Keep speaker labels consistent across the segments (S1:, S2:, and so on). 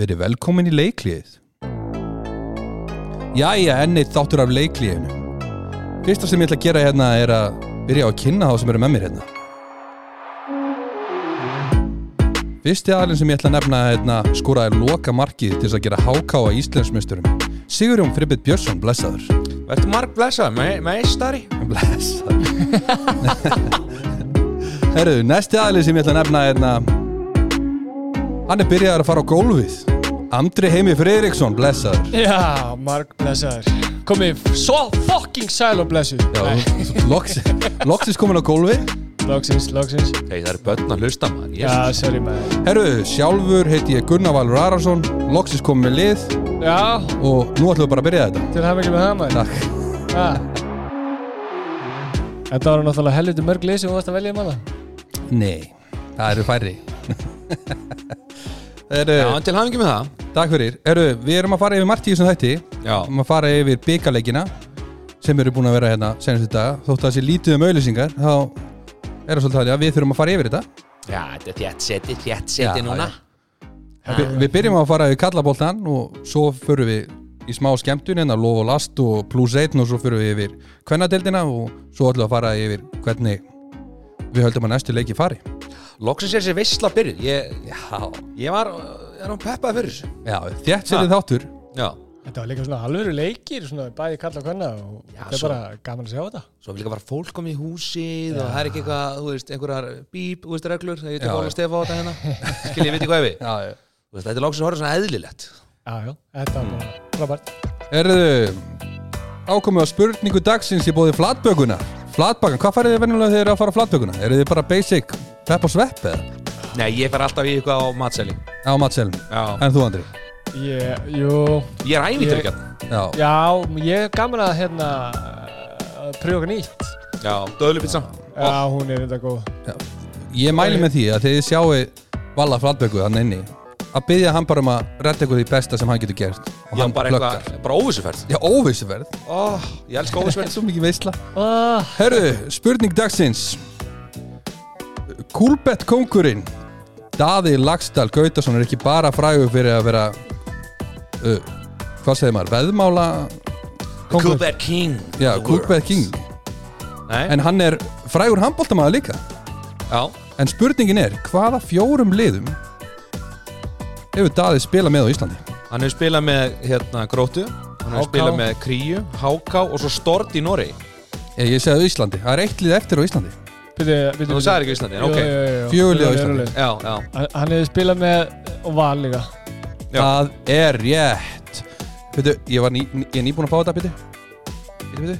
S1: Verið velkomin í leiklíðið. Jæja, enn eitt þáttur af leiklíðinu. Fyrsta sem ég ætla að gera hérna er að byrja á að kynna þá sem eru með mér hérna. Fyrsti aðlinn sem ég ætla að nefna hérna skoraði loka markið til þess að gera háká á Íslensmjösturum. Sigurjón Fribbit Björnsson, blessaður.
S2: Ertu marg blessað, me meistari?
S1: Blessaður. Herru, næsti aðlinn sem ég ætla að nefna hérna Hann er byrjaður að fara á gólfið. Andri Heimi Friðriksson, blessaður.
S3: Já, marg blessaður Komið svo fucking sæl og blessuð
S1: Já,
S3: Nei,
S1: þú- loks, loksis komin á gólfi
S3: Loksins, loksins
S2: Hei, það eru börn að hlusta mann
S3: Já, sorry maður
S1: Herru, sjálfur heiti ég Gunnar Valur Arason Loksis komin með lið
S3: Já,
S1: Og nú ætlum við bara að byrja þetta
S3: til hafa ekki með það maður
S1: Takk
S3: Ha. Þetta var náttúrulega helviti mörg lið sem þú varst að velja um hana
S1: Nei, það eru færri Herru,
S2: Já, en til hafingi með það
S1: takk fyrir Herru, við erum að fara yfir margt í þessum þætti Við
S2: Já.
S1: erum að fara yfir byggarleikina Sem eru búin að vera hérna senast þetta Þótt að það sé lítið um auðlýsingar Þá er það svolítið þannig að við þurfum að fara yfir þetta
S2: Já, þetta er þjætt seti, þjætt
S1: Já,
S2: seti núna
S1: já. Vi, við byrjum á að fara við kallaboltan og svo förum við í smá skemmtun hérna lof og last og plus 1 og svo förum við yfir kvennadeldina og svo ætlum við að fara yfir hvernig við höldum að næstu leiki fari
S2: Loksins er þessi veisla byrjuð Ég, já. ég var, er hún peppað fyrir þessu
S1: Já, þétt setið þáttur
S2: Já,
S3: Þetta var líka svona alvöru leikir, svona bæði kalla og hvenna og þetta er
S2: svo-
S3: bara gaman að sjá þetta
S2: svo vil ekki bara fólk koma í húsið og það er ekki eitthvað, þú veist, einhverjar bíp, þú veist, reglur, það er
S1: Já,
S2: eitthvað að stefa á þetta hérna Skil, ég veit ekki hvað við
S1: Já, já
S2: Þú veist, Þetta er loksins horfður svona eðlilegt
S3: Já, Mm. já, þetta var bara frábært
S1: Erðu ákomið á spurningu dagsins ég bóði flatbökuna Flatbakan, hvað farið þið venjulega þegar þið eru að fara á flatbökuna? Eru þið bara basic pepp og svepp eða?
S2: Nei, ég fer alltaf í eitthvað á matseling
S1: Á matselum
S2: Já.
S1: En þú Andri?
S3: Ég, jú,
S2: Ég er hérna. æmítur
S3: Ég-
S2: ekki
S1: Já,
S3: já, ég er gaman að hérna að pröfa okkur nýtt
S2: Já, döðlupizza
S3: Já, hún er þetta góð
S1: Ég mæli með því að þegar þið sjáu Valla Flatböku hann inni að byggja hann bara um að redda eitthvað því besta sem hann getur gert og
S2: Já,
S1: hann
S2: bara
S1: pluggar.
S2: eitthvað, bara óvissuferð
S1: Já, óvissuverð
S2: Ó, ég elska óvissuferð
S1: Svo mikið veisla
S3: Ah,
S1: Herru, spurning dagsins Kúlbett kongurinn Daði Lagsdal Gautason er ekki bara frægur fyrir að vera uh, hvað segir maður, veðmála kóngur?
S2: Coolbad King
S1: Já,
S2: of the
S1: Kúlbett
S2: world.
S1: King
S2: Nei,
S1: En hann er frægur handbóltamaður líka
S2: já,
S1: En spurningin er, hvaða fjórum liðum hefur Daði spilað með á Íslandi?
S2: hann hefur spilað með hérna Grótu Hann hefur
S3: HK.
S2: spilað með Kríu, Háká og svo Stort í Noregi
S1: Eh, Ég, ég segði á Íslandi, það er eitt lið eftir á Íslandi
S3: byrju, byrju
S2: Þú sagðir ekki Íslandi, en ok
S1: Fjögur lið á Íslandi.
S3: Íslandi
S2: Já, já,
S3: Hann hefur spilað með og val líka
S2: Já.
S1: Það er rétt Veitu, ég, var ný, ný- ég er nýbúin að fá þetta, byrju Byrju, byrju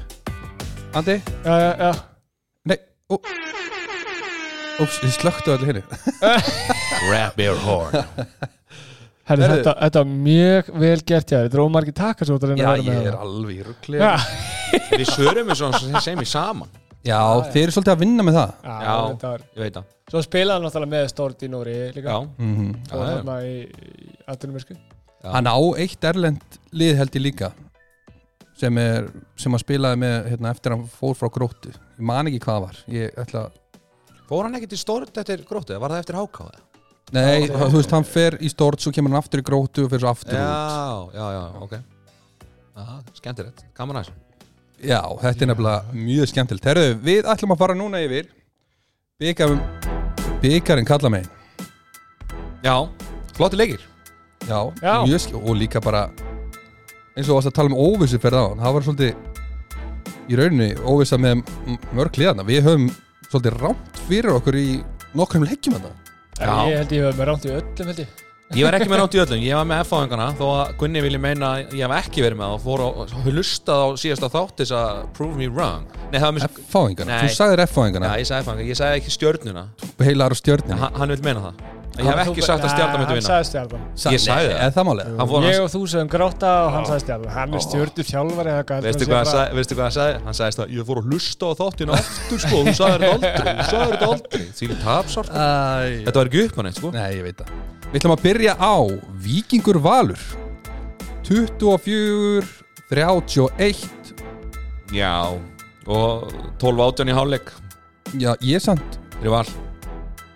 S1: Andi,
S3: Já, já, já
S1: nei ó. Úps, ég slökkti á öllu henni
S2: Rap Air Horn
S3: Herri,
S1: Herri.
S3: þetta, þetta var mjög vel gert hjá þér Þetta er ómargi takkar svo
S1: Já,
S3: þetta reyna að vera
S1: ég
S3: með
S1: er
S3: hana.
S1: alveg í ruggli
S3: Já,
S1: Já,
S2: Við sörum við svona sem í saman
S1: þeir eru svolítið að vinna með það
S3: já,
S2: Já.
S3: þetta var
S2: Ég veit það
S3: Svo spilaði hann náttúrulega með Stort í Nóri líka
S2: Já,
S1: mm
S3: Og
S2: já,
S3: þarna í Atunumörsku
S1: Hann á eitt erlend lið held ég líka sem, er, sem að spilaði með hérna, eftir að hann fór frá gróttu ég man ekki hvað það var ég ætla að
S2: Fór hann ekki til Stort eftir Grótu, var það eftir Háká? eða?
S1: Nei,
S2: Já, ok.
S1: þú veist, hann fer í stort, svo kemur hann aftur í grótu og fer svo aftur
S2: Já, já, já, ok Aha, skemmtilegt, gaman aðeins
S1: út Já, þetta er nefnilega mjög skemmtilegt Herðu, við ætlum að fara núna yfir Byggarum Byggarinn kalla megin
S2: Já, flotti leikir
S1: Já,
S3: Já.
S1: mjög skemmtilegt Og líka bara eins og þú varst að tala um óvissu fyrir á hann Það var svolítið í rauninni óvissa með m- mörg liðana Við höfum svolítið rámt fyrir okkur í nokkrum leggjum þetta
S2: Já.
S3: Ég held ég hefði með rámt í öllum held ég
S2: Ég var ekki með rátt í öllum, ég var með F-fáðingana þó að Gunni vilji meina að ég hef ekki verið með það og fór og hlustað á síðasta þátt til þess að prove me wrong Nei, það var með
S1: F-fáingana,
S2: Sko, Nei.
S1: þú sagðir
S2: Já,
S1: F-fáingana
S2: ég sagði F-fáðinga, ég sagði ekki stjörnuna
S1: Heilar og
S2: En
S1: stjörnina
S2: hann, hann vil meina það En Ég hef
S3: Þú-
S2: ekki sagt að stjarnan myndi
S3: Hann
S2: vinna
S3: sagði stjarnan
S2: ég sagði það.
S1: Eða það málega
S2: Hann fór hans
S3: Ég og þú sem gráta og hann sagði stjarnan Hann er stjördur þjálfari eða hvað,
S2: Veistu
S3: hann sé
S2: hvað, hann
S3: bara-
S2: sagði, veistu hvað hann sagði? Hann sagðist að ég fór að hlusta á þáttina aftur sko, þú sagðir þetta aldrei, þú sagðir þetta aldrei Því tapsort
S1: Æ,
S2: Þetta var ekki upp hann eitt sko
S1: Nei, ég veit það. Við ætlum að byrja á Víkingur Valur. 24, 31.
S2: Já, og 12 átján í hálfleik
S1: Já, ég samt.
S2: Rival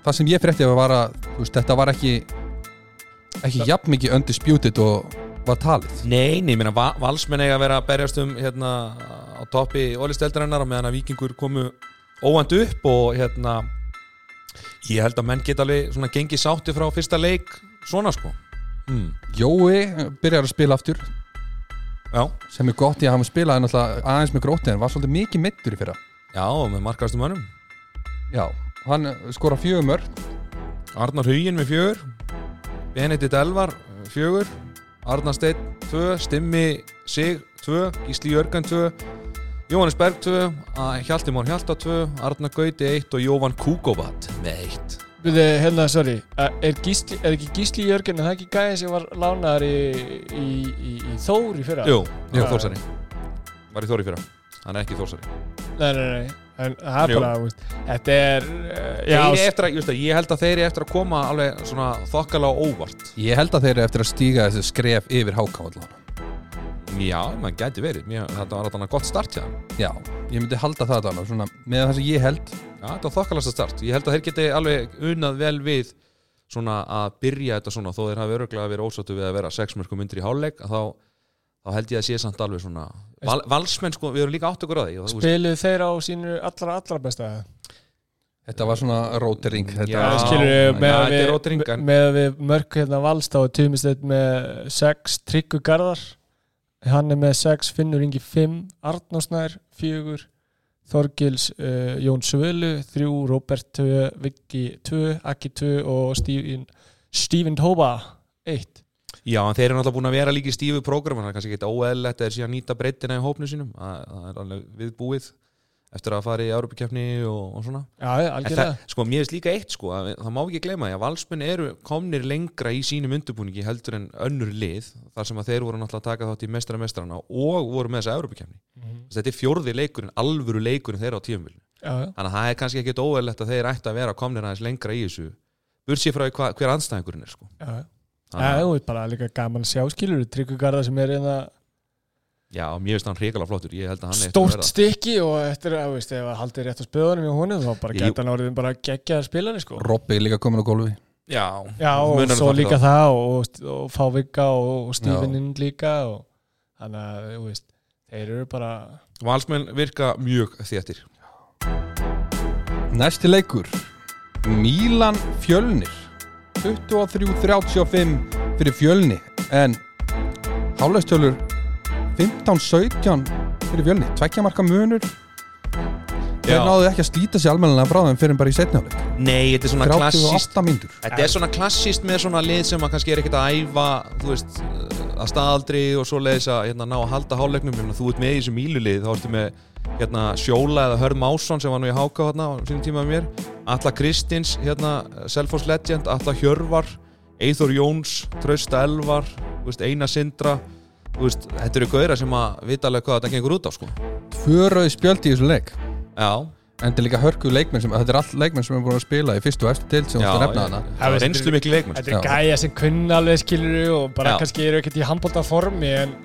S1: Það sem ég frétti var að þú veist, þetta var ekki ekki jafn mikið undisputed og var talið
S2: Nei, nei, ég meina Va- valsmenn eiga að vera að berjast um hérna á toppi ólisteldarinnar og meðan að vikingur komu óvænt upp og hérna ég held að menn geta alveg svona gengið sátti frá fyrsta leik svona sko mm.
S1: Jói byrjar að spila aftur
S2: Já,
S1: sem er gott í að hafa spilað en alltaf aðeins með grótið en var svolítið mikið meittur í fyrra
S2: já, með markaðastum mönnum
S1: já, hann uh, skora fjögumör
S2: Arnar Hugin með fjögur Benedikt Elvar eh, fjögur Arnar Steinn 2 Stimmi Sig 2 Gísli Jörgan 2 Jóhannes Berg 2 A- Hjalti Már Hjalta 2 Arnar Gauti 1 og Jóvan Kúkovat með 1
S3: Við þið, hérna, sorry, er, gísli, er ekki Gísli Jörgen, er það ekki gæði sem var lánaðar í, í, í, í Þór í fyrra?
S2: Jú, Jú.
S3: Jú.
S2: Þórsari Var í Þóri fyrra Hann er ekki í Þórsari
S3: Nei, nei, nei, en það er
S2: Jú.
S3: bara, þú veist, þetta er, uh, já,
S2: Þeir eru eftir að, just, að, Ég held að þeir eru eftir að koma alveg svona þokkala og óvart
S1: ég held að þeir eru eftir að stíga þessu skref yfir háká allavega
S2: Já, maður gæti verið Mér, Þetta var þarna gott start hjá þeim.
S1: já, ég myndi halda það allavega svona, með það sem ég held
S2: Já, þetta var þokkalasta start. Ég held að þeir geti alveg unnað vel við svona að byrja þetta svona þó þeir hafi öruglega verið ósáttu við að vera sex mörgum undir í hálfleik að þá, þá held ég að sé samt alveg svona val, valsmenn sko, við erum líka átt okkur á því og þú veist-
S3: spiluðu þeir á sínu allra, allra besta það?
S1: þetta var svona rótering þetta
S2: Já,
S1: var-
S3: skilur
S2: já,
S3: með að
S2: þetta er
S3: við,
S2: róteringan.
S3: með að við mörg hérna valst á tjumisteit með 6 tryggu garðar hann er með 6, Finnur Ingi 5 Arnósnær 4 Þorgils uh, Jón Svölu 3, Robert 2, Viki 2, Akki 2 og Steven, Steven Tóba 1
S2: Já, en þeir eru náttúrulega búin að vera líka í stífu prógram þannig að kannski geta óeðlilegt að þeir sé að nýta breytina í hópnu sínum að, það er alveg viðbúið eftir að fara í Európikeppni og, og svona
S3: Já, já,
S2: En
S3: algjörlega
S2: það, sko, mér finnst líka eitt sko, að, það má ekki gleyma því að valsmenn eru komnir lengra í sínum undirbúningi heldur en önnur lið þar sem að þeir voru náttúrulega að taka þátt í mestara mestarana og voru með þessa Evrópikefni þetta er fjórði leikurinn, alvöru leikurinn þeirra á tíumvilinu
S3: Já, já.
S2: þannig að það er kannski ekkit óverlegt að þeir ætti að vera komnir aðeins lengra í þessu bursi frá því hva, hver anstæðingurinn er sko.
S3: Já, já. Já,
S2: Þannig að-
S3: þú veit bara líka gaman að sjá skilur Tryggu garðar sem er hérna einna
S2: já, mér finnst hann hrikalega flottur ég held að hann eigi eftir að
S3: stórt stykki og eftir að, þú veist, ef að haldið rétt á spöðunum hjá honum þá bara
S2: Ég-
S3: geta hann orðin bara geggjaðar spilari sko
S1: Robbi er líka komin á gólfi
S2: verða já,
S3: Já, og
S2: munar um
S3: svo
S2: það fyrir
S3: líka það og, og Fávika og, og
S1: Já.
S3: Stífininn líka og þannig að, þú veist, þeir eru bara
S2: valsmenn virka mjög þéttir
S1: Næsti leikur Mílan Fjölnir 23-35 fyrir Fjölni en hálfleikstölur 15-17 fyrir Fjölni tveggja marka munur þeir
S2: Já.
S1: náðu ekki að slíta sér almennilega frá þeim fyrir bara í setnjáleik
S2: nei, þetta er svona klassíst
S1: 38 mínútur
S2: Þetta er svona klassist með svona lið sem að kannski er ekkert að æfa þú veist, eh, að staðaldri og svo leiðis að hérna, ná að halda háleiknum Ég meina, þú ert með í þessu mílulið, þá ertu með hérna, Sjóla eða Hörn Másson sem var nú í Háka hérna, á sínum tíma með mér Alla Kristins, hérna, Selfos Legend Alla Hjörvar, Eithor Jóns Trausta Elvar, þú veist, Einar Sindra þú veist, þetta eru gauðra sem að vita alveg hvað þetta gengur út á sko.
S1: tvö rauði spjöld í þessum leik
S2: Já,
S1: en þetta er líka hörku leikmenn sem þetta er allt leikmenn sem er búin að spila í fyrstu og efstu til sem
S2: já,
S1: þú ætti að
S2: já,
S1: nefna hana
S2: það var reynslu mikil leikmenn
S3: Þetta er
S1: Já.
S3: gæja sem kunn alveg skilur og bara
S2: Já.
S3: kannski eru ekkert í handbólta formi en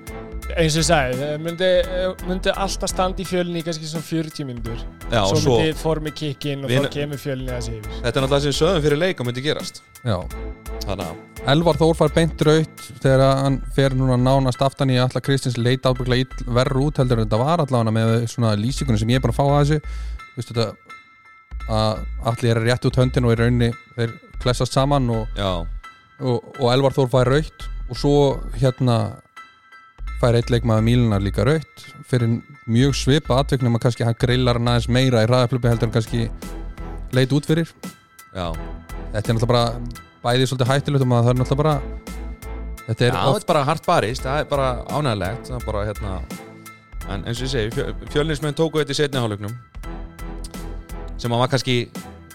S3: eins og ég sagði, þeir myndi, eh, myndi alltaf standa í fjölni í kannski svona 40 myndur
S2: Já,
S3: svo,
S2: svo,
S3: myndi formi kikkin og
S2: Við-
S3: þá kemur fjölni þessi yfir
S2: þetta er náttúrulega sem við sögum fyrir leik og myndi gerast
S1: já.
S2: Þannig að
S1: Elvar Þór fær beint raut þegar hann fer núna nánast aftan í alltaf Kristins leit ábyggla verru út heldur en þetta var allavega með svona lýsingunum sem ég er búin að fá að þessu Vistu þetta að allir er rétt út höndin og í rauninni þeir klessast saman og,
S2: Já,
S1: og, og Elvar Þór fær raut og svo hérna fær eitt leikmaður Mílunar líka raut fyrir mjög svipa atveknum að kannski hann grillar hann aðeins meira í ræðaflöpi heldur en kannski leit út fyrir
S2: já
S1: þetta er náttúrulega bara bæði svolítið hættilegt og maður það er náttúrulega bara þetta er
S2: Já,
S1: oft
S2: þetta er bara hart barist, það er bara ánægilegt það er bara hérna en eins og ég segi, fjö, fjölnismenn tóku þetta í setni hálfleiknum sem að var kannski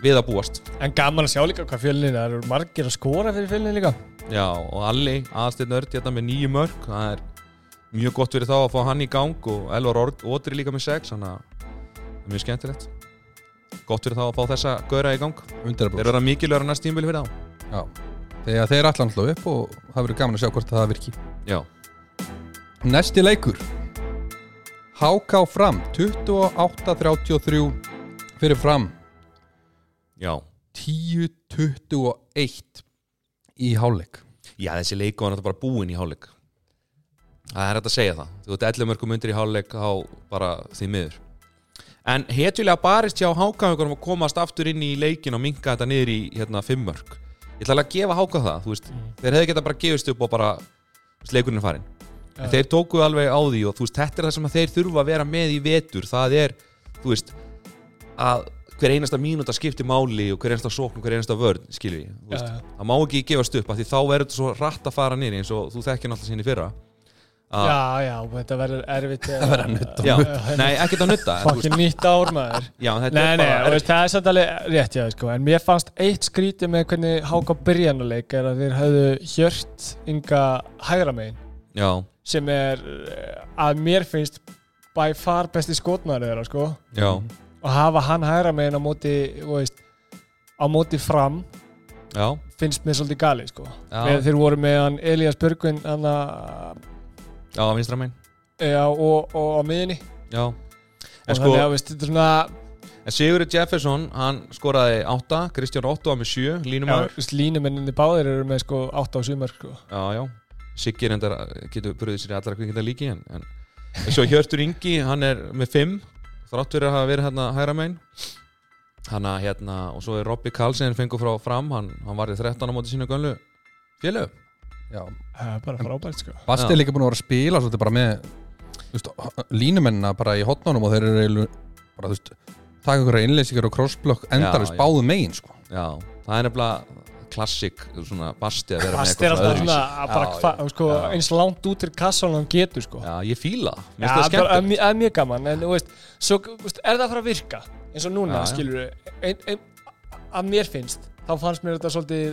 S2: við að búast
S3: En gaman að sjá líka hvað fjölni það eru margir að skora fyrir fjölni líka
S2: Já, og Alli, aðstæðn örd hérna með nýju mörg, það er mjög gott fyrir þá að fá hann í gang og Elvar Org- Otri líka með sex, þannig að það er mjög skemmtilegt gott fyrir þá að fá þessa gauðra í gang þeir
S1: undirbrúst
S2: eru að mikilværa næst tímbili fyrir þá
S1: þegar þeir ætla alltaf upp og það verður gaman að sjá hvort það virki
S2: Já,
S1: næsti leikur HK fram 28-33 fyrir fram
S2: já
S1: 10-21 í hálfleik
S2: Já, þessi leiku var náttúrulega bara búinn í hálfleik Það er hægt að segja það Þú ert 11 mörgum undir í hálfleik þá bara því miður En hetjulega barist hjá hákaðugunum að komast aftur inn í leikin og minka þetta niður í hérna, fimm mörg Ég ætla alveg að gefa hákað það, þú veist
S3: Mm.
S2: Þeir hefði geta bara gefist upp og bara þú veist, leikurinn er farinn En þeir tóku alveg á því og þú veist, þetta er það sem að þeir þurfa að vera með í vetur Það er, þú veist, að hver einasta mínúta skipti máli og hver einasta sókn og hver einasta vörn, skilvi Þú veist,
S3: Já, já.
S2: það má ekki gefast upp af því þá verður þetta svo rætt að fara nýri eins og þú þekkir náttúrulega sinni fyrra að,
S3: Já, já, þetta verður erfitt eh, Það verður nutt
S2: já, nei, ekkert að nutta en þú veist,
S3: Fokkin nýtt ár maður
S2: já, en þetta
S3: Nei,
S2: er
S3: nei,
S2: bara
S3: og
S2: erfitt.
S3: veist, það er samt alveg rétt já, sko. en mér fannst eitt skrítið með hvernig Háka byrjanuleik er að þeir höfðu hjört ynga hægra megin
S2: já,
S3: sem er eh, að mér finnst by far besti skotnari þeirra sko.
S2: já,
S3: og hafa hann hægra megin á móti, þú veist, á móti fram
S2: já,
S3: finnst mér svolítið gali sko.
S2: Já.
S3: Þegar þeir voru með hann Elías Björgvin hann að-
S2: já, vinstra megin
S3: já, og, og á miðinni
S2: já,
S3: og
S2: en sko,
S3: þannig að veist, þetta er svona
S2: en Sigurður Jefferson hann skoraði 8, Kristján 8 var með 7,
S3: Já,
S2: línumar,
S3: veist, línumenninni báðir eru með sko 8 á 7 mörg sko.
S2: já, já Siggi reyndar eh, getur bröðið sér í allra kvikinda líki en, en en svo Hjörtur Ingi, hann er með 5 þrátt fyrir að hafa verið hérna hægra megin hann að hérna og svo er Robby Karlsen fengur frá fram hann, hann varði 13 á móti sína gönlu félög
S1: Já,
S3: það er bara frábært sko.
S1: Basti
S2: Já.
S1: er líka búin að vera að spila svolítið bara með þú veist, línumennina bara í hotnunum og þeir eru eiginlega- bara, þú veist, taka einhverja innleysingar og crossblock endalist
S2: já.
S1: báðu megin sko.
S2: Já, það er nefnilega klassik svona basti að vera
S3: Fast er alltaf
S2: öðruvísi.
S3: svona að bara
S1: Já,
S3: hva, sko,
S2: já.
S3: eins langt út til kassan hann getur sko.
S2: Já, ég fíla það,
S3: Já,
S2: mér finnst það
S3: bara að
S2: skemmt
S3: mj- að mjög gaman en þú veist, svo, þú veist, er það að fara að virka eins og núna,
S2: Já, já.
S3: skilur við að mér finnst þá fannst mér þetta svolítið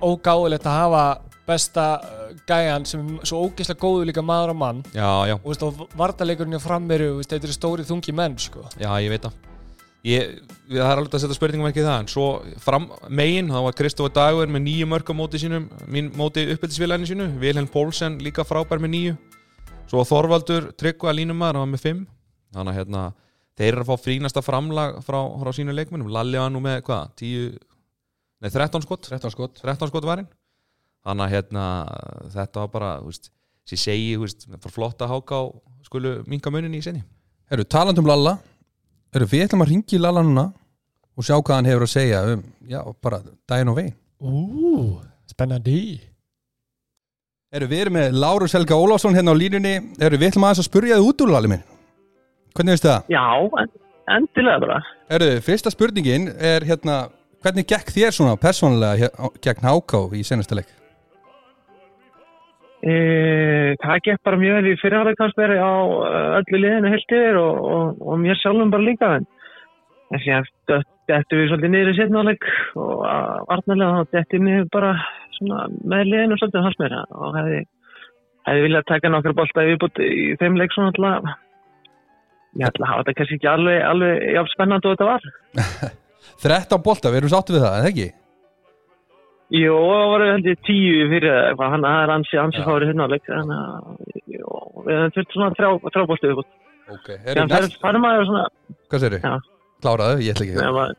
S3: ógáðilegt að hafa besta eh, gæjan sem er svo ógeðslega góður líka maður á mann
S2: Já, já,
S3: og, veist, og vartalegurinn hjá frammeru veist, þetta eru stóri þungi menn sko.
S2: já, ég veit það Ég, við- það er alveg að setja spurningum ekki það en svo fram megin, þá var Kristofa Dagur með nýju mörg á móti sínum mín móti uppeldisvélaginu sínu, Vilhelm Pólsen líka frábær með nýju svo Þorvaldur Tryggva línumar, hann var með fimm þannig að hérna, þeir eru að fá frínasta framlag frá, frá sínu leikmennum Lalli var nú með, hvað, 10 nei, 13 skott
S1: 13 skot
S2: 13 skot varinn þannig að hérna, þetta var bara þú veist, sem ég segi, þú veist, það var flott að háka á skulu minga munin í sinni
S1: Herru, talandi um Lalla Herru, við ætlum að ringi Lalla núna og sjá hvað hann hefur að segja um, já, bara daginn og veginn
S3: Ú, spennandi
S1: Herru, við erum með Lárus Helga Ólafsson hérna á línunni Herru, við ætlum aðeins að spurja þið út úr Lalli minn Hvernig veist það?
S4: Já, en- endilega bara.
S1: Herru, fyrsta spurningin er hérna Hvernig gekk þér svona persónulega hér- á- gegn Háká í senasta leik?
S4: E, það gekk bara mjög vel í fyrirháleik kannski verið á eh, öllu liðinu heilt yfir og, og, og mér sjálfum bara líka en en síðan dött- dettu við svolítið niður í setnáleik og að- varnarlega þá dettu mér bara svona með liðinu svolítið hans meira og hefði, hefði viljað taka nokkra bolta í viðbútt í þeim leik svona alltaf ég ætla að hafa þetta kannski ekki alveg, alveg jafn spennandi og þetta var
S1: 13 bolta, við erum sátti við það, eða ekki?
S4: Jó, það voru held ég tíu fyrir eða eitthvað, hann það er ansi, ansi
S1: Já.
S4: fárið hérna leik, þannig að jó, við höfum þurft svona þrjá, þrjá bóltu upp.
S1: Ok,
S4: Þannig
S1: herru,
S4: að það er
S1: næst,
S4: fara maður svona,
S1: hvað segir
S4: Já.
S1: Kláraðu, ég ætla
S4: ja.
S1: ekki
S4: maður,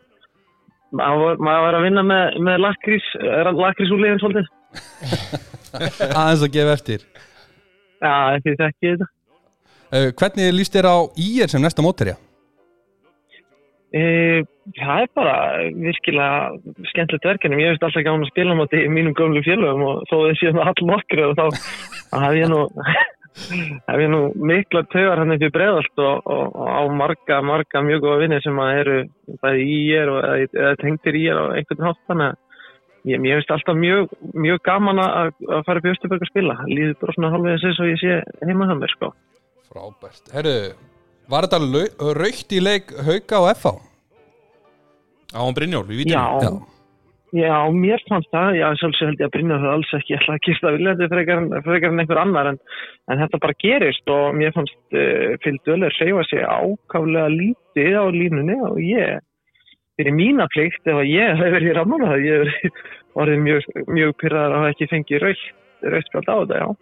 S4: maður, var- maður var að vinna með, með lakrís, lakrís úr liðin svolítið.
S1: aðeins að gefa eftir
S4: Já, ekki þekki þetta.
S1: Uh, hvernig líst þér á ír sem næsta mótverja?
S4: E, það er bara virkilega skemmtilegt verkefni, ég veist alltaf gáðan að spila á móti í mínum gömlu félögum og þó þið séum all nokkur og þá þá hef ég nú... Hef ég nú mikla taugar hann upp í bregðalt og, og, og á marga, marga mjög góða vinni sem að eru bæði í er og eða, eða tengdir í er og einhvern hátt þannig að ég, ég finnst alltaf mjög, mjög gaman að, að fara upp í Östuberg að spila. Líður bara svona hálfvegis eins og ég sé heima það mér sko.
S1: Frábært. Herru, var þetta lau- raukt í leik Hauka og FH?
S2: á hann Brynjól, við vítum
S4: Já, Já, mér fannst það, já, sjálfsög held ég að brinna það alls ekki, ég ætla að gista viljandi frekar, en- frekar en einhver annar, en, en þetta bara gerist og mér fannst uh, Phil Döller hreyfa sig ákaflega lítið á línunni og ég, fyrir mína plikt, ef að ég hef verið í rammála það, ég hef verið- orðið mjög, mjög pyrraðar að hafa ekki fengið raukt, raukt spjált á þetta, já.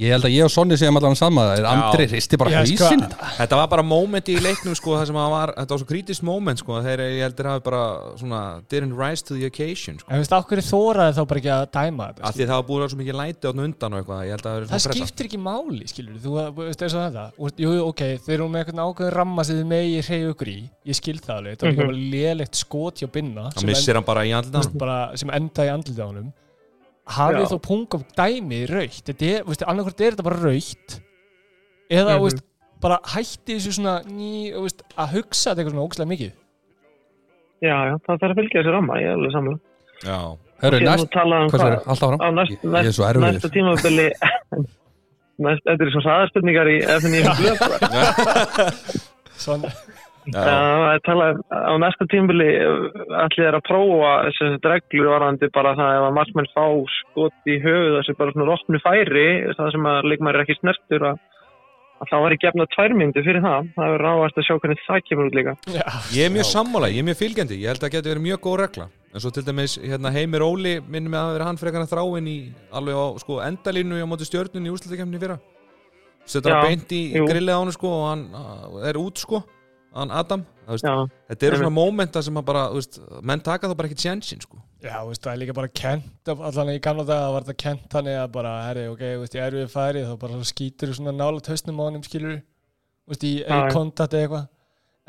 S1: Ég held að ég og Sonni séum allan sama það er Andri
S2: Já.
S1: hristi bara
S3: Já, sko,
S1: hausin
S2: Þetta var bara moment í leiknum sko, það sem að var, þetta var svo krítist moment sko, þegar ég heldur hafi bara svona didn't rise to the occasion sko.
S3: En veist, okkur þóraði þá bara ekki að dæma þetta
S2: Af því það var búin að svo mikið læti átna undan og eitthvað, ég held að það
S3: Það
S2: verið svona pressa.
S3: skiptir ekki máli, skilur þú, veist eins og þetta Úr, Jú, jú, ok, þeir eru með eitthvað ákveðin ramma sem þið megi reyðu ykkur í, ég skil það alveg þetta var líka
S4: Mhm.
S3: bara lélegt skot hjá binna
S2: Það missir hann bara í
S3: þú
S2: andlan.
S3: veist, bara, sem endaði í andlitið á honum hafið
S4: Já.
S3: þó pungum dæmi raukt þetta er, veist, annarkvært er þetta bara raukt eða,
S4: Mhm.
S3: veist, bara hætti þessu svona ný, veist, að hugsa þetta eitthvað svona ógstlega mikið
S4: Já, já, það þarf að fylgja þessi ramma, ég er alveg saman.
S2: Já.
S1: Hörru,
S4: Ég nú
S1: næst
S4: talaði um
S1: Hvað
S4: hvað,
S1: er alltaf
S4: á
S1: áram?
S4: næst,
S1: Ég- ég er
S4: næst,
S1: svo erfiður.
S4: næsta tímabili, næst, þetta er svo saðarspurningar í FNÍ blöð. sko.
S3: svona,
S2: Já.
S4: Já, ég talaði á næsta tímbili allir er að prófa þessi dreglur varðandi bara það ef að markmenn fá skot í höfuð þessi bara svona rotnu færi það sem að leikmæri er ekki snertur að, að það var ekki efna tværmyndu fyrir það það er ráðast að sjá hvernig það kemur út líka
S3: já,
S2: Ég er mjög sammála, ég er mjög fylgjandi, ég held að það getur verið mjög góð regla. En svo til dæmis, hérna, Heimir Óli minnum með að vera hann frekar að þráin í alveg á sko, endalínu á móti stjörnun í úrslutakefni fyrra. Setur hann
S4: Já,
S2: beint í
S4: jú.
S2: grillið á hann sko og hann uh, er út sko, hann Adam. Það, veist,
S4: Já,
S2: þetta eru
S4: Einmitt.
S2: svona mómenta sem að bara, þú veist, menn taka þá bara ekki tjensin sko.
S3: já, veist, það er líka bara kent af- allan í gamla daga var þetta kent þannig að bara, herri, ok, veist, ég er við færi þá bara skýtur svona nála töstnum á honum skilur, veist, í, í
S4: Já, já.
S3: kontakt eða eitthvað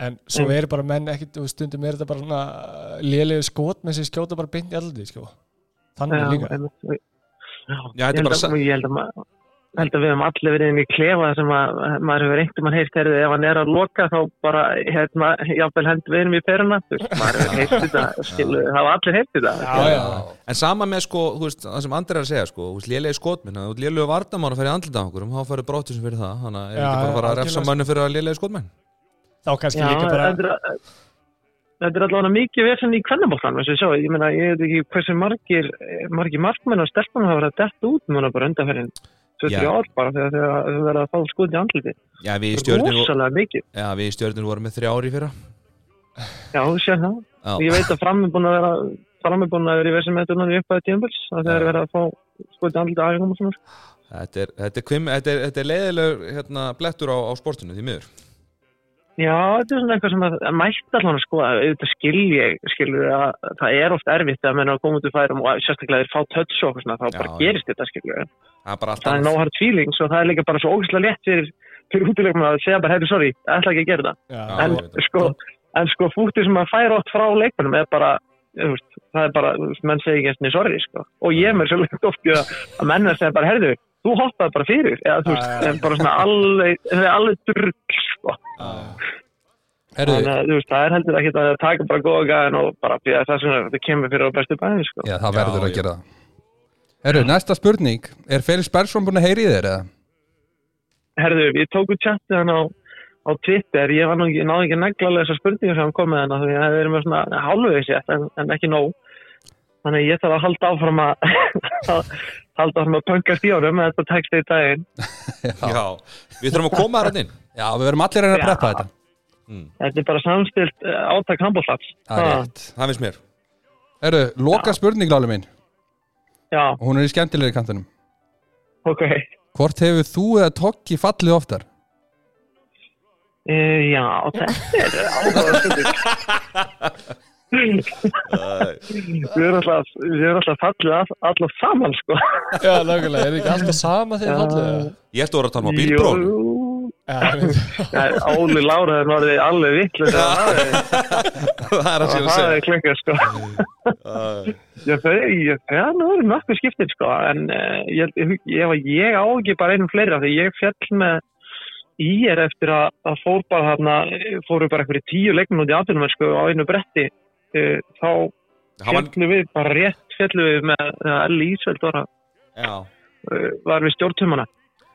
S3: en svo
S4: Mm.
S3: eru bara menn ekkit og stundum er þetta bara svona lélegu skot með sem skjóta bara beint í allir sko. þannig
S4: já,
S3: líka
S4: einmitt. já,
S2: Já, þetta er
S4: ég held
S2: bara
S4: að-
S2: sa-
S4: ég held að maður held að við hefum allir verið inn í klefa sem að maður hefur reyndum að heyrt herðu ef hann er að loka þá bara hérna, jáfnvel hend við erum í peruna þú veist, maður hefur heyrt þetta, skilu, það var allir heyrt þetta
S3: já, já,
S2: En sama með sko, þú veist, það sem Andri er að segja sko, þú veist, lélegi skotminn, að þú ert lélegu vartamára fyrir andlita á okkur, þá færðu bróttu sem fyrir það, þannig að er
S3: Já,
S2: ekki bara að fara
S3: já,
S2: að refsa
S3: algjörlega,
S2: mönnu fyrir að lélegi skotminn.
S3: þá kannski
S4: Já,
S3: líka bara
S4: þetta er- Þetta er allavega mikið vesen í kvennabóttan, þess að sjá, ég meina, ég veit ekki hversu margir, margir markmenn og stelpunum hafa verið að detta út núna bara undanferðin 2-3
S2: Já.
S4: ár bara þegar þegar þau verða að fá skoðin í andliti.
S2: Já, við í stjörnur,
S4: Rósalega mikið,
S2: já, við í stjörnur vorum með þrjá ári fyrra.
S4: já, þú sé það.
S2: Já.
S4: Ég veit að fram er búin að vera, fram er búin að vera í vesen með þetta núna í upphæði tímbils, að þeir
S2: Já.
S4: verða að fá skoðin í andliti aðeins og svona.
S2: Þetta er, þetta er, kvim, þetta er, þetta er leiðilegur hérna, blettur á, á sportinu, því miður.
S4: Já, þetta er svona eitthvað sem að að mætti allan að skoða, auðvitað skil ég, skilur að það er oft erfitt að menna að koma út úr færum og sérstaklega þeir fá touch og eitthvað svona, þá bara
S2: Já, já.
S4: gerist þetta, skilur
S2: Það er bara allt
S4: það er no hard feelings og það er líka bara svo ógeðslega létt fyrir, fyrir útilegum að segja bara, hefur, sorry, ég ætla ekki að gera það
S3: já,
S2: Já,
S4: en,
S2: ég veit það.
S4: sko, en sko fútið sem að færa oft frá leikmennum er bara þú veist, það er bara, þú veist, menn segja ekki einsinni sorry sko. og ég er mér svo lengt oft í að að menn er að segja bara, herðu, þú hoppaði bara fyrir eða þú veist,
S3: Já, já.
S4: en bara svona alveg það er alveg drugg sko.
S1: Herru,
S4: þannig að þú veist, það er heldur ekki að taka bara góða gæðin og bara býða það sem það kemur fyrir á bestu bæðin sko.
S1: já, það
S2: Já,
S1: verður að
S2: já.
S1: gera það Herru, næsta spurning Er Felix Bergson búin að heyri þér eða?
S4: Herðu, ég tók úr chatið hann á, á Twitter, ég var nú ekki, náði ekki neglalega þessar spurningar sem hann kom með hann af því að það er með svona hálfvegis rétt en, en ekki nóg. Þannig að ég þarf að halda áfram að, að halda áfram að pöngast í honum með þetta texti í daginn.
S2: Já, við þurfum að koma þar inn.
S1: Já, við verðum allir að reyna að
S4: Já.
S1: preppa þetta
S4: Þetta er bara samstilt eh, átak handbóltafs.
S1: Það er rétt
S2: Það finnst mér.
S1: Herru, loka spurning lálu minn
S4: Ah, Já,
S1: og hún er í skemmtilegri kantinum
S4: ok.
S1: Hvort hefur þú eða Tokki fallið oftar?
S4: Uh, já, þetta er áhugaður spurning. Við erum alltaf, við erum alltaf fallið all, alltaf saman, sko.
S3: já nákvæmlega, er ekki alltaf sama þegar fallið
S2: Ég ætti að vera að tala um að bílbrón.
S4: Jú,
S3: já, ég veit.
S4: Já, Óli Láraðin orðið alveg vittlust
S2: það er að séu að
S4: það er
S2: segja.
S4: klikkað sko
S2: Æ.
S4: Já, þau- ég- já, nú erum nokkuð skiptir sko en uh, ég, ég, ég, ég á ekki bara einum fleira því ég fjall með í er eftir að, að fór bara þarna fóru bara einhverju tíu leikmenn út í aðbyrnum sko á einu bretti uh, þá
S2: Hann var-
S4: fjallum við bara rétt fjallum við með að Elli Ísveld var, að-
S2: Já,
S4: eh, var við stjórntumana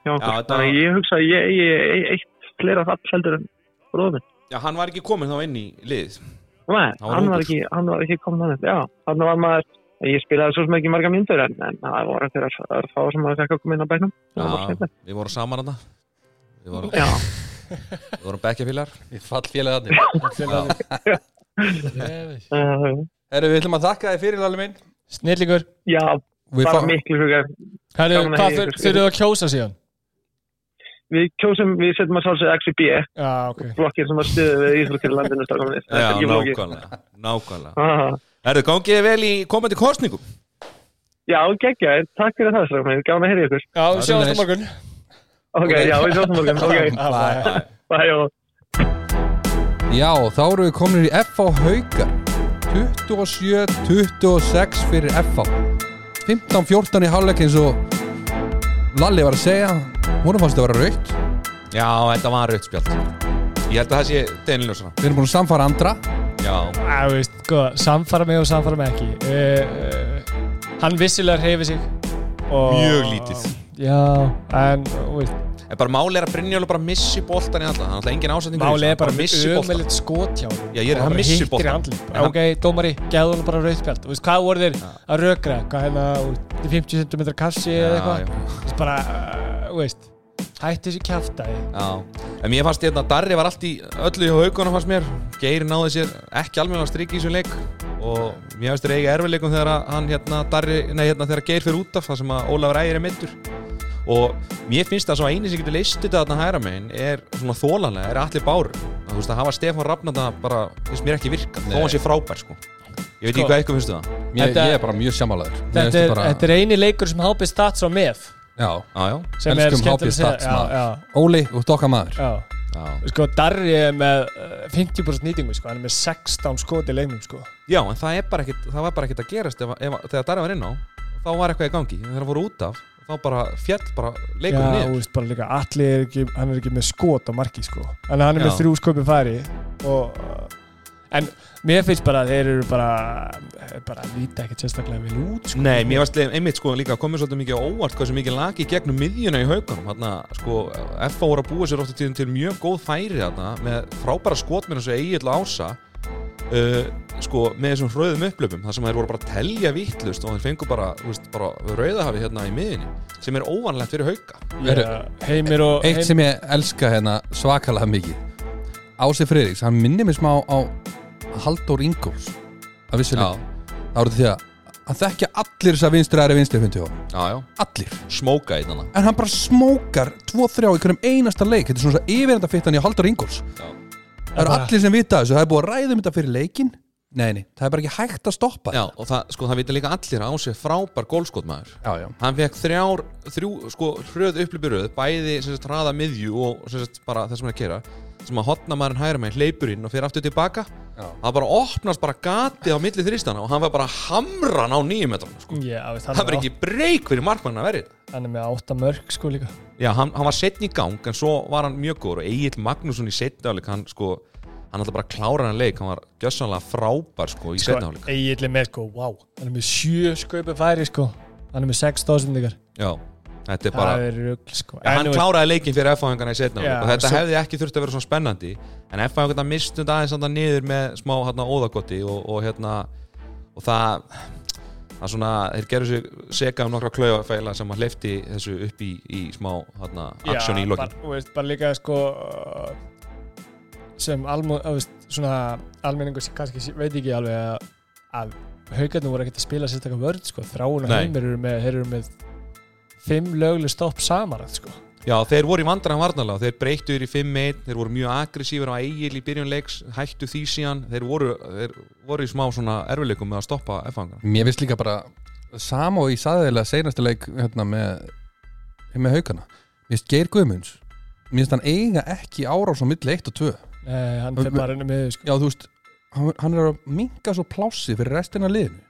S4: já, já,
S2: þetta-
S4: þannig að ég hugsa að ég, ég, ég eitt fleira það heldur en bróðum
S2: Já, hann var ekki komin þá inn í liðið.
S4: Nei,
S2: Það var
S4: hann var,
S2: ungur.
S4: ekki, hann var ekki komin þannig. Já, hann var maður, ég spilaði svo sem ekki marga myndur en, en það voru þeirra það fá sem maður fekk að koma inn á bænum. Það var
S2: Já,
S4: skemmtilegt.
S2: við vorum saman hann. Við vorum,
S4: Já,
S2: við vorum bekkjafílar.
S1: Ég fall félagarnir
S2: Já.
S3: Jævill.
S4: uh,
S1: Herru, við ætlum að þakka þér fyrir lálu minn
S3: snillingur
S4: já
S1: Við
S4: bara
S1: fá-
S4: miklu hugar.
S3: Herru,
S4: Gaman að
S3: hvað
S4: heyra
S3: þur-
S4: ykkur.
S3: þurfið að kjósa síðan?
S4: við kjósum, við setjum að sjálfsögðu X og B,
S3: Já, ok
S4: blokkir sem að stuðu við íþróttir landinu strákanir. Þetta er
S2: Já,
S4: ekki flókið.
S2: nákvæmlega, nákvæmlega.
S4: Aha.
S2: Erðu gangið vel í komandi kostningum?
S4: Já, geggja, takk fyrir það strákanir, gáðan að heyra í ykkur.
S3: Já,
S1: er
S3: við sjáumst á
S1: leis.
S3: morgun
S4: Ok, já, við sjáum morgun, ok,
S3: Bye.
S4: bæ og...
S1: Já, þá eru við komin í FH Haukar 27-26 fyrir FH 15-14 í hálfleik eins og Lalli var að segja honum fannst þetta að vera raukt
S2: Já, þetta var rautt spjald. Ég held að það sé Danielsson.
S1: við erum búin að samfara andra
S2: Já,
S3: Já, þú veist, góða, samfara mig og samfara mig ekki uh, uh, Hann vissilega reyfi sig og,
S2: Mjög lítið.
S3: Já, en, þú veist,
S2: en bara máli er að Brynjólu bara missi boltan í alla. Það er alltaf engin ásetningur. í þessu,
S3: Málið er
S2: hann
S3: bara
S2: missi boltan.
S3: ömulegt skotjá honum.
S2: Já, ég er-
S3: Og
S2: hann
S3: bara
S2: missir
S3: hittir í
S2: boltann.
S3: andlit.
S2: En hann-
S3: Ok, dómari, geðu hann bara rauðspjald Þú veist, hvað voru þeir að rökra? Hvað hérna, þú veist, þetta er 50 cm kassi
S2: Já,
S3: eða
S2: já.
S3: eitthvað Þú veist, bara, uh, þú veist Hætti þessu kjaftaði
S2: Já, en mér fannst hérna Darri var allt í öllu í haugunum fannst mér Geir náði sér ekki alveg að strikja í þessum leik og mér finnst þér eiga erfileikum þegar að hann hérna Darri, nei hérna þegar Geir fyrir út af það sem að Ólafur Ægir er mittur og mér finnst það svo eini sem getur leist þetta þarna hæra megin er svona þólanlega, er allir bár þú veist að hafa Stefán Rafnanda bara, finnst mér ekki virka þó hann sé frábær sko Ég veit ekki
S3: Sko.
S2: hvað eitthvað finnst um það
S1: ég,
S3: Þetta-
S1: ég er bara mjög sjámálaður
S3: þetta er, þetta er eini leikur sem hápið stats á með
S1: Já,
S2: Já, já,
S3: sem er
S1: Elskum
S3: skemmtileg
S1: HB
S3: að segja.
S1: stats, maður.
S3: já,
S1: Óli, þú ert okkar maður
S3: já, já.
S2: já
S3: Sko, Darri er með eh, 50% nýtingu, sko, hann er með 16 skot í leiknum, sko.
S2: Já, en það, er bara ekkit, það var bara ekkert að gerast ef, ef, þegar Darri var inn á, þá var eitthvað í gangi þegar það voru út af, þá bara fjall bara leikur
S3: Já,
S2: niður
S3: þú veist, bara líka, allir er ekki, hann er ekki með skot á marki, sko. Þannig að hann er
S2: Já.
S3: með þrjú skopi færi og, eh, en mér finnst bara að þeir eru bara, eh, bara líta ekkert sérstaklega vel út, sko.
S2: Nei, mér varst einmitt sko líka komið svolítið mikið á óvart hvað sem mikið lagi í gegnum miðjuna í haugunum þarna sko, FA voru að búa sér ofta tíðum til mjög góð færi þarna með frábæra skotminn eins og Egil Ása uh, sko, með þessum rauðum upplöpum þar sem þeir voru bara að telja vittlust og þeir fengu bara, þú veist, bara rauðahafi hérna í miðjunni sem er óvanlegt fyrir hauka
S3: Já, eh, heimir og,
S1: Eitt sem ég elska hérna svakalega mikið Ási Freyriks, hann minnir mig smá á Halldór Ingóls að vissu leik Það voru því að hann þekkja allir þess að vinstri aðri vinstri fundi honum
S2: já, já,
S1: Allir
S2: smóka í þarna
S1: En hann bara smókar 2-3 á einhverjum einasta leik Þetta er svona yfirenda fittan í Halldór Ingóls
S2: Já.
S1: Það eru allir sem vita þessu, það er búið að ræða um þetta fyrir leikin Nei, nei, það er bara ekki hægt að stoppa
S2: Já, og það, sko, það vita líka allir að á sig frábær gólskotmaður
S1: já, já.
S2: Hann fekk þrjár, þrjú, sko, hröð upplýbyröð Bæði, sem sagt, hraða miðju og sem sagt, bara það sem hann er að gera Sem að hotna maðurinn hægra meginn, hleypur inn og fer aftur tilbaka
S1: Já.
S2: Það bara opnast bara gatið á milli þrýstana Og hann var bara hamran á nýjum metrum, sko
S3: Já, þú veist, hann,
S2: Það var
S3: er
S2: ekki breyk fyrir markmann að verið
S3: átt- hann er með 8 mörg, sko, líka.
S2: Já, hann, hann var setn í gang, en svo var hann mjög góður Og Egil Magnússon í setnáleik, hann sko Hann alltaf bara klárar hann leik, hann var gjössanlega frábær sko í
S3: Sko,
S2: setnáleik
S3: Egill er með, sko, wow, hann er með 7 skopi færi, sko. Hann er með 6 stóðsendingar.
S2: Já, þetta er bara
S3: Það er rugl, sko.
S2: Já,
S3: En
S2: hann
S3: þú veist-
S2: kláraði leikin fyrir F-fáingarna í setna
S3: Já,
S2: og þetta
S3: svo-
S2: hefði ekki þurft að vera svona spennandi en F-fáingarna mistund aðeins andan niður með smá hérna, óðagotti og, og hérna og það það svona, þeir gerðu sig seka um nokkra klaufæla sem að hleyfti þessu upp í, í smá hérna, aksjón í lokin
S3: bara, þú veist, bara líka sko uh, sem almo, þú veist, svona, almenningur sem kannski sé- veit ekki alveg að, að haugarnir voru ekkert að spila sérstakar vörð sko. þráun og
S2: Nei.
S3: heimir eru með, þeir eru með fimm löglu stopp samanrætt sko.
S2: Já, þeir voru í vandræðan varnarlega þeir breyttu yfir í 5-1, þeir voru mjög aggressífur á Egil í byrjunleiks, hættu því síðan þeir voru, þeir voru í smá svona erfileikum með að stoppa F-fáingarna
S1: Mér finnst líka bara Sam og ég saði þeirlega seinastu leik hérna, með, með haukana Mér finnst Geir Guðmunds Mér finnst hann eiga ekki árás á milli 1 og 2
S3: eh, hann
S1: Og-
S3: fyrir bara inn með sko.
S1: Já, þú veist, hann, hann er að minka svo plássi fyrir restina af liðinu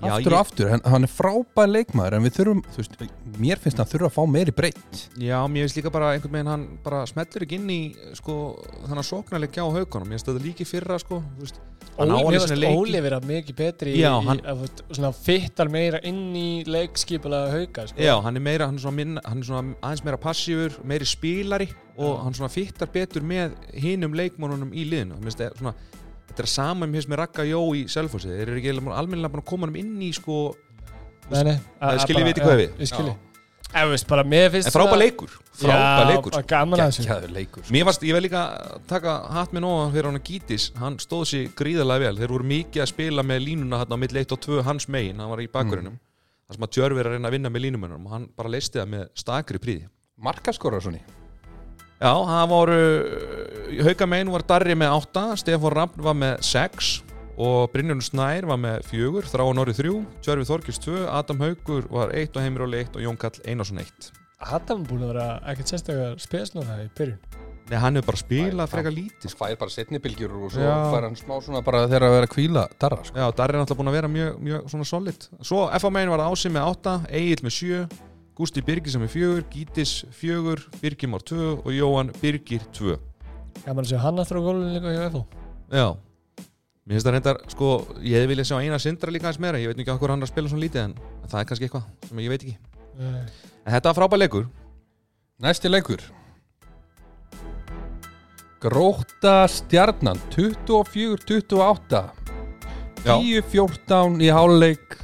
S2: Já,
S1: Aftur og aftur, hann, hann er frábær leikmaður En við þurfum, þú veist, mér finnst hann þurfa að fá meiri breytt
S2: Já, mér finnst líka bara einhvern veginn hann bara smellur ekki inn í sko, þannig að sóknarleikja á haugunum mér finnst þetta líka í fyrra sko, þú veist, hann á
S3: Óli-
S2: alveg
S3: mér
S2: sína
S3: finnst
S2: leiki.
S3: Óli vera mikið betri
S2: Já,
S3: í,
S2: hann-
S3: að, þú veist, svona fittar meira inn í leikskipulega hauga sko.
S2: Já, hann er meira, hann er svona, minna, hann er svona aðeins meira passífur, meiri spílari og hann svona fittar betur með hinum leikmónunum í liðinu Mér finnst þetta svona, þetta er sama mér finnst með Ragga Jó í Selfossi, þeir eru ekki almennilega búin að koma hann inn í sko,
S3: Nei, nei, að- að
S2: skiljið
S3: bara-
S2: viti hvað
S3: já,
S2: við.
S3: ég skilji En þú veist, bara mér finnst
S2: en frábæð leikur frábæð leikur, sko.
S3: Já, gaman að þessu
S1: Kæður leikur
S2: Mér varst, ég vel líka taka hatt minn ofan fyrir hann að Gítis, hann stóð sér gríðarlega vel, þeir voru mikið að spila með línuna hann á milli 1 og 2 hans megin, hann var í bakgrunum þar sem að Tjörfi er að reyna að vinna með línumennum og hann bara leisti það með stakri príði
S1: Markaskora svona í.
S2: Já, það voru Haukamein var Darri með 8 Stefán Rappn var með 6 og Brynjón Snær var með 4 Þráan Orri 3, Tjörfi Þorkils 2 Adam Haugur var 1 og Heimir Óli 1 og Jón Kall Einarsson 1
S3: Adam er búin að vera ekkert sérstaklega spesnóða í byrjun
S2: Nei, hann hefur bara spilað
S1: Æ,
S2: frekar lítið sko.
S1: fær bara setni bylgjur og svo
S3: Já.
S1: fær hann smá svona bara þegar að vera að kvíla darra sko.
S2: Já, Darri er náttúrulega búin að vera mjög, mjög svona solid Svo FA-megin var Ási með 8, Egil með 7 Gústi Birgis með 4, Gítis 4 Birgir Már 2 og Jóhann Birgir 2
S3: Gaman að sjá hann aftur á gólunum líka hjá FO
S2: Já Mér finnst það reyndar, sko, ég hefði viljað sjá eina sindra líka aðeins meira, ég veit nú ekki okkur hann er að spila svona lítið en það er kannski eitthvað sem ég veit ekki
S3: Nei.
S2: En þetta var frábær leikur
S1: Næsti leikur Gróta stjarnan 24-28
S2: Já.
S1: 10-14 í háluleik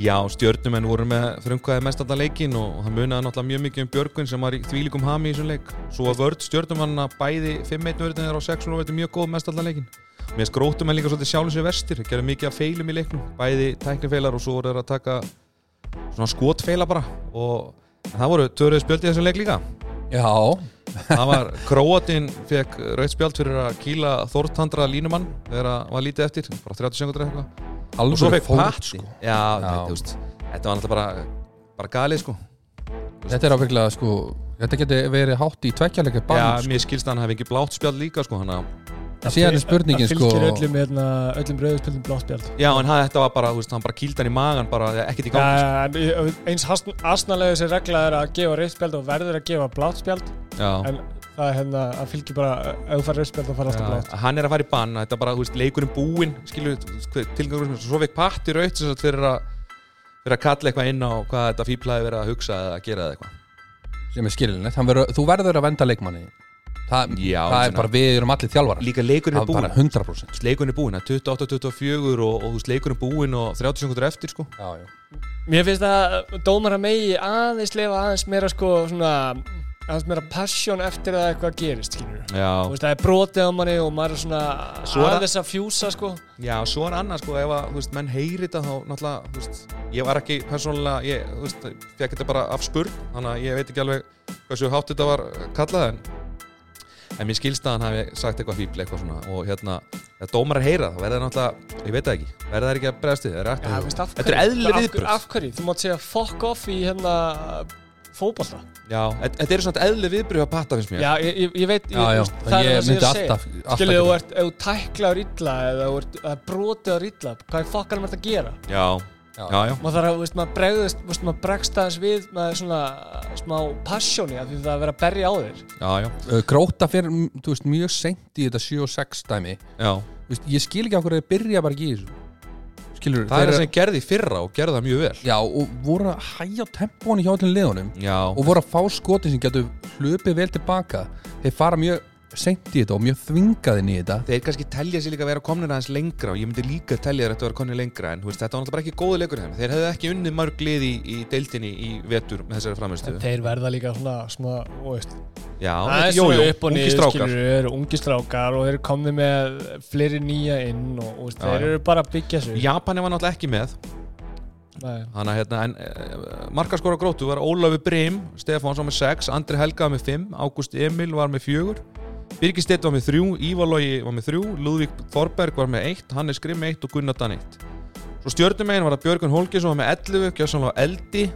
S2: Já, stjörnumenn voru með frumkvæði mest alltaf leikin og það munaði náttúrulega mjög mikið um Björgun sem var í þvílikum hami í þessum leik Svo var vörd stjörnumanna bæði 5-1 vörðin þeirra á 6 og vörðin mjög góð mest alltaf leikin Mér skróttum en líka svolítið sjálfum sér verstir, gerðu mikið af feilum í leiknum Bæði tæknifeilar og svo voru þeir að taka svona skotfeila bara og en það voru törðu spjöldið þessum leik líka
S1: Já,
S2: Það var Króatinn fekk rauðt spjald fyrir að kýla Þortandra línumann þegar að var lítið eftir, bara 30 sekundur eitthvað og svo
S1: alveg
S2: fekk
S1: fór
S2: Patti
S1: sko.
S2: Já, Þetta, þú veist, þetta var náttúrulega bara, bara galið sko
S1: Þetta er ábygglega sko Þetta geti verið hátt í tvekkjarleika
S2: Já,
S1: bann sko.
S2: mér skilst að hann hafi ekki blátt spjald líka sko hana.
S1: En síðan er spurningin,
S3: Það fylgir
S1: sko-
S3: öllum, hérna, öllum rauðspildum bláttbjald
S2: Já, en hann, þetta var bara, þú veist, hann bara kýldi hann í magan bara, ekkert í gangi sko.
S3: Já, en í- eins asnalegu þessi regla er að gefa rauðspjald og verður að gefa bláttspjald
S2: Já.
S3: en það er hérna að fylgir bara eh, ef þú fær rauðspjald þá fær alltaf blátt
S2: Já, hann er að fara í bann, þetta er bara, þú veist, leikurinn búinn skilur, tilgangur, svo fekk Patti rauðt sem sagt fyrir að, fyrir að kalla eitthvað inn á hvað þetta fíplaði verið að hugsa eða að gera eða eitthvað
S1: sem er skilinett verður, Þú verður að venda leikmanni Það,
S2: Já,
S1: það er
S2: svona.
S1: bara við erum allir þjálfara
S2: Líka leikurinn
S1: Það
S2: er
S1: er
S2: búinn
S1: bara 100%
S2: leikurinn er búinn, það er 28-24 og, og leikurinn er búinn og 30 sekundur eftir sko.
S1: já, já.
S3: Mér finnst að dómar að megi aðeins lefa aðeins meira sko svona aðeins meira passion eftir að eitthvað gerist skilur
S2: Já.
S3: Þú veist, það er brotið á manni og maður er svona
S2: Svo er það-
S3: aðeins að fjúsa sko
S2: Já, svo er annað sko, ef að, þú veist, menn heyri þetta þá náttúrulega, þú veist, ég var ekki persónulega, ég, þú veist, fekk þetta bara af spurn, þannig að ég veit ekki alveg hversu hátt þetta var eh, kallað en en mér skilst að hann hafi sagt eitthvað fíbl eitthvað svona og hérna ef dómar að heyra það, verða náttúrulega, ég veit það ekki verða það ekki að bregðast við, það er
S3: Já, þú veist, af
S2: ekki
S3: hverju?
S2: Þetta er eðli
S3: Af-
S2: viðbröð
S3: Af hverju? Þú mátt segja fuck off í hérna fótballta
S2: Já, þetta þetta eru svona eðli viðbröð að patta finnst mér
S3: Já, ég, ég- ég veit ég,
S1: Já, já,
S3: veist, það
S1: ég
S3: er það sem ég
S1: myndi
S3: er að segja
S1: alltaf- alltaf
S3: Skilur,
S1: gera
S3: þú ert, ef þú tæklaður illa eða þú ert eða brotið á illa hvað er fokkar maður að gera?
S2: Já,
S1: Já.
S2: já, já.
S3: Maður þarf að, veist, maður bregðist, veist, maður bregst aðeins við með svona smá passjóni af því það er að vera að berja á þér
S2: já, já,
S1: Uh, Gróta fyrir mm, þú veist, mjög seint í þetta 7 og 6 dæmi
S2: já.
S1: Þú veist, Ég skil ekki af hverju þeir byrja bara ekki í þessu Skilur
S2: Það er það sem gerði í fyrra og gerði það mjög vel
S1: Já, og voru að hæja tempóni hjá allir liðunum
S2: Já,
S1: og voru að fá skotin sem getur hlupið vel tilbaka þeir fara mjög seint í þetta og mjög þvingaðin í þetta
S2: þeir kannski telja sér líka að vera komnir aðeins lengra og ég myndi líka telja þeir að vera komnir lengra en þú veist, þetta var náttúrulega bara ekki góði leikur hjá þeim Þeir hefðu ekki unnið mörg lið í, í deildinni í vetur með þessari framistu
S3: Þeir verða líka svona smá, þú veist
S2: Já,
S3: Það er
S2: jú,
S3: svona
S2: jú,
S3: upp og
S2: ungi
S3: niður,
S2: strákar
S3: skilur við, eru ungi strákar og þeir eru komnið með fleiri nýja inn og, og
S2: Já,
S3: þeir
S2: já.
S3: eru bara að byggja sig.
S2: Japani var náttúrulega ekki með
S3: Nei.
S2: Hanna, hérna, en, eh, markaskora grótu var Ólafi Brim, Stefáns var með 6 Andri Helga var með 5, Ágúst Emil var með 4 Birgir Steinn var með 3 Ívalógi var með 3, Lúðvík Þorberg var með 1, Hannes Grimm 1 og Gunnar Dan 1 Svo stjörnumegin var að Björgun Hólkis var með 11, Gjössan var eldi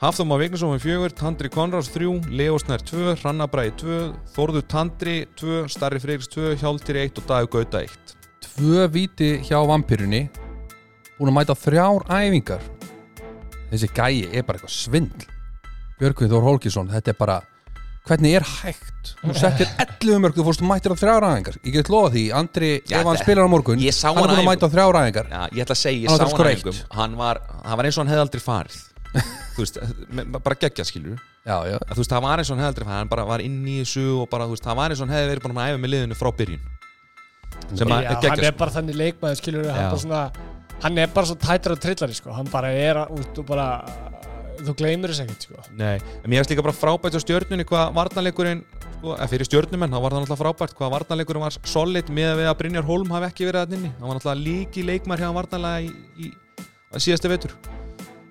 S2: Hafþór Már Vignisson var með 4, Tandri Konráðs 3, Leo Snær 2, Hranna Bræði 2 Þorður Tandri 2, Starri Freiris 2 Hjáltýri 1 og Dagur Gauta 1
S1: tvö víti hjá vampirunni búin að mæta þrjár æfingar þessi gæi er bara eitthvað svindl Björgvin Þór Hólkisson, þetta er bara hvernig er hægt þú settir 11 mörg, þú fórst mættir á þrjár æfingar ég get lofa því, Andri,
S2: Já,
S1: ef hann
S2: það-
S1: spilar á morgun
S2: ég sá
S1: hann er
S2: hann
S1: búin að
S2: æfingu.
S1: mæta á þrjár æfingar
S2: Já, ég ætla að segja,
S1: Hann var
S2: ég sá
S1: að skora
S2: hann
S1: eitt.
S2: einhverjum hann var, hann var eins og hann hefði aldrei farið Þú veist, me- bara geggja skilur að,
S1: já, já,
S2: Þú veist, það var eins og hann hefði aldrei farið Hann bara var inn í þessu og bara, þú veist, það var eins og hann hefði verið búin að æfa með liðinu frá byrjun Sem að sko.
S3: Já, hann
S2: geggja
S3: er bara þannig leikmaður, skilur við, hann,
S2: Já.
S3: bara svona, hann er bara svo tættur og trillari, sko. hann bara er að- út og bara, þú gleymir þess ekkert, sko.
S2: Nei, en mér finnst líka bara frábært á stjörnunni hvað varnarleikurinn, sko, eða fyrir stjörnumenn þá var það náttúrulega frábært, hvað varnarleikurinn var solid með að við að Brynjar Holm hafi ekki verið að nynni hann var náttúrulega líki leikmar hjá varnarlega í, í, í síðasta vetur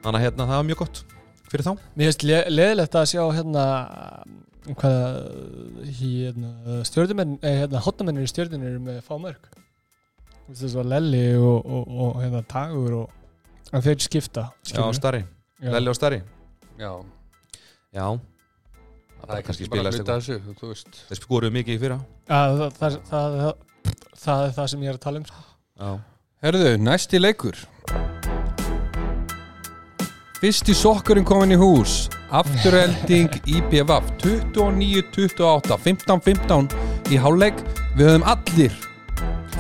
S2: þannig að hérna, það var mjög gott fyrir þá
S3: Mér finnst le leðilegt að sjá hérna, hvað hérna, stjórnumenn, eh, hérna, hotnamennir í stjórnunni eru með fá mörg þess að svo Lelli og, og, og hérna, Tagur og hann fyrir skipta
S2: Já,
S3: skilurðu.
S2: starri,
S3: Já.
S2: Lelli og starri
S1: Já,
S2: Já
S1: það er kannski bara
S2: spilast
S1: hluta
S2: eitthvað
S1: þessu, þú veist
S2: Þeir skoruðu mikið í fyrra
S3: Já, það, það, það, það, það er það sem ég er að tala um sko.
S2: Já,
S1: Herðu, næsti leikur Fyrsti sokkurinn komin í hús Afturhelding IPVAF 29-28 15-15 í hálfleik Við höfum allir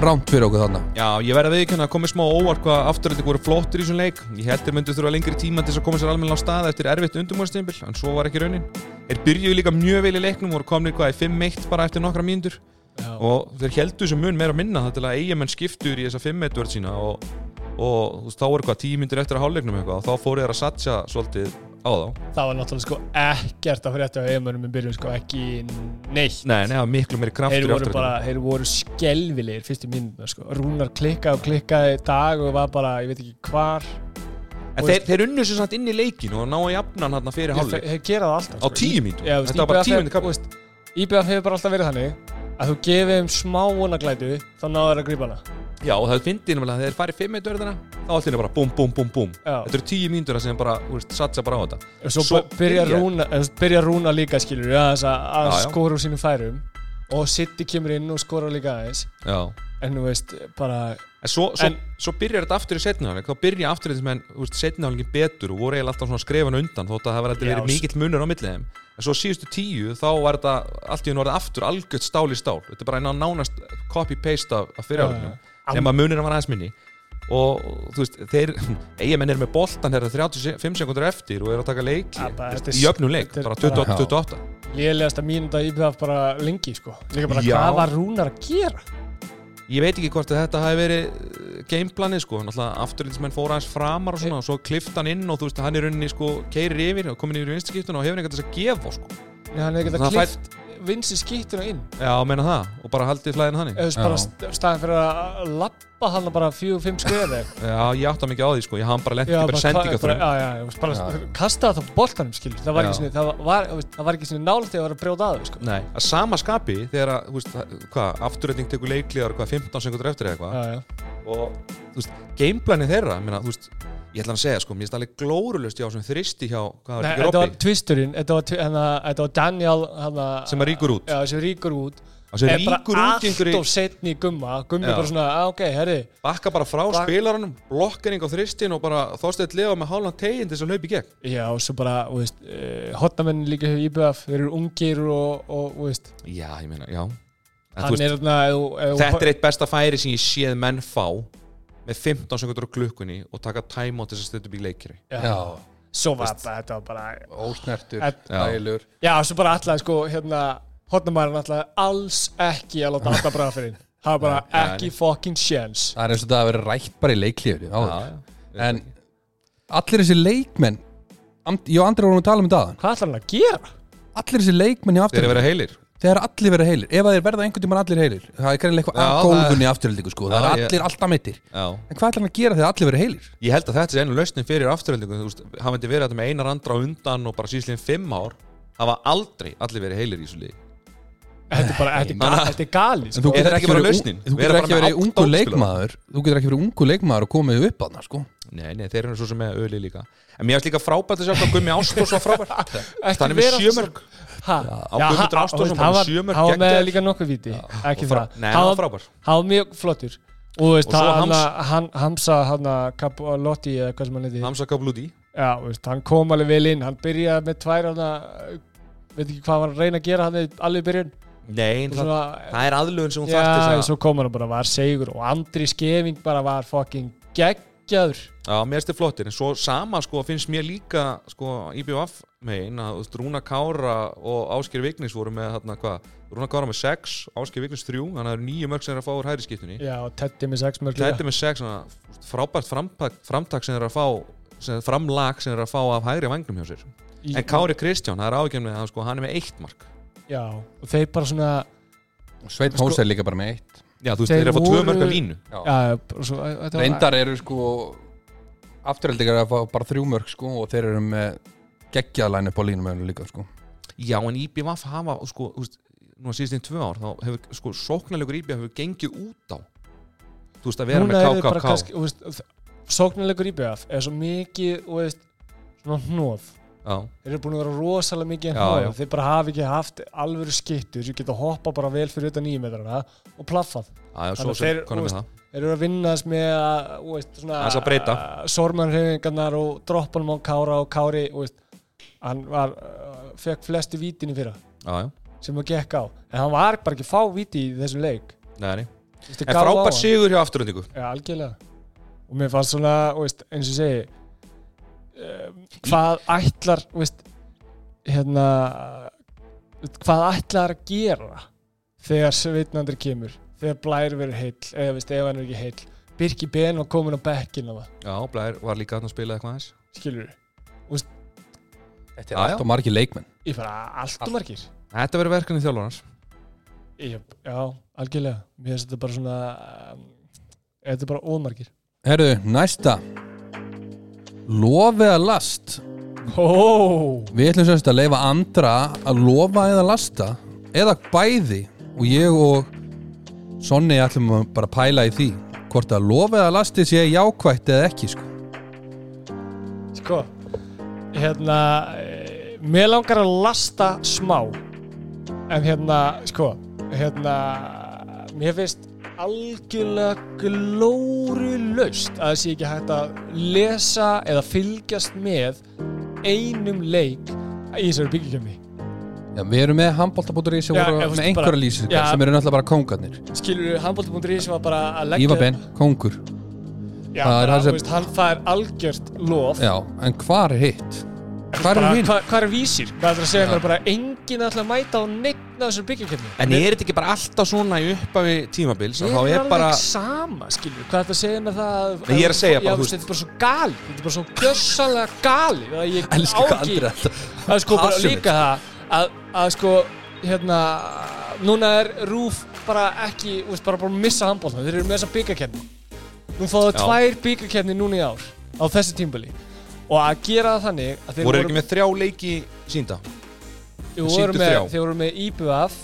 S1: rámt fyrir okkur þarna
S2: Já ég verði að viðkynna að komið smá óvart hvað afturölding voru flottir í þessum leik Ég held þeir myndu þurfa lengri tíma til þess að koma sér almenna á stað eftir erfitt undumúrstempil en svo var ekki raunin Þeir byrjuðu líka mjög vel í leiknum voru komnir hvað í 5-1 bara eftir nokkra mínútur og þeir heldu þessu mun meira að minna það til að eigamenn skiptur í þessa 5-1 vörð sína og, og þú veist, þá er eitthvað 10 myndir eftir að hálfleiknum eitthvað og þá fóru þeir að satja svolítið á þá
S3: það var náttúrulega sko ekkert að frétta á eiginmönnum í byrjun sko ekki neitt
S2: Nei, nei, það var miklu meiri kraftur
S3: Þeir
S2: í
S3: voru
S2: Aftureldingu.
S3: bara, þeir voru skelvilegir fyrstu mínúna sko. Rúnar klikkaði og klikkaði í dag og var bara, ég veit ekki hvar
S2: En þeir, þeir unnu sem sagt inn í leikinu og ná að jafna hann hérna fyrir
S3: Ég-
S2: hálfleik
S3: Þeir þeir gera það alltaf sko.
S2: Á tíu mínútum?
S3: Já, þú veist,
S2: Þetta var bara
S3: IBF
S2: tíu mínútu kafli.
S3: þú veist, IBF hefur bara alltaf verið þannig að þú gefið þeim smá vonaglætu þá náður þeir að grípa hana
S2: Já, og það finnir náttúrulega að þeir farið fimm eitt verðina þá allt hérna bara búm, búm, búm, búm
S3: Já.
S2: Þetta eru tíu mínútur sem bara, þú veist, satsa bara á þetta
S3: og svo, svo byrja, rúna, eh, þú veist, byrja rúna líka skilur við, aðeins að, að
S2: Já, já.
S3: skora úr sínum færum og City kemur inn og skora líka aðeins
S2: Já
S3: en þú veist bara
S2: En svo, svo,
S3: En-
S2: svo byrjar þetta aftur í setniháleik þá byrja aftur þetta menn, þú veist, setniháleikin betur og voru eiginlega alltaf svona skrefan undan þótt að það var alltaf
S3: Já,
S2: verið mikill munur á millið þeim En svo síðustu tíu, þá var þetta allt í hún orðið aftur algjört stál í stál Þetta er bara ná- nánast copy-paste af, af fyrirháleiknum nema munirinn var aðeins minni og þú veist, þeir eigamenn er með hérna boltan þegar það er 35 sekundur eftir og er að taka leik
S3: Ja, bara, þetta er-
S2: í öfnum leik,
S3: þetta er
S2: bara
S3: bara-
S2: 28-28
S3: lélegasta mínúta IBF bara lengi sko líka bara
S2: Já.
S3: hvað var rúnar að gera
S2: ég veit ekki hvort að þetta hafi verið gameplanið sko, náttúrulega afturlýnsmenn fóra aðeins framar og svona og svo klift hann inn og þú veist, hann er rauninni sko, keirir yfir og komin yfir í vinstskiptuna og hefur eitthvað þess að gefa sko.
S3: Nei, hann hefði
S2: Það
S3: getað klift vinsi skýttuna inn
S2: já, meina það, og bara haldið flæðin hann
S3: eða þú veist
S1: Já.
S3: bara st- staðan fyrir að lappa hann bara fjögur, fimm skriði
S2: já, ég átta mikið á því sko, ég hafði bara lent ekki bara sendinga
S3: bara, já, já, já, bara
S1: Já.
S3: kastaði það á boltanum skilur það var
S2: Já.
S3: ekki sinni, það var, þú veist, það var ekki sinni nálægt þegar það var að brjóta að þau sko.
S2: Nei, að sama skapi þegar að, þú veist, hvað, afturreyting tekur leikliðar hvað, 15 sekundur eftir eða eitthvað
S3: já, já.
S2: og þú veist, gameplanið þeirra ég meina, þú veist, ég ætla að segja sko, mér finnst alveg glórulust hjá sem þristi hjá, hvað
S3: Nei,
S2: var
S3: þetta
S2: þetta,
S3: var
S2: Robby,
S3: tvisturinn, þetta var, tvi- hana, þetta var Daniel hana,
S2: sem að ríkur út
S3: já, sem ríkur út
S2: það sem
S3: Er bara
S2: ríkur út í einhverju,
S3: allt og setni í gumma gummi
S2: Já.
S3: bara svona, "Ah, ok, herri
S2: bakka bara frá
S3: Bak-
S2: spilaranum, blokkering á þristin og bara þóstætt lefa með hálfan tegin til þess að hlaupa í gegn
S3: já, og svo bara, þú veist, uh, hotnamenn líka hefur íbjöf, þeir eru ungir og, og þú veist,
S2: já, ég meina, já en, þú
S3: hann
S2: veist,
S3: er þarna ef- ef-
S2: þetta er eitt besta færi sem ég séð menn fá með 15 sekundur á klukkunni og taka time til þess að stöðu upp í leikri
S1: Já,
S3: svo var þetta, þetta var bara
S1: ósnertur,
S3: En-
S1: dælur
S3: Já, svo bara allavega sko, hérna, hotnamærin allavega alls ekki að láta alltaf bræða fyrir hinn. Það var bara
S2: Nei, nei,
S3: ekki fucking sjens.
S1: Það er eins og það að vera rætt bara í leiklíður
S2: Já, já.
S1: En allir þessi leikmenn And- Ég og Andri vorum að tala um þetta
S3: Hvað ætlar hann að gera?
S1: áðan. Allir þessi leikmenn í
S2: þeir eru að
S1: afturhelding
S2: vera heilir
S1: Þegar allir vera heilir, ef að þeir verða einhvern tímann allir heilir Það er kannilega eitthvað
S2: Já,
S1: að
S2: það er-
S1: gólfunni afturheldingu sko Það
S2: Já,
S1: er
S2: ég-
S1: allir alltaf meittir
S2: já.
S1: En hvað ætlar hann að gera þegar allir verið heilir?
S2: Ég held að þetta sé einu lausnin fyrir afturhaldingu Hann veit verið þetta með einar andra á undan og bara síðsliðin fimm ár hafa aldrei allir verið heilir í þessu liði
S3: Þetta er bara, þetta er
S2: man-
S3: gali, þetta er gali, sko.
S2: þú- Er þetta ekki bara lausnin?
S1: Þú
S2: Vera
S1: getur
S2: bara
S1: ekki
S2: með
S1: verið
S2: átta
S1: ungu
S2: óskilur.
S1: leikmaður Þú getur ekki verið ungu leikmaður og komið upp aðna sko
S2: Nei, nei, þeir eru svo sem með öli líka En mér finnst líka frábært að sjá hvað Gummi Ástós var frábært
S3: Ekki
S2: Þannig með
S3: vera-
S2: sjömörk
S3: Ha?
S2: á Guðmundur
S3: ha-
S2: Ástþórsson,
S3: hann
S2: bara
S3: var-
S2: sjö mörk
S3: Hann var
S2: gegn
S3: með
S2: þér.
S3: líka nokkuð viti, ekki
S2: og frá-
S3: það.
S2: Nei, hann var frábær.
S3: Hann var mjög flottur. Og þú veist,
S2: Og svo
S3: hann-
S2: Hams-
S3: hann, Hamsa, hann, Kapalotti eða hvað sem hann heiti.
S2: Hamsa Kabludi
S3: Já, þú veist, hann kom alveg vel inn, hann byrjaði með tvær, hann, veit ekki hvað hann var að reyna að gera hann í- alveg í byrjun.
S2: Nei,
S3: Og
S2: það,
S3: Svona,
S2: það er aðlögun sem hún þarf
S3: Já,
S2: til
S3: en
S2: þess að
S3: svo kom hann og bara var segur og Andri Skeving bara var fucking geggjaður
S2: Já, mér finnst þið flottir En svo sama sko, finnst mér líka sko, IBF megin að þú veist, Rúna Kára og Ásker Vignis voru með þarna, hvað, Rúna Kára með 6, Ásker Vignis 3 þannig að það eru nýju mörg sem er að fá úr hæri skiptunni
S3: Já, og Teddy með sex mörg
S2: Þetta er með sex svona, frábært framtak, framtak sem þeir eru að fá sem, framlag sem þeir eru að fá af hægri vangnum hjá sér
S3: Í-
S2: En Kári Kristján, það er ágjörnið að sko, hann er með eitt mark
S3: Já, og þeir bara svona
S2: Sko-
S1: Sveit Hósa er líka bara með eitt
S2: Já, þú veist,
S3: Þeir
S2: þeir eru að fá tvö
S3: voru-
S2: mark af línu
S3: Já, og svo, þetta var-
S1: Reyndar eru sko Afturheldingar að fá bara þrjú mörg sko Og þeir eru með geggjaðlæn upp á línum með henni líka sko
S2: Já, en IBVF hafa, sko, úst, núna síðast einn tvö ár, þá hefur, sko, sóknarlegur IBVF hefur gengið út á. Þú veist, að vera
S3: núna er
S2: með
S3: þið bara
S2: KKK.
S3: kannski, þú veist, sóknarleikur IBF er svo mikið, þú veist, svona hnoð
S2: Já,
S3: þeir eru búin að vera rosalega mikið
S2: Já,
S3: hnoð
S2: já.
S3: þeir bara hafi ekki haft alvöru skittur sem geta hoppað bara vel fyrir utan 9 metrana og plaffað
S2: já, já, svo
S3: Þannig
S2: sem,
S3: þeir-
S2: konum
S3: þú
S2: við það.
S3: þeir eru að vinna þess með að, þú veist, svona,
S2: Aðeins að breyta.
S3: sormanhrefingarnar og droppanum á Kára og Kári þú veist, hann var, uh, fekk flestu vítin í fyrra
S2: Já, já,
S3: sem hann gekk á en hann var bara ekki að fá víti í þessum leik
S2: neðri.
S3: Þú veist, þeir
S2: En
S3: gáfu á hann.
S2: frábær sigur hjá afturöndingu.
S3: Já, algjörlega og mér fannst svona, þú veist, eins og ég segi um, hvað ætlar þú veist, hérna þú veist, hvað ætlar að gera þegar svitnandur kemur þegar blær verður heill, eða veist, ef hann er ekki heill Birki Ben var komin á bekkinn af það,
S2: Já, Blær var líka þarna að spila eitthvað aðeins.
S3: skilur við
S1: Þetta
S2: Já, já.
S1: allt og margir leikmenn
S3: ég bara allt og margir
S2: Þetta verður verkefni þjálfarnas.
S3: ég, já, algjörlega, mér finnst þetta bara svona um, þetta er bara ómargir
S1: Herðu, næsta Lofi að last
S3: Ó,
S1: Við ætlum semst að leifa andra að lofa eða lasta eða bæði og ég og Sonni ætlum að bara pæla í því hvort að lofa eða lasti sé jákvætt eða ekki sko.
S3: Sko Hérna eh, Mér langar að lasta smá En hérna, sko Hérna Mér finnst algjörlega glóru laust að það sé ekki hægt að lesa eða fylgjast með einum leik í þessari byggjumkjöfni
S1: Já, við erum með handbóltabótur í sem
S3: Já,
S1: voru
S3: ég
S1: með
S3: veist bara-
S1: einhverja lýsingar
S3: Já.
S1: sem eru náttúrulega bara kongarnir
S3: skilur við handbólti.ri sem var bara að leggja
S1: Ívar Ben, kongur það
S3: Já,
S1: er
S3: bara,
S1: hann sem-
S3: þú veist, hann fær algjört lof
S1: Já, en hvar er hitt? Hvar
S3: Bara,
S1: er hinn?
S3: hva- Hvar er vísir? Hvað er það að segja mér bara enginn ætla að mæta á neitt af þessari byggjumkjöfni
S2: En er þetta ekki bara alltaf svona í uppafi tímabils að þá
S3: Mér
S2: er bara,
S3: alveg sama, skilur, hvað þetta segir með það
S2: Nei, ég er að segja bara,
S3: Já,
S2: þú
S3: veist, þetta er bara svo gali, þetta er bara svo gjössalega gali að ég
S1: Elsku
S3: á
S1: hvað
S3: ekki-
S1: andri er þetta
S3: Það er sko bara
S1: Passionate.
S3: líka það að, að sko, hérna núna er Rúf bara ekki þú veist, bara bara að missa handbólna, þeir eru með þessa byggakenni Nú fá það
S2: Já.
S3: tvær byggakenni núna í ár, á þessi tímbali og að gera það þannig að þeir
S2: voru ekki með þrjá leiki sínda?
S3: þeir
S2: sýndu
S3: voru með,
S2: þrjá.
S3: þeir voru með IBF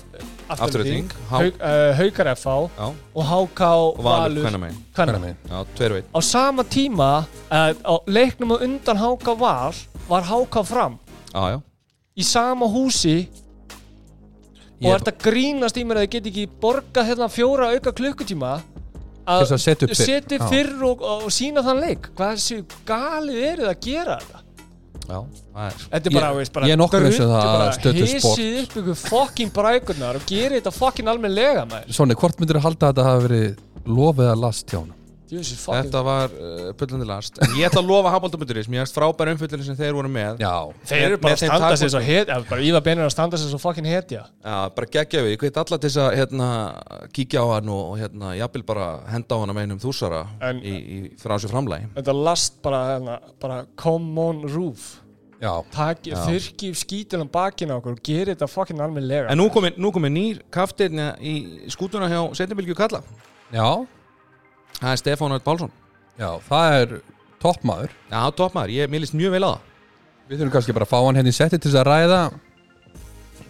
S2: Afturelding,
S3: afturölding,
S2: Há-
S3: hauk, uh, Haukar FH
S2: Já,
S3: og HK
S2: og Valur,
S3: Valur
S2: hvernig megin?
S3: Kvenna.
S2: Já, tveir veit.
S3: á sama tíma uh, á leiknum á undan háka val var háka fram
S2: Já, já.
S3: í sama húsi og
S1: Ég
S3: er þetta grínast í mér að þið geti ekki borgað hérna fjóra auka klukkutíma
S1: Til þess að setja upp fyrr.
S3: setja
S1: Já.
S3: upp fyrr og, og, og sína þann leik hvað þessu galið eru það að gera þetta
S2: Já, það er.
S3: Þetta er bara,
S1: Ég-
S3: veist, bara
S1: ég er nokkuð viss um það að Stöddu Sport-
S3: Hysið upp ykkur fokkin brækurnar og gera þetta fokkin almennilega maður
S1: Sonni, hvort myndir að halda að þetta hafa verið lofa eða last hjá hann?
S3: Jössi, fokkin
S2: Þetta var uh, pullandi last. En ég ætla að lofa hafbóltabunduris, mér erst frábæra umfyllin sem þeir voru með.
S1: Já,
S3: Þeir eru
S2: með- með
S3: bara að
S2: þeim
S3: standa sér
S2: takmörkunum.
S3: svo hetja bara Ívar Benir að standa sér svo fokkin hetja
S2: Já, bara geggja við, ég veit alla til þess að hérna, kíkja á hann og og, hérna, jafnvel bara henda á hann með einum þúsara
S3: En-
S2: í, í frásu framlægi.
S3: Þetta last bara, hérna, bara come on roof
S1: já,
S3: Taki, þurki skítunum bakinn á okkur og gera þetta fucking almennilega
S2: En nú komið, nú komið nýr kaftirna í skútuna hjá Setnabilgju Kalla.
S1: já,
S2: Það er Stefán Örn Pálsson.
S1: já, það er toppmaður
S2: Já, toppmaður, ég mér líst mjög vel að það.
S1: Við þurfum kannski bara að fá hann hérna í setti til þess að ræða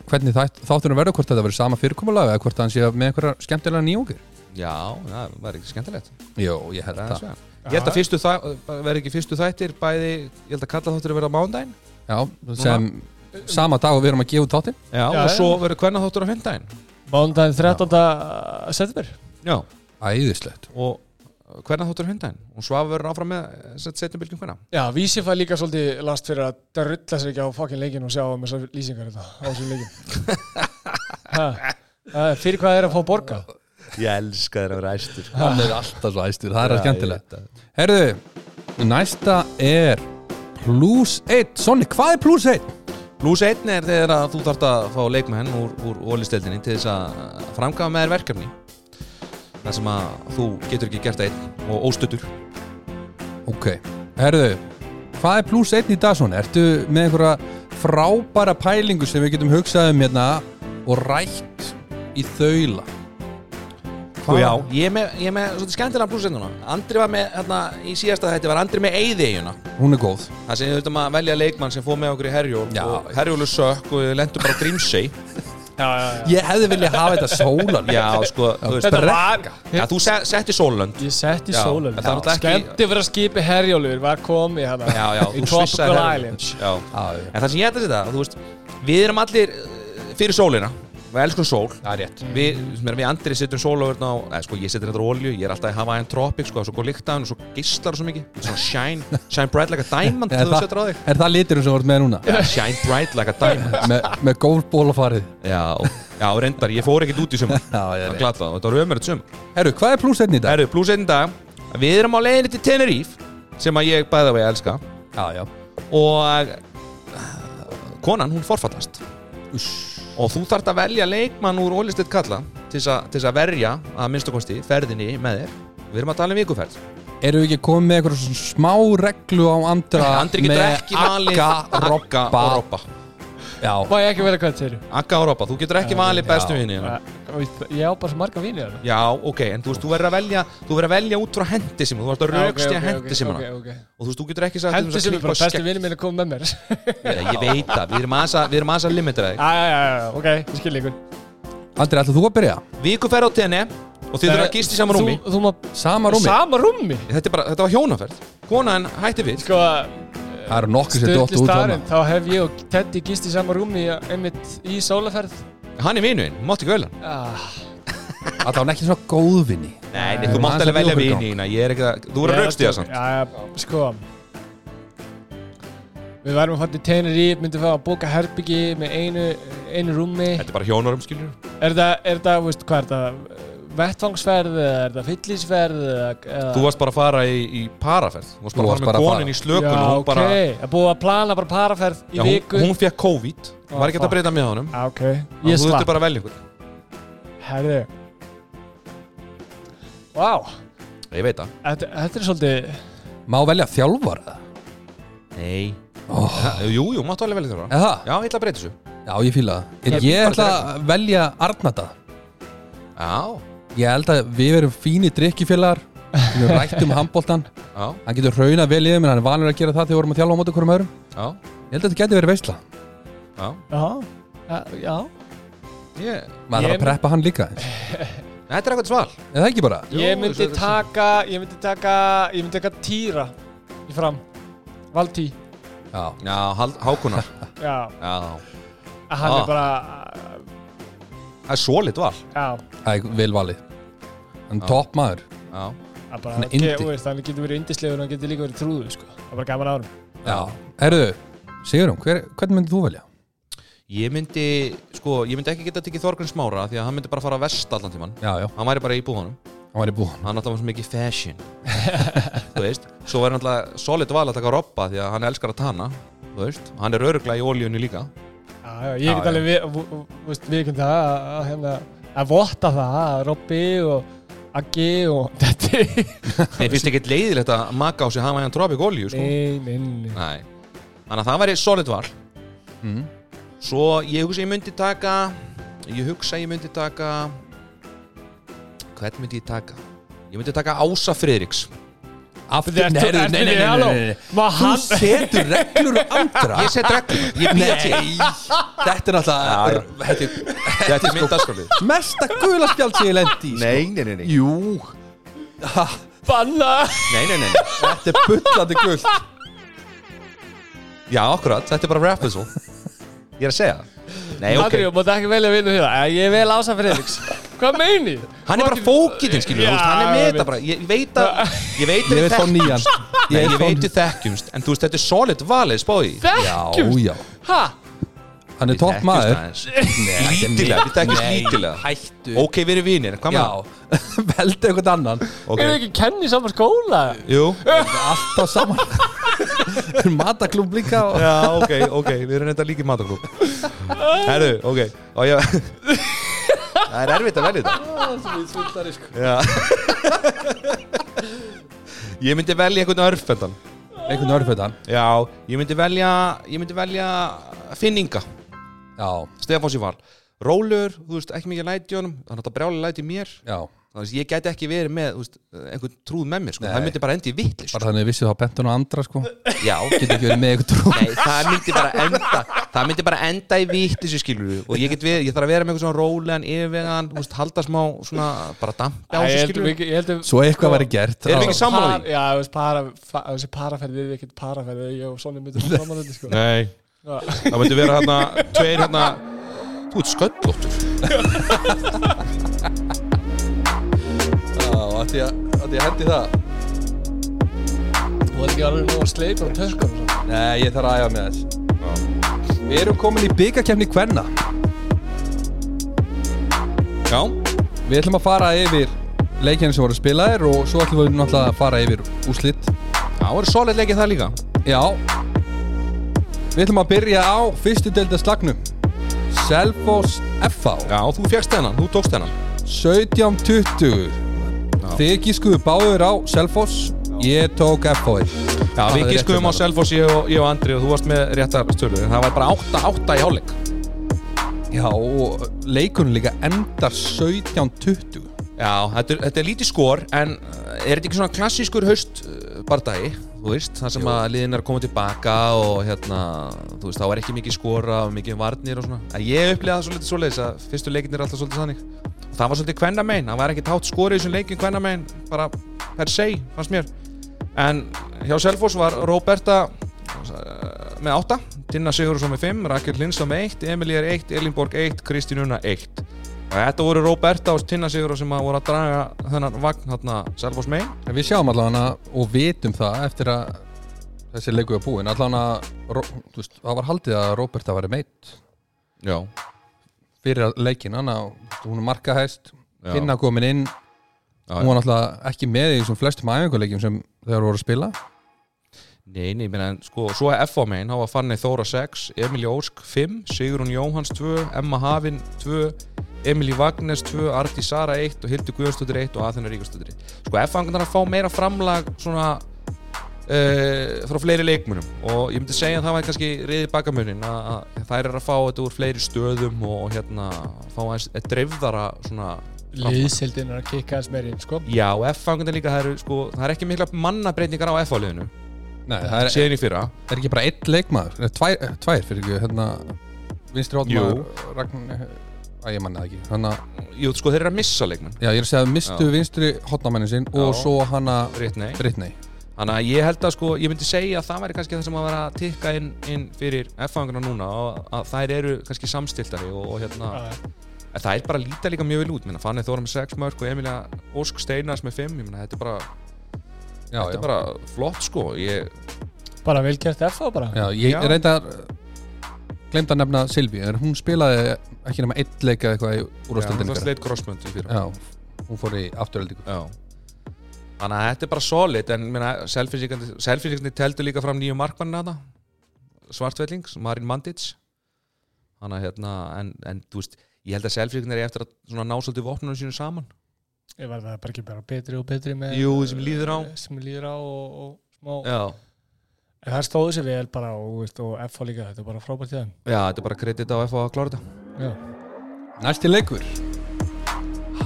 S1: hvernig þætt, þáttunum verður, hvort þetta verður sama fyrirkomulega eða hvort hann sé með einhverja skemmtilega nýjungir.
S2: Já, það var ekki skemmtilegt.
S1: Jó, ég held
S2: Það er
S1: það.
S2: svo. Ég held að fyrstu þæ, verði ekki fyrstu þættir bæði, ég held að Kalla þáttur að verða mándaginn.
S1: Já, sem sama dag og við erum að gefa út þáttin.
S2: Já,
S3: Já,
S2: og
S3: já.
S2: svo verður hvernig þáttur á fymdaginn.
S3: Mándaginn 13. uh, september
S2: Já,
S1: Æðislegt.
S2: og hvernig þáttur á fymdaginn. Og Svafa verður áfram með eh, Setnabilgju hvernig.
S3: Já, Vísi fær líka svolítið last fyrir að drulla sér ekki á fucking leikin og sjá um þessar lýsingar þetta á þessum leikin ha, ha, Fyrir hvað er að fá borga?
S2: Ég elska þér að vera æstur.
S1: Hann er alltaf svo æstur, það er að skemmtilegt. Herðu, næsta er plus 1. Sonni, hvað er plus 1?
S2: Plus 1 er þegar að þú þarft að fá leikmenn úr, úr ólisteldinni til þess að framgafa með þér verkefni. Það sem að þú getur ekki gert einn og óstötur.
S1: Ok, herðu, hvað er plus 1 í dag Sonni? Ertu með einhverja frábæra pælingu sem við getum hugsað um hérna og rætt í þaula?
S2: Sko já, ég er með, ég er með svolítið skemmtilega blúsenduna Andri var með, hérna, í síðasta þetta var Andri með eyðeiguna
S1: Hún er góð
S2: Það sem við þurfum að velja leikmann sem fóð með okkur í herjól
S1: Já.
S2: og herjólu sökk og við lendum bara á grímsei
S3: já, já, já.
S1: Ég hefði viljað hafa þetta sólan
S2: Já, sko, þú veist
S5: Þetta var
S2: Já, þú se- setti sólönd
S3: Ég sett í
S2: Já,
S3: sólöf
S2: en það er náttúrulega ekki-
S3: Skemmti fyrir að skipi herjólur Var komið hana
S2: Já, já,
S3: Í
S2: þú svissaði
S3: Tropical
S2: herjólfur.
S3: Islands
S2: Já,
S1: Já, já.
S2: en það sem ég ætla að setja, þú veist Við erum allir eh, fyrir sólina Við elskum sól
S1: Það er rétt
S2: Við, sem er, við andri setjum sólöfurna á, eða sko ég setjum þetta á olju, ég er alltaf að hafa aðeins tropik, sko, svo góð lyktaðan og svo geislar svo mikið, svona shine, shine bright like a diamond
S1: Er
S2: þegar þú
S1: það,
S2: setur á þig.
S1: er það liturinn sem þú ert með núna?
S2: Já, shine bright like a diamond.
S1: Me, með golfbólafarið
S2: Já, já, reyndar, ég fór ekkert út í sumar
S1: Já, ég er rétt.
S2: Glata, þetta var ömurðið sumar
S1: Herru, hvað er pluss einn í dag?
S2: Herru, pluss einn dag Við erum á leiðinni til Tenerife Sem að ég bæða vegi elska
S1: Já, já
S2: Og eh, konan, hún forfallast Og þú þart að velja leikmann úr Ólistitt Kalla Til þess að- til þess að verja, að minnstakosti, ferðinni með þér Við erum að tala um vikuferð
S1: Eru við ekki komið með eitthvað svona smá reglu á andra
S2: Andri getur
S1: með
S2: ekki valið
S1: Agga,
S2: Agga
S1: Robba
S2: og Robba
S1: Já,
S3: Má ég ekki vera hvað til
S2: Agga og Robba, þú getur ekki valið bestu vinni
S3: Ég á bara svo marga vini hérna. hana
S2: Já, ok, en þú veist, þú verður að velja Þú verður að velja út frá hendisim Þú verður að raukstja hendisim og þú veist, þú getur ekki sagt um
S3: Hendi sem er bara besti vinni minn að koma með mér
S2: vinni ég veit það, við erum aðeins að, við erum aðeins að limitera þig
S3: Já, já, já, já, ok, ég skil ykkur
S1: Andri, ætlaðu þú að byrja?
S2: vikuferð á tenni og þið þurfum að gista í saman rúmi
S3: Þú, þú má
S1: Sama rúmi
S3: Sama rúmi?
S2: þetta, er bara, þetta var hjónaferð, konan hætti við
S3: Sko,
S1: Það eru nokkur sem
S3: stöðli
S1: dóttu út
S3: starinn
S1: þarna
S3: Þá hef ég og Teddy gist í sama rúmi í- Einmitt í sólaferð
S2: hann er vinuinn, mátti ekki velja hann.
S3: ah,
S1: Það var ekki svona góðvinni
S2: nei, nei,
S1: Við
S2: þú
S1: erum
S2: mátt
S1: aðeins
S2: alveg
S1: að
S2: velja
S1: bjóða okkur í
S2: vinina ég er ekki að, þú verður
S3: ég
S2: að
S3: er
S2: raukstja
S3: að-
S2: samt
S3: Já, já, sko Við værum að fara til Tenerife, myndum fá að bóka herbyggi með einu, einu rúmi
S2: þetta er bara hjónarum, skiljur
S3: Er það, er það, veist, hvað er það, vettvangsferð eða er það fyllisferð eða... eða-
S2: þú varst bara að fara í, í paraferð þú varst
S1: Þú
S2: bara
S1: varst
S2: að
S1: bara
S2: fara
S1: að
S2: með
S1: fara.
S2: konin í slökun
S3: Já,
S2: og hún bara
S3: ok, að búið að plana bara paraferð í
S2: já, hún,
S3: viku.
S2: hún fekk COVID,
S3: Ah,
S2: var ekki hægt
S3: fuck.
S2: að breyta með honum
S3: Já, ok,
S2: þú
S3: ég
S2: þurfti
S3: slapp,
S2: bara að velja ykkur
S3: herðu. Vá,
S2: ég veit það
S3: þetta, þetta er svolítið,
S1: Má velja þjálfara?
S2: nei jú, jú, máttu alveg velja þér
S1: Er það?
S2: já, ég ætla að breyta þessu
S1: Já, ég fíla það En Ég ætla að velja Arnata
S2: já,
S1: Ég held að við erum fínir drikkjufélagar Við erum rætt um handbóltan
S2: já,
S1: Hann getur rauna vel í þeim en hann er vanur að gera það þegar við vorum að þjálfa á móti hverjum öðrum
S2: já,
S1: Ég held að þetta geti verið veistla
S2: já
S3: já, já, já.
S2: Ég,
S1: Maður þarf
S3: Ég-
S1: að preppa hann líka eins
S2: þetta er eitthvað sval
S1: Er það ekki bara?
S2: Jú,
S3: Ég myndi
S2: þetta er-
S3: taka, ég myndi taka, ég myndi taka týra í fram, valdý,
S1: Já
S2: Já, hald- hákunar
S3: já,
S2: Já
S3: að hann
S2: Ah.
S3: er bara,
S2: Það er svolít val
S3: já.
S1: Það er vel valið Hann er topp maður
S2: Já
S3: að bara,
S1: Hann er
S3: hann, ge,
S1: yndi.
S3: þú veist, hann getur verið yndislegur og hann getur líka verið trúðu sko. það er bara gaman á hann
S1: Já Herðu, Sigurum, hver, hvernig myndir þú velja?
S2: Ég myndi, sko, ég myndi ekki geta að tekið Þorgrun Smára Því að hann myndi bara fara vest allan tíman
S1: Já, já,
S2: Hann væri bara í búðanum
S1: hann var í búðan
S2: Hann náttúrulega var svo mikið fashion Þú veist Svo væri náttúrulega solid val að taka Robba Því að hann elskar að tana Þú veist Hann er öruglega í ólíunni líka
S3: já, já, ég get alveg við, v- v- þú veist, við ekki það að, að, hérna, að votta það að Robby og Aggi og þetta
S2: Ég finnst ekki leiðilegt að maka á sig Hann væri hann tropik ólíu, sko
S3: nei, nei, nei
S2: Nei Þannig að það væri solid val
S1: mm.
S2: Svo ég hugsa ég myndi taka Ég hugsa ég myndi taka Hvern myndi ég taka? Ég myndi taka Ása Friðriks
S1: Aftur,
S3: Þetta-
S1: herðu,
S3: þetta-
S1: nei, nei, nei, nei,
S3: halló,
S1: nei, nei, nei.
S3: má
S1: Þú
S3: hann-
S1: setur reglur á andra
S2: Ég set reglum Ég býð til
S1: Þetta er náttúrulega Þetta
S2: Þetta er minn dagskrálið
S1: er mesta gula spjald sem ég lendi í sko.
S2: nei, nei, nei
S1: Jú ha,
S3: banna
S2: Nei, nei, nei nei.
S1: Þetta er bullandi gult
S2: Já, akkurat, þetta er bara rap whistle Ég er að segja það Nei, ok
S3: Andri, þú mátt ekki velja vinnu hérna Eh, ég vel ása Fredriks hvað meini
S2: Hann er bara fókitinn, skilur
S3: Já,
S2: þú veist, Hann er með
S3: ég
S2: þetta
S3: veit.
S2: bara Ég ég veit að Ég veit að
S1: Ég vil fá nýjan
S2: Nei, ég
S1: vil fá
S2: veit
S1: nýjan.
S2: að þekkjumst En þú veist, þetta er solid valið, spáði
S1: Já,
S3: þekkjum
S1: já
S3: ha
S1: Hann er topp maður
S2: Lítilega, við þekkjumst
S1: Nei,
S2: lítilega
S1: Hættu
S2: Ok, við erum vinir, hvað með
S1: Já, veldu einhvern annan
S2: það?
S3: okay. eru
S2: Ok,
S3: ekki kenni saman skóla
S2: jú
S1: Alltaf saman Mataklúb líka og...
S2: Já, ok, ok, við erum þetta líki mataklub Herru, ok Ó, ég... Það er erfitt að velja þetta Já Ég myndi velja einhvern örfendan
S1: Einhvern örfötan
S2: Já, ég myndi velja Ég myndi velja finninga
S1: Já,
S2: Stefáns í val Rólur, þú veist, ekki mikið læti í honum Þannig að þetta brjáli læti í mér
S1: já,
S2: Þannig Þú veist, ég gæti ekki verið með þú veist, einhvern trúð með mér sko.
S1: Nei.
S2: það myndi bara endi í vittlis
S1: bara þannig að vissi þá Benton og Andra sko getur
S2: já,
S1: ekki verið með eitthvað trú
S2: Nei, það myndi bara enda Það myndi bara enda í vittis, skilur við Og ég, get verið, ég þarf að vera með einhvern svona rólegan, yfirvegan þú veist, Halda smá, svona, bara dampi á
S3: ég
S2: þessu,
S3: held
S2: skilur
S3: við
S2: við
S3: ekki- ég held við
S1: svo eitthvað væri gert
S2: Erum við ekki
S1: Þá-
S2: sammála því?
S3: Já, þessi para, fa- þessi paraferð er ekkert paraferð ég og Sonja myndum saman þetta sko
S2: Nei,
S3: Já.
S2: það myndi vera hérna Tveir hérna Þú ert sköllóttur
S1: Já, ætti ég að- ætti ég að hendi það
S3: Þú held ekki alveg nú að sleipa á töskum svo.
S1: Nei, ég þarf að æfa með þess Við erum komin í byggakefni Kvenna
S2: Já,
S1: Við ætlum að fara yfir leikjarnir sem voru spilaðir og svo ætlum við náttúrulega að fara yfir úslitt
S2: það voru solid leikið það líka
S1: Já Við ætlum að byrja á fyrstu deilda slagnum Selfoss FH
S2: Já, þú fegst þennan, þú tókst þennan
S1: 17-20 Þið gískuðu báður á Selfoss Ég tók E. FH
S2: Já,
S1: Það er
S2: við
S1: rétt
S2: gískuðum á
S1: hjá þér.
S2: Selfoss, ég og, ég og Andri og þú varst með réttar stölu en það var bara 8-8 í hálfleik
S1: Já, og leikunum líka endar 17-20
S2: Já, þetta er, þetta er lítið skor en uh, er þetta ekki svona klassískur haust uh, bardagi, þú veist, þar sem að liðin er að koma tilbaka og hérna þú veist, þá er ekki mikið skora og mikið varnir og svona, en ég upplega það svolítið svoleiðis að fyrstu leikin er alltaf svolítið þannig og það var svolítið kvenna megin, það var ekki tátt skori í þessum leikin kvenna megin, bara per se fannst mér, en hjá Selfoss var Róberta uh, með 8, Tinna Sigurðsson með 5 Rakel Lindsson með 1, Emilíar 1 Elinborg 1, Kristínuna 1 og þetta voru Róberta og Tinna Sigurðsson sem að voru að draga þennan vagn hérna Selfoss megin
S1: En Við sjáum allavega og vitum það eftir að þessi leiku er búin allavega Ró- þú veist, það var haldið að Róberta væri meitt
S2: Já,
S1: fyrir að leikin hana, og, þú veist, hún er markahæst
S2: Já.
S1: finna komin inn
S2: já,
S1: hún var náttúrulega ekki með í þessum flestum æfinguleikjum sem þeir voru að spila
S2: Nei, nei, menn, sko, svo er FA megin, þá var Fanny Þóra 6, Emilí Ósk 5, Sigrun Jóhanns 2, Emma Hafin 2, Emilí Vagnes 2, Arti Sara 1 og Hildur Guðjónsdóttir 1 og Aþena Ríkjónsdóttir 1. Sko, FA hann að fá meira framlag svona uh, frá fleiri leikmunum og ég myndi segja að það var kannski riðið bakamunin að að þær eru að fá þetta úr fleiri stöðum og hérna fá aðeins að dreifðara svona framlag.
S3: Liðsildin er að kikka hans meirinn sko
S2: Já, og FA hann líka, það eru, sko, það er ekki mikla mannabreitingar á FA liðinu,
S1: Nei, það er,
S2: síðan í fyrra.
S1: er ekki bara einn leikmaður Nei, tvær, eh, tvær fyrir ekki hérna, vinstri
S2: Jú.
S1: átmaður Ragnar, að ég manna það ekki þannig að
S2: Jú, sko, þeir eru að missa leikmenn.
S1: Já, ég er að segja að mistu
S2: Já.
S1: vinstri hotnamennin sinn og
S2: Já.
S1: svo hana
S2: rétt nei
S1: Brittany.
S2: þannig að ég held að sko, ég myndi segja að það væri kannski það sem að vera að tikka inn, inn fyrir F-fanguna núna og að þær eru kannski samstiltari og, og hérna
S3: Já, já.
S2: en það er bara að líta líka mjög vel út minna, Fanny Þóra með 6 mörg og Emilia Ósk Steinars með 5 ég minna, þetta er bara,
S1: Já,
S2: þetta
S1: já.
S2: er bara flott sko ég,
S3: Bara vel gert FH bara
S1: já, ég
S2: Já.
S1: reyndar glemt að nefna Silvi, en hún spilaði ekki nema eitt leika eitthvað í
S2: það
S1: úrvastendingar.
S2: sleit crossmönd í fyrir
S1: Já, hún fór í afturöldingu.
S2: Já. Þannig að þetta er bara solid en minna, selfisíkandi teldu líka fram nýju markmannin að það Svartvelling, Marin Mandic Þannig að hérna en, en þú veist, ég held að selfisíkandi er eftir að svona ná svolítið vopnunum sínum saman
S3: Ég var það bara ekki bara betri og betri með
S2: Jú, sem líður á.
S3: Sem líður á og, og smá
S2: Já,
S3: En það stóðu sér vel bara og, þú veist, og FH líka Þetta er bara frábært í þeim
S2: Já þetta er bara kredit á FH að klára þetta
S3: Já
S1: Næsti leikur.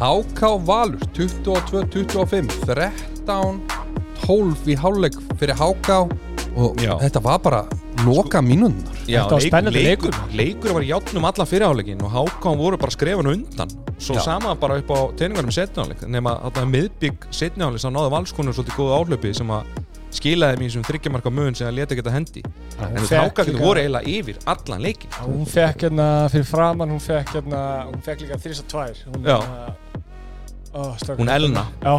S1: HK Valur 22-25 13 12 í hálfleik fyrir HK og
S2: Já.
S1: þetta var bara loka mínundar.
S2: Já,
S3: Þetta var spennandi
S2: leikur,
S3: leikur.
S2: leikur var í játnum allan fyrirháleikin og hákán voru bara skrefun undan Svo
S1: Já.
S2: sama bara upp á teiningarum setniháleik nema að það miðbygg setniháleik sem náði valskonu svolítið góðu álöpi sem að skilaði mér sem þryggjamarka mun sem að leta geta hendi En þú
S3: Fekk
S2: hákakinn
S3: líka-
S2: voru eiginlega yfir allan leikin
S3: Já, Hún fekk hérna fyrir framann Hún fekk hérna Hún fekk líka þrýs og tvær hún,
S2: Já.
S3: hérna, ó, strákur.
S2: Hún Elna
S3: Já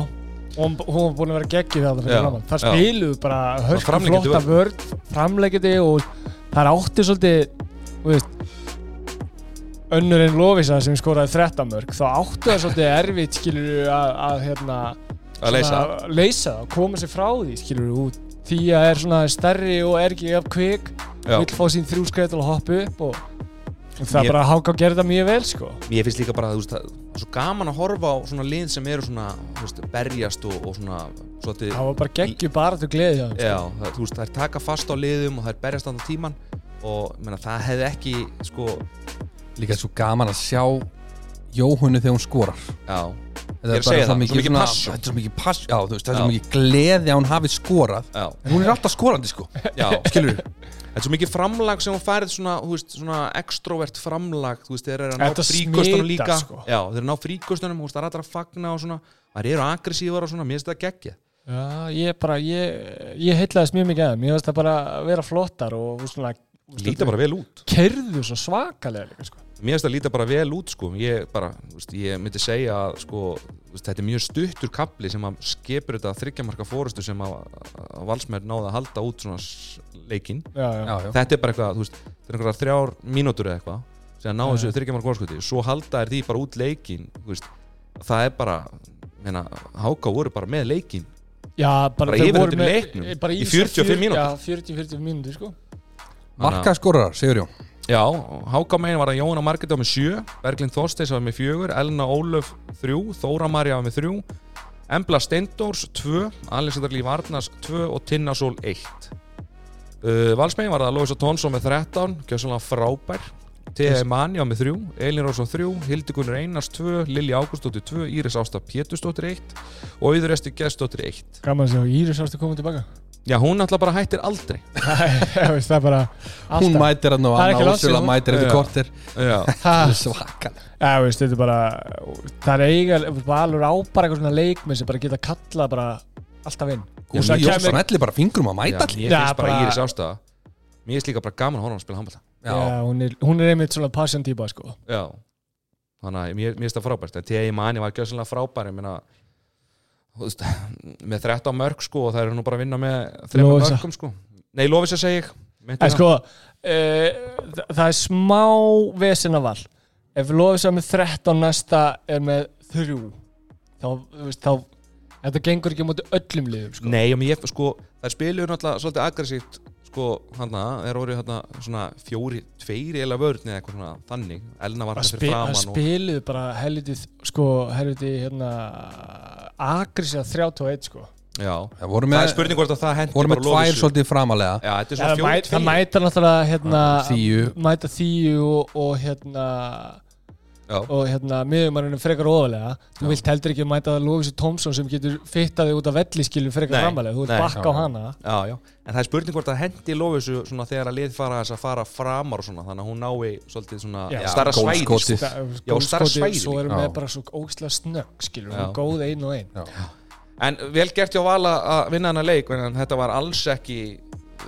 S3: Hún, hún var búin að vera geggið þarna fyrir
S2: Já,
S3: framann Það
S2: já.
S3: spiluðu bara hörku
S2: framlengjandi
S3: flotta vörð Framleikiti og það er átti svolítið þú veist, Önnur en Lovisa sem skoraði 13 mörg Þá átti það svolítið erfitt skilur að, að hérna
S2: að leysa
S3: svona, leysa það, koma sér frá því skilur út því að er svona stærri og er ekki af kvik
S2: Já.
S3: vill fá sín þrjú skreið til að hoppa upp og, og það
S2: Ég-
S3: bara háka að gera það mjög vel sko
S2: Mér finnst líka bara að þú veist, það er svo gaman að horfa á svona lið sem eru svona þú veist, berjast og, og svona svolítið,
S3: það var bara geggju bara til gleði hjá þeim, sko.
S2: Já, það, þú veist, þær taka fast á liðum og þær berjast andan tíman og ég meina, það hefði ekki sko,
S1: Líka svo gaman að sjá Jóhunu þegar hún skorar.
S2: já
S1: Þetta
S2: Ég er að segja
S1: bara
S2: það, svo mikið
S1: svona-
S2: passion.
S1: Þetta er svo mikið pass, já þú veist, þetta er
S2: Já.
S1: svo mikið gleði að hún hafi skorað
S2: Já,
S1: En hún er alltaf skorandi sko,
S2: já
S1: skilur við
S2: Þetta er svo mikið framlag sem hún færið svona, þú veist, svona extrovert framlag þú veist, þeir eru að ná
S3: Þetta
S2: fríkostunum
S3: smitar,
S2: líka
S3: sko.
S2: Já, þeir eru að ná fríkostunum, þú veist, það er allra að fagna og svona Það eru aggressívar og svona, mér finnst þetta geggja
S3: Já, ég bara, ég, ég heitlaðist mjög mikið að þeim. Ég veist það bara að vera flottar og þú veist, svona
S2: Líta bara vel út
S3: kerðu svo svakalega líka, sko.
S2: Mér finnst það líta bara vel út, sko Ég bara, þú veist, ég myndi segja að, sko, þú veist, þetta er mjög stuttur kapli sem að skepur þetta þryggjamarka fórustu sem að, að valsmenn náði að halda út svona s- leikinn
S3: Já, já.
S1: Já, já,
S2: þetta er bara eitthvað, þú veist, þetta er einhverjar þrjár mínútur eða eitthvað, sem að ná
S3: Já,
S2: þessu
S3: já.
S2: þryggjamark orskuti, svo halda er því bara út leikin, þú veist, það er bara meina, háká voru bara með leikin
S3: já
S2: Bara
S3: bara, þau
S2: yfir
S3: voru
S2: undir
S3: með-
S2: leiknum,
S3: eh, bara
S2: í
S3: svona
S2: 45
S3: fjör-
S2: mínútur.
S3: Já, 40-45 mínútur, sko.
S1: marka skorar, Sigur Jón
S2: já, háká megin var að Jóna Margeta var með sjö, Berglind Þorsteins var með fjögur Elna Ólöf þrjú, Þóra Marja var með þrjú, Embla Steindórs tvö, Alexander Líf Arnars tvö og Tinnasól eitt uh, Valsmegin var að Lóisa Tónsson með 13, gjössalega frábær T.E. Manni á með þrjú, Elin Rósson þrjú, Hildigunnur Einars tvö, Lilja Ágústóttir tvö, Íris Ásta Pétustóttir eitt og Íður Esti Gestóttir eitt.
S3: Gaman að sjá Íris ástu komið tilbaka.
S2: Já, hún náttúrulega bara hættir aldrei.
S3: Já, veist, það er bara alltaf.
S1: Hún mætir hann og
S3: Það er ekki
S1: Anna
S3: langt
S1: Úrsula
S3: síðan.
S1: mætir eftir
S2: Já.
S1: kortir
S2: Já,
S3: Ha,
S1: Svakalega
S3: Já, veist, þetta er bara, það er eiga, Valur á bara eitthvað svona leikmið sem bara geta kallað bara alltaf inn. Ég veist,
S1: Hún
S3: það
S1: Jónsson
S3: kemur-
S1: ellir bara fingrum að
S2: já
S1: mæta allir
S2: mér
S3: Já,
S2: finnst bara
S3: bara-
S2: Íris Ásta, mér finnst líka bara gaman að horfa á hana að spila handballa.
S1: Já,
S3: Já, hún er, hún er einmitt svona passion típa, sko.
S2: Já, þannig að mér mér finnst það frábært. En T.E. Manni var gjössalega frábær, ég meina, þú veist, með 13 mörg sko og það eru nú bara að vinna með 3
S3: Lovísa.
S2: mörgum sko. Nei, Lófisa segi ég. meinti það.
S3: En sko, uh, það er smá vesen að val. Ef Lofisa með 13 næsta er með 3, þá, þú veist, þá, þetta gengur ekki á móti öllum liðum, sko.
S2: Nei, um ég, sko, það spilur náttúrulega svolítið aggressíft sko, hann að, þeir voru hérna svona fjóri, tveiri eða vörðni eða eitthvað svona þannig, Elna var
S3: Að,
S2: hérna
S3: spi
S2: fyrir
S3: að
S2: framann og,
S3: spiluðu bara helvitið, sko, helvitið, hérna, agrisja 31, sko.
S2: já,
S1: Það voru
S2: það er
S1: með,
S2: spurning hvort að það hendi
S1: voru með
S2: bara
S1: tvær
S2: Lovísu.
S1: svolítið framalega
S2: Já, þetta er svona
S3: Það, mæ,
S2: fjóri,
S3: það
S2: tveiri
S3: mæta náttúrulega, hérna,
S1: Þýju
S3: mæta þýju og, og hérna
S2: Já,
S3: og hérna miðjumannunum frekar ofalega þú vilt heldur ekki mæta Lóvisu Tómsson sem getur fittaði út af velliskilum frekar
S2: Nei,
S3: framalega, þú vilt
S2: nei,
S3: bakka á
S1: já, já.
S3: hana
S2: já, já, en það er spurning hvort að hendi Lófisu svona þegar að lið fara þess að fara framar og svona, þannig að hún nái svolítið svona
S3: Já,
S2: starra svæði sko.
S1: gólfskotið.
S2: Já, og starra svæði
S3: svo erum
S1: líka.
S3: við
S1: Já.
S3: bara svo ógislega snögg skilur,
S2: Já.
S3: við góð ein og ein
S2: En vel gert hjá Vala að vinna hana leik, en þetta var alls ekki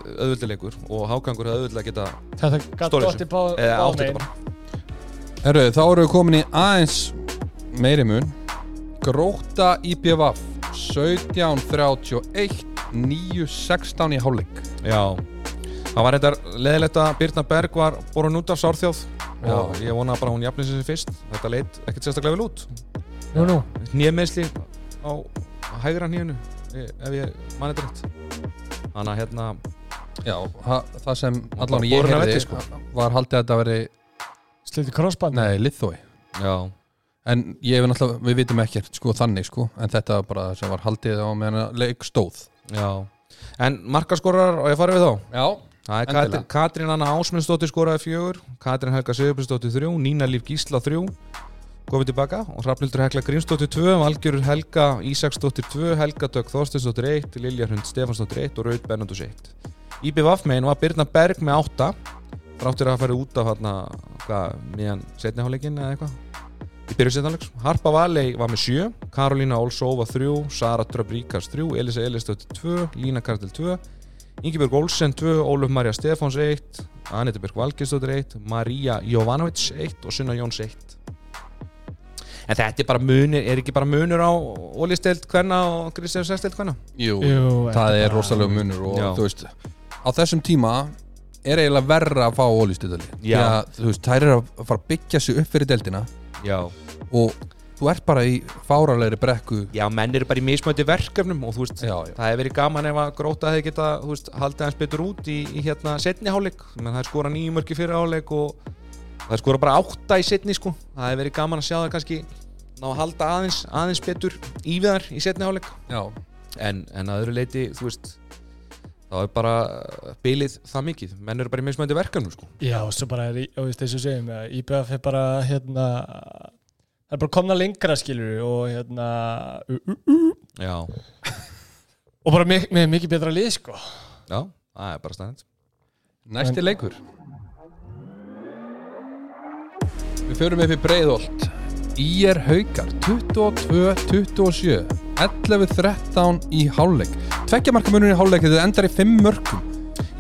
S2: auðvöldilegur og Hákangur hefði auðvöldilega geta
S3: þetta gætt
S2: Stórið
S3: dotti
S2: sem-
S3: bá,
S2: eða átti
S3: bá
S2: þetta
S3: ein
S2: bara.
S1: Herru, þá eru við komin í aðeins meiri mun Gróta IPVF 17.31 9.16 í hálfleik
S2: Já Það var þetta leðilegt að Birna Berg var borun út af sárþjóð og ég vona bara að hún jafnir sér fyrst þetta leit ekkert sérstaklega vel út
S3: nú, nú.
S2: nýjameðsli á hægra nýjunu ef ég mani þetta rétt þannig að hérna
S1: Já, ha- það sem allan
S2: bara
S1: ég
S2: borin af
S1: heyrði
S2: velli, sko.
S1: var haldið að þetta veri,
S3: slutið crossband
S1: nei, Lithói
S2: já,
S1: en ég hef náttúrulega, við vitum ekkert sko þannig sko, en þetta var bara það sem var haldið á meðan að leik stóð
S2: já en markaskorar og ég farið við þá
S1: Já,
S2: það er
S1: Endilega.
S2: Katrín, Katrín Anna Ásmundsdóttir skoraði fjögur Katrín Helga Sigurbjörnsdóttir þrjú Nína Líf Gísla þrjú komið tilbaka og Hrafnildur Hekla Grímsdóttir 2 Valgjörur Helga Ísaksdóttir 2 Helga Dögg Þorstinsdóttir 1 Lilja Hrund Stefansdóttir 1 og Raut Bennandus 1 IBVF megin var Birna Berg með 8 þráttur að fara út af hérna hvað, meðan setniháleikin eða eitthvað í byrju setniháleiks Harpa Valei var með 7 Karolína Olsóva 3 Sara Dröbríkars 3 Elisa Elisdóttir 2 Lína Kartel 2 Ingibjörg Olsen 2 Óluf Marja Stefáns 1 Anita Björg Valgisdóttir 1 Maria Jovanovic 1 og Sunna Jóns 1 En þetta er bara munir, er ekki bara munur á ólisteild hvenna og Kristján Sesteild hvenna?
S1: jú,
S3: Jú,
S1: það
S3: þetta
S1: er rosalega munur og
S2: Já.
S1: þú veist, á þessum tíma er eiginlega verra að fá ólýstutali
S2: Já.
S1: þú veist, þær eru að fara að byggja sig upp fyrir deildina
S2: Já.
S1: og þú ert bara í fáralegri brekku
S2: Já, menn eru bara í mismöndi verkefnum og þú veist,
S1: Já, já.
S2: það hefði verið gaman ef að gróta hefði geta, þú veist, haldið hans betur út í, í hérna setni hálfleik, menn það er skora nýjum mörki fyrir hálfleik og það er skora bara átta í setni sko, það hefði verið gaman að sjá það kannski ná að halda aðeins, aðeins betur í við þar í setni hálfleik
S1: Já,
S2: en, en að öðru leiti, þú veist þá er bara uh, bilið það mikið, menn eru bara í mismöndi verkefnum sko.
S3: Já, og svo bara er, og veist, þessu segjum, IBF er bara, hérna, það það er bara komna lengra skilur og hérna
S2: já,
S3: og bara mik með mikið betra lið sko
S2: já, það er bara stæðin
S1: Næsti leikur Við förum upp í breiðolt Íer Haukar 22-27 11-13 í hálfleik Tveggja marka munur í hálfleik þetta endar í 5 mörgum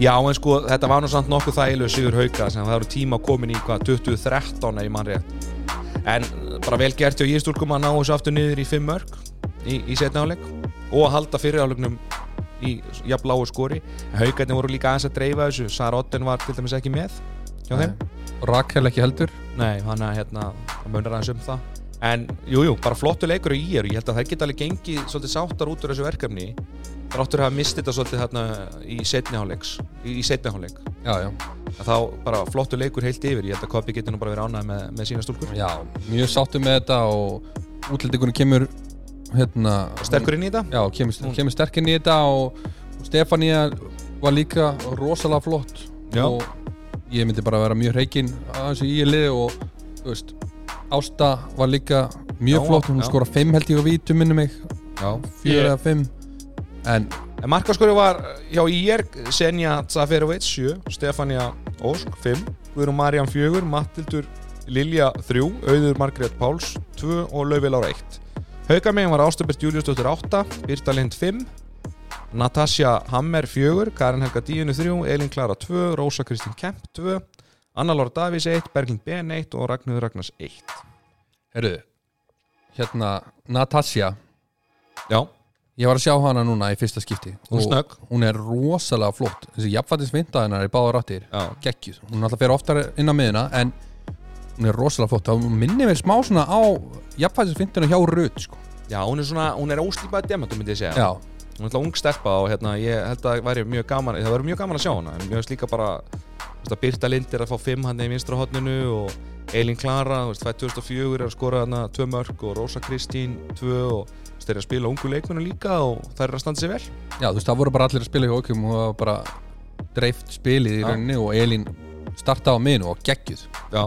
S2: Já, en sko, þetta var nú samt nokkuð þægilegu sigur hauka sem það eru tíma komin í hvað 2013 ef ég mann rétt en eh, bara vel gert hjá Ístúlkum að ná þessu aftur niður í fimm mörg í, í setna áleik og að halda fyrir áleikunum í jafnláu skori haukarnir voru líka aðeins að dreifa þessu Sarotten var til dæmis ekki með hjá þeim
S1: Rakel ekki heldur
S2: Nei, hann að hérna, það munar aðeins um það En jú, jú, bara flottu leikur í ég Ég held að það geta alveg gengið svolítið sáttar út úr þessu verkefni Þráttur að hafa mistið þetta svolítið þarna í setni hálfleiks Í, í setni hálfleik
S1: Já, já,
S2: En Þá bara flottu leikur heilt yfir Ég held að Kopi geti nú bara verið ánæði með, með sína stúlkur
S1: já Mjög sáttum með þetta og útlendingunum kemur hérna
S2: Sterkur inn í þetta
S1: Já, kemur, kemur sterkinn í þetta og Stefania var líka rosalega flott
S2: Já.
S1: og ég myndi bara vera mjög reikinn að þessu íli og þú veist, Ásta var líka mjög
S2: Já,
S1: flott, hún
S2: já.
S1: skora 5 held ég á vítum minni mig,
S2: Já.
S1: 4
S3: Ég-
S1: eða 5 en
S2: En markaskori var hjá IR Senja Zafirovic 7 Stefania Ósk 5 Guðrún Marjan 4 Mattildur Lilja 3 Auður Margrét Páls 2 og Laufey Lára 1 Haukamegin var Ástabert Júliusdóttir 8 Birta Lind 5 Natasja Hammer 4 Karin Helga Díunu 3 Elin Klara 2 Rósa Kristín Kemp 2 Anna-Lóra Davís 1 Berglind Ben 1 og Ragnhjóður Ragnars 1
S1: herruðu, hérna Natasja,
S2: Já,
S1: ég var að sjá hana núna í fyrsta skipti
S2: Hún er
S1: Og
S2: snögg.
S1: hún er rosalega flott, þessi jafnfættis vindaðinar í báða rattir
S2: já
S1: geggjuð, hún alltaf fer oftar inn á miðina en hún er rosalega flott þá minnir við smá svona á jafnfæðisfindina hjá Rut sko.
S2: Já, hún er svona, hún er óslýpað demantum myndi ég segja
S1: já,
S2: hún er alltaf ung stelpa og hérna, ég held að það væri mjög gaman það væri mjög gaman að sjá hana en mjög veist líka bara þú veist, að Birta Lind er að fá 5 hann í vinstra hotninu og Elin Klara þú veist, fætt 2004 er að skora hana 2 mörg og Rósa Kristín 2 og þú veist, þeir eru að spila ungu leikmennu líka og þær eru að standa sér vel
S1: já, þú veist það voru bara allir að spila hjá okkur og það var bara dreift spilið í
S2: Já.
S1: rauninni og Elín startaði á miðinu og geggjuð
S2: já,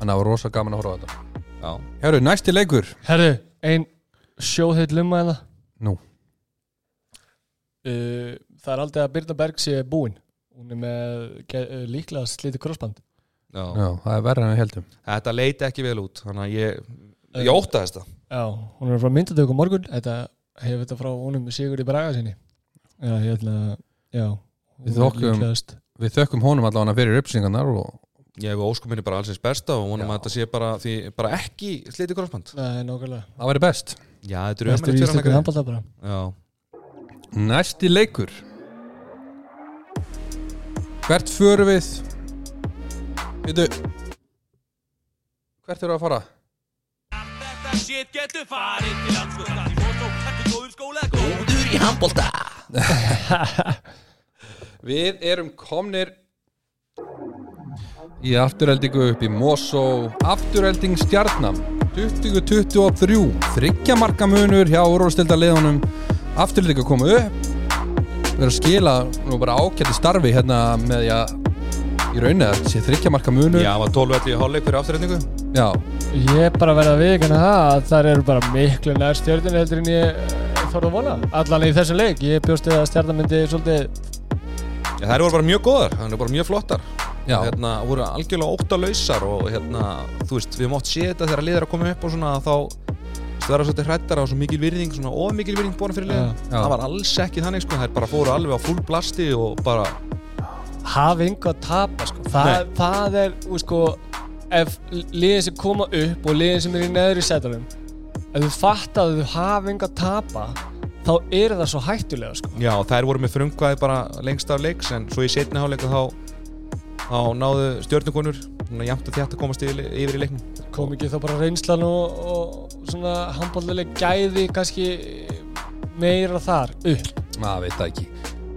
S1: þannig að það var rosalega gaman að horfa á þetta
S2: já,
S1: Herru, næsti leikur
S3: herru, ein sjóðheit lumma hérna
S1: Nú.
S3: Uh, það er aldrei að Birna Berg sé búin hún er með ge- uh, líklega slítið krossband
S2: já.
S1: já, það er verra en við heldum
S2: þetta leiti ekki vel út þannig að ég, ég óta þess það
S3: Já, hún er frá myndatöku á morgun þetta hefur þetta frá honum Sigur í Braga sinni Já, ég ætla að Já, hún
S1: Við
S3: er
S1: þökkum.
S3: líklegast.
S1: við þökkum honum allavega fyrir uppsingarnar og
S2: ég hef óskuminni bara allsins besta og
S1: Já.
S2: vonum að þetta sé bara, því, bara ekki sliti krossband
S3: Nei, nákvæmlega
S1: það væri best
S2: já, þetta er
S3: Þetta
S2: ömurlegt
S3: er í
S2: fyrir hana,
S3: stökum
S2: greyin.
S3: handbalta bara
S2: já,
S1: Næsti leikur Hvert förum við? Veitu Hvert eru að fara?
S5: Þetta shit getur farið til landslösta Því fórstó, ertu góður í skóla eða góður í handbolta
S1: Við erum komnir í afturheldingu upp í Mosó Afturhelding stjarnam 2023 Þryggja marka munur hjá úrvalstilda leiðunum Afturheldingu koma upp Við erum að skila nú bara ákjætti starfi hérna með því að í raunni að sé þryggja marka munur
S2: já, var 12 velli í hálfleik fyrir afturreiningu
S1: Já,
S3: Ég er bara að verða að viðkynna það að þar eru bara miklu nær stjörnir heldur en ég eh, þorði að vona Allan í þessum leik, ég bjóst við að stjörna myndi svolítið
S2: Já, þær voru bara mjög góðar, þær voru bara mjög flottar
S1: já.
S2: hérna, voru algjörlega óttalausar og hérna, þú veist, við mátt sé þetta þegar liðar að koma upp og svona þá það verða svolítið hrættar á svo mikil virðing svona of mikil virðing búin fyrir liðar
S1: Já.
S2: það var alls ekki þannig, sko, þær bara fóru alveg á full blasti og bara,
S3: hafa yngu að tapa sko. það, það er, þú sko ef liðin sem koma upp og liðin sem er í neðri setunum ef þú fattar að þau hafa yngu að tapa þá eru það svo hættulega sko.
S2: já, þær voru með frumkvæði bara lengst af leiks, en svo í setni háleika þá, þá náðu stjörnukonur, svona jæmt að þetta komast yfir, yfir í leiknum.
S3: kom ekki þá bara reynslan og, og svona handballileg gæði kannski meira þar upp
S1: maður veit það ekki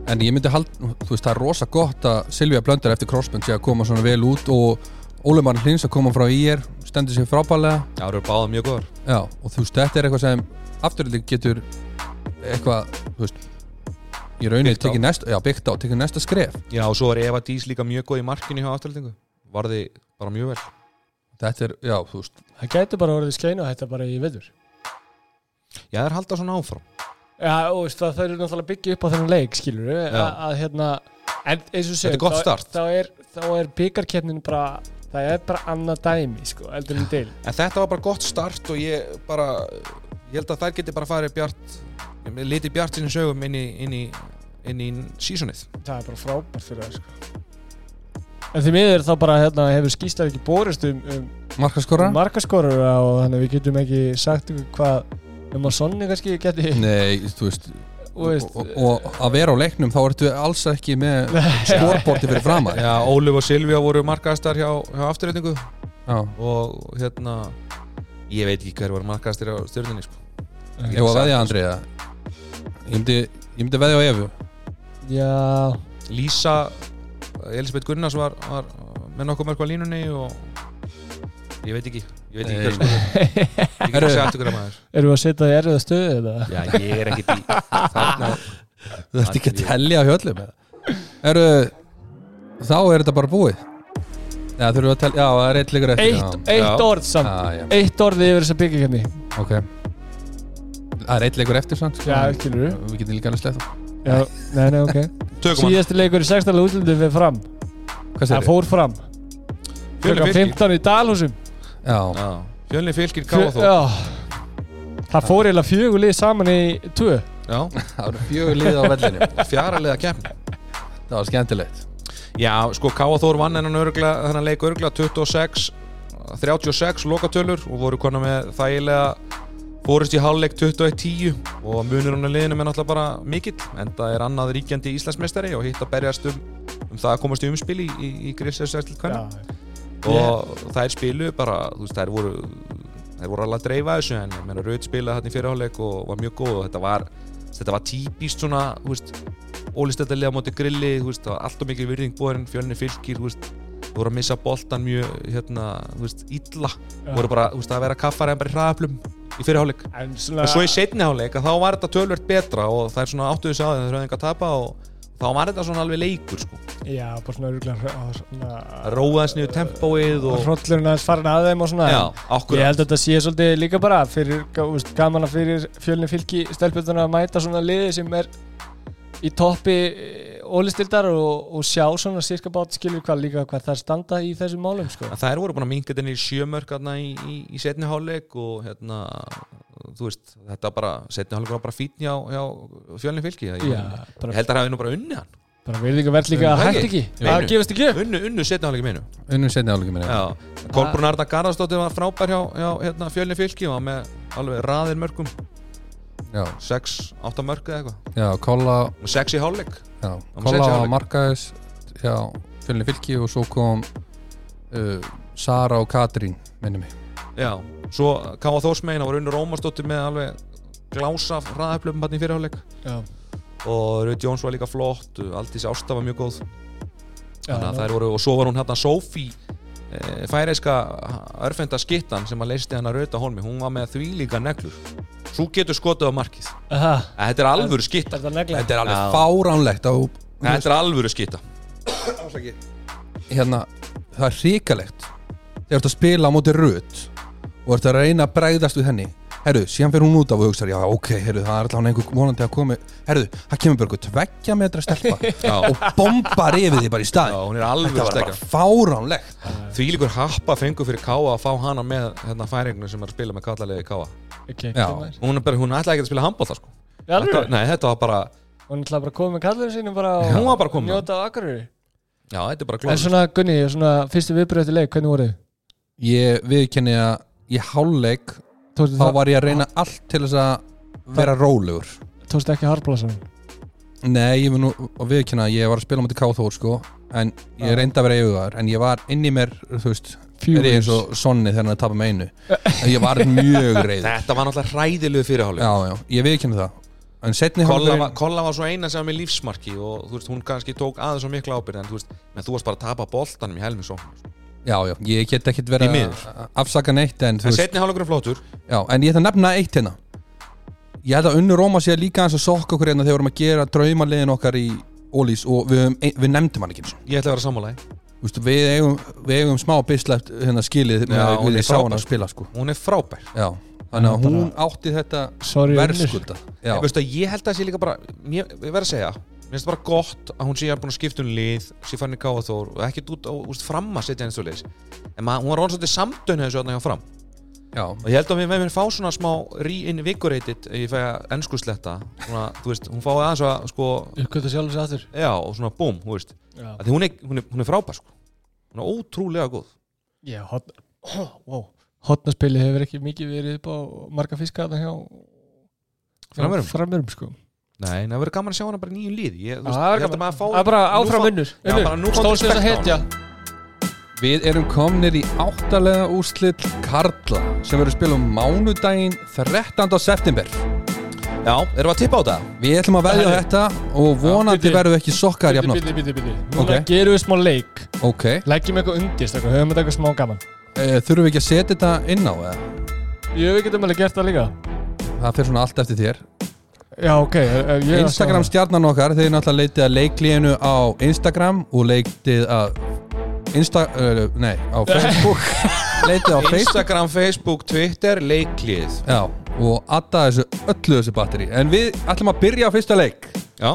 S1: en ég myndi hald, þú veist það er rosa gott að Silvija Blöndar eftir crossbund sé að koma svona vel út og Ólemar Hlins að koma frá IR stendur sér frábælega
S2: Já, þær voru báða mjög góðar.
S1: já, og þú veist þetta er eitthvað sem afturlík getur eitthvað, þú veist í rauninni
S2: Byggt á.
S1: tekið næsta, já byggt á, tekið næsta skref
S2: Já, og svo er Eva Dís líka mjög góð í markinu hjá afturlendingu, varði bara mjög vel.
S1: Þetta er, já, þú veist
S3: það gæti bara orðið skeinu að þetta bara í veður
S2: Já, það er halda svona áfram
S3: Já, og veist, það það eru náttúrulega að byggja upp á þennan leik skilur við,
S2: Já.
S3: að, að hérna en eins og
S2: Þetta er
S3: segjum,
S2: gott
S3: þá-
S2: start.
S3: þá er, þá er byggarkeppnin bara það er bara annað dæmi, sko, eldur en deil
S2: En þetta var bara gott start og ég bara ég held að þær geti bara farið bjart liti bjart sinni sögum inn í, inn í, inn í sísonið
S3: það er bara frábært fyrir það, sko En því miður þá bara hérna, hefur skýslar ekki borist um, um
S1: Markaskora?
S3: markaskorur og þannig að við getum ekki sagt ykkur hvað um að sonni kannski geti
S1: Nei, þú veist
S3: og veist,
S1: og, og að vera á leiknum þá ertu alls ekki með skorborti fyrir framar
S2: Já, Ólif og Silvja voru markaðastar hjá, hjá afturreitingu
S1: Já,
S2: og hérna ég veit ekki hver var markaðastar hjá stjörninni sko.
S1: ef að veðja Andri eða? Ég myndi, ég myndi veðja á Efu
S3: já,
S2: Lísa Elisabeth Gunnars var, var með nokkuð mörg á línunni og ég veit ekki ég veit ekki hver sko. ég get
S1: Herru.
S2: ekki segja aftur hver að maður
S3: erum við að setja það í erfiða stöðu eða?
S2: Já, ég er ekki í þarna
S1: Þú ert ekki að tellja hjöllum Eru, þá er þetta bara búið Já, þurfum við að tellja, já, það er eitt leikur eftir
S3: Eitt,
S1: já.
S3: eitt orð samt
S1: Já, já.
S3: Eitt orð yfir þessa byggjumkefni
S1: Ok Það er eitt leikur eftir, sant?
S3: Já, skilur
S1: Við getum líka alveg sleið þá
S3: Já, nei, nei, ok
S2: Tökum hann
S3: Síðasti leikur í sextala útlöndum fyrir fram
S1: Hvað
S3: Það
S1: segir
S3: fór fram Klukkan
S2: Fjölnir fylgir
S3: 15 í Dalhúsum
S1: Já,
S2: Já, Fjölnir fylgir
S3: Fjö-
S2: káða þó
S3: Já. Það fór eiginlega fjögur lið saman í tvö
S2: Já,
S1: það eru fjögur liðið á vellinu
S2: fjaralega keppni
S1: Það var skemmtilegt
S2: Já, sko Káa Þór vann hennan örgla, hennan leik örgla 26, 36 lokatölur og voru konar með þægilega fórist í hálfleik 21-10 og munur hann að liðinu með náttúrulega bara mikill en það er annað ríkjandi Íslandsmeistari og hitt að berjast um, um það að komast í umspil í, í, í Grisjarsvæstil
S3: Já,
S2: kvenna og þær spilu bara, þú veist, þær voru þær voru alveg að dreifa þessu en ég meina Röð spilaði þarna í fyrirháleik og var mjög góð og þetta var, þetta var típist svona, þú veist ólistættarlega á móti grilli, þú veist, það var alltaf mikil virðing búin, fjölni fylgir, þú veist þú voru að missa boltan mjög, hérna, þú veist illa,
S3: Já.
S2: voru bara, þú veist, að vera kaffar en bara í hraðaflum í fyrirháleik
S3: En
S2: og svo í
S3: svona
S2: setni háleik að þá var þetta tölvert betra og það er svona áttuðu sáðið þegar höfðingar tapa og þá var þetta svona alveg leikur sko.
S3: Já, bara svona örgulega
S2: róaðis niður tempóið og
S3: Hrollurinn aðeins farin að þeim og svona
S2: Já,
S3: en
S2: akkurat
S3: Ég held að þetta sé svolítið líka bara fyrir, gá- þú veist, gaman að fyrir fjölni fylki stelpjölduna að mæta svona liði sem er í toppi ólistildar og, og sjá svona sirka bát skilur hvað líka hvað það standa í þessum málum sko.
S2: að þær voru búin að minga þetta niður í sjömörk þarna í, í, í setni hálfleik og hérna, þú veist, þetta bara setni hálfleik var bara fítn hjá, hjá fjölni fylki, ég, ég
S3: Já, bara,
S2: held að það hefði nú bara unni hann,
S3: bara verðingar verð líka að
S2: Það
S3: hægt
S2: ekki.
S3: ekki það
S2: Jú.
S3: gefist ekki upp
S2: unnu, unnu setni hálfleik minu,
S1: Unnum setni álega minni
S2: já, Kolbrún Arda Garðarsdóttir var frábær hjá, hjá hérna, fjölni fylki og var með alveg raðir mörgum
S1: Já,
S2: 6, 8 mörg eða eitthvað,
S1: já, kolla
S2: og 6 í hálfleik
S1: Já,
S2: má
S1: kolla
S2: segja sjálfleik.
S1: á markaðis Já, fjölni fylki og svo kom uh, Sara og Katrín minni mig
S2: já, svo Káa Þórsmeina voru unnu Rómarsdóttir með alveg glása raðaflöfum hann í fyrirháleik
S3: Já,
S2: og Rut Jóns var líka flott, Aldís Ásta var mjög góð
S3: já,
S2: þannig að
S3: ná-
S2: þær voru, og svo var hún hérna Sofi e, færeiska örfenda skittan sem að leisti hann að rauta holmi hún var með þvílíka neglur svo getur skotið á markið
S3: Aha,
S2: En þetta er alvöru skitta
S3: Þetta er negla
S1: Þetta er alveg
S2: Já.
S1: fáránlegt á,
S2: þetta er alvöru skitta
S1: hérna, það er hrikalegt þegar þú ert að spila á móti röð og ert að reyna að bregðast við henni herru, síðan fyrir hún út af og hugsa já, ok, herru, það er allavega einhver vonandi að komi herru, það kemur bara einhver tveggja metra stelpa
S2: Já.
S1: og bombar yfir því bara í
S2: Já,
S1: staðin
S2: hún er alvöru
S1: þetta var
S2: stekja
S1: bara fáránlegt
S2: þvílíkur happa fengur fyrir Káa að fá hana með hérna, færinginu sem er að spila með kallalegi Káa
S3: okay,
S1: Já.
S3: kemur.
S2: hún, er bara, hún ætlaði ekki að spila handbólta sko.
S3: Í alvöru?
S2: þetta, nei, þetta var bara
S3: Hún ætlaði bara að koma með kallurinn sínum bara og
S2: Hún var bara að koma.
S3: njóta á akkurri
S2: já, þetta er bara
S3: En
S2: glóð
S3: svona Gunni, svona fyrstu viðbröðu til leik, hvernig voru þið?
S1: ég viðkenni að í hálfleik
S3: Tókstu
S1: þá
S3: það-
S1: var ég að reyna allt til þess að vera rólegur
S3: tókstu ekki harfblásan?
S1: Nei, ég vil nú að viðkynna að ég var að spila á móti Káþór sko en ég reyndi að vera yfirvæður en ég var inn í mér, þú veist
S3: Furious.
S1: er ég eins og sonni þegar hann er að tapa með einu en ég var mjög reyður Já,
S2: þetta var náttúrulega ræðilegu fyrirháli
S1: já, ég viðkynna það En setni
S2: Kolla var,
S1: hálfleikurinn
S2: Kolla var svo eina sem var með lífsmarki og þú veist, hún kannski tók aðeins og mikla ábyrð en þú veist, menn þú varst bara að tapa boltanum í helmi svo.
S1: Já, já, ég get ekkit
S2: Í
S1: verið
S2: miður.
S1: að afsaka neitt en, þú
S2: En
S1: veist,
S2: setni hálfleikur er flottur
S1: já, en ég ætla að nefna eitt hérna Ég held að unnu Róma sé líka eins að sokka okkur hérna þegar við vorum að gera draumalegin okkar í Ólís og við, höfum ein- við nefndum hann ekki einu sinni.
S2: Ég ætla að vera sammálaði
S1: Þú Vistu, við, eigum, við eigum smá bislegt hérna skilið með
S2: Já,
S1: að
S2: hún
S1: við
S2: er
S1: ég sá
S2: frábær,
S1: hana að
S2: sko.
S1: spila sko.
S2: hún er frábær
S1: Já, þannig að
S3: Bara-
S1: hún átti þetta
S3: Sorry, Unnur.
S1: verðskulda Já,
S2: Ég, veistu, að ég held að það sé líka bara mér, ég verð að segja, mér finnst bara gott að hún sé að búin að skipta um lið, sé fann í Káaþór og ekkert út á úst, fram að setja eins og leis en maður, hún var orðin svolítið samdönu þessu hérna hjá fram
S1: já,
S2: og ég held að við með mér fá svona smá reinvigorated, ég fæ að ennsku sletta svona, þú veist, hún fái aðeins að sko,
S3: uppgötta sjálf sér aftur
S2: já, og svona búm, þú veist
S3: Já.
S2: að því hún er, hún er, hún er frábær sko hún er ótrúlega góð
S3: Já, hot, wow. hotnaspili hefur ekki mikið verið upp á marga fiska þarna hjá
S2: Framherjum?
S3: Já, framherjum sko
S2: Nei, en það verður gaman að sjá hana bara í nýju lið ég, þú
S3: Já,
S2: veist,
S3: það er
S2: ég held að
S3: gaman.
S2: maður fá
S3: Það er bara
S2: nú
S3: áfram
S2: fá-
S3: unnur
S2: Já, bara nú
S3: Unnur,
S2: fáum við
S3: stóðsins að
S2: respekt á
S3: hetja
S1: við erum komnir í áttalega úrslit Karla sem verður að spila um mánudaginn 13. september
S2: Já, erum við að tippa á það?
S1: Við ætlum að veðja á þetta og vonandi
S3: bíddu.
S1: verðum við ekki sokkar jafnátt
S3: Bíti, bíti, bíti Núna
S1: Ok.
S3: gerum við smá leik
S1: Ok,
S3: Leggjum eitthvað undir, stakar, höfum þetta eitthvað smá gaman
S1: e, þurfum við ekki að setja þetta inn á eða?
S3: Jú, við getum alveg gert það líka
S1: Það fyrir svona allt eftir þér
S3: Já, ok er, er, ég er að sjá
S1: Instagram
S3: það.
S1: stjarnan okkar, þeir náttúrulega leitið að leiklíðinu á Instagram og leitið að Insta, uh, nei, á Facebook leitið á Facebook
S2: Instagram, Facebook, Twitter, leiklið
S1: Já, og adda þessu öllu þessu batteri en við ætlum að byrja á fyrsta leik
S2: Já,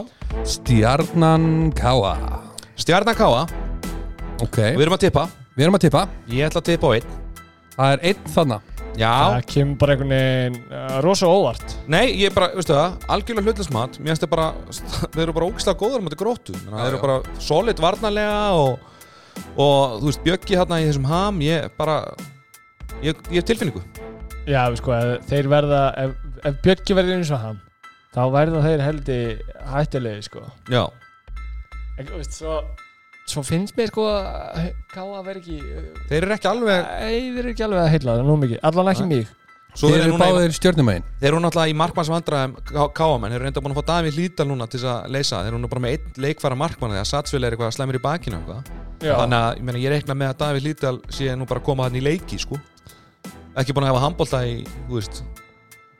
S1: Stjarnan Káa
S2: stjarnan káa
S1: Ok,
S2: Við erum að tippa
S1: við erum að tippa
S2: Ég ætla að tippa á einn
S1: Það er einn þarna
S2: Já,
S3: Það kemur bara einhvern veginn uh, rosa óvart
S2: nei, ég bara, veistu það Algjörlega hlutlismat Mér finnst það bara Þeir eru bara ógislega góður um þetta gróttu Þannig að þeir eru bara solid varnarlega og, og þú veist, Bjöggi hérna í þessum ham Ég bara Ég, ég hef tilfinningu
S3: Já, við sko, ef þeir verða Ef, ef Björki verður eins og hann Þá verða þeir heldi hættilegi, sko
S2: Já
S3: En, þú veist, svo Svo finnst mér, sko, að Káa verð ekki uh,
S2: Þeir eru ekki alveg
S3: Nei, þeir eru ekki alveg að heilla það nú mikið Allan ekki mig
S2: Svo
S1: Þeir eru
S2: núna í-
S1: báðir stjörnumægin
S2: Þeir eru náttúrulega í markmanns vandræðum Káamenn, þeir eru reynda búin að fá Davíð Lítal núna til þess að leysa, þeir eru nú bara með einn leikfæra markmann þegar Satsvili er eitthvað slæmur í bakinu og eitthvað.
S3: Já,
S2: þannig að ég, meina, ég reikna með að Davíð Lítal sé nú bara að koma hann í leiki sko. ekki búin að hafa handbólta í þú veist,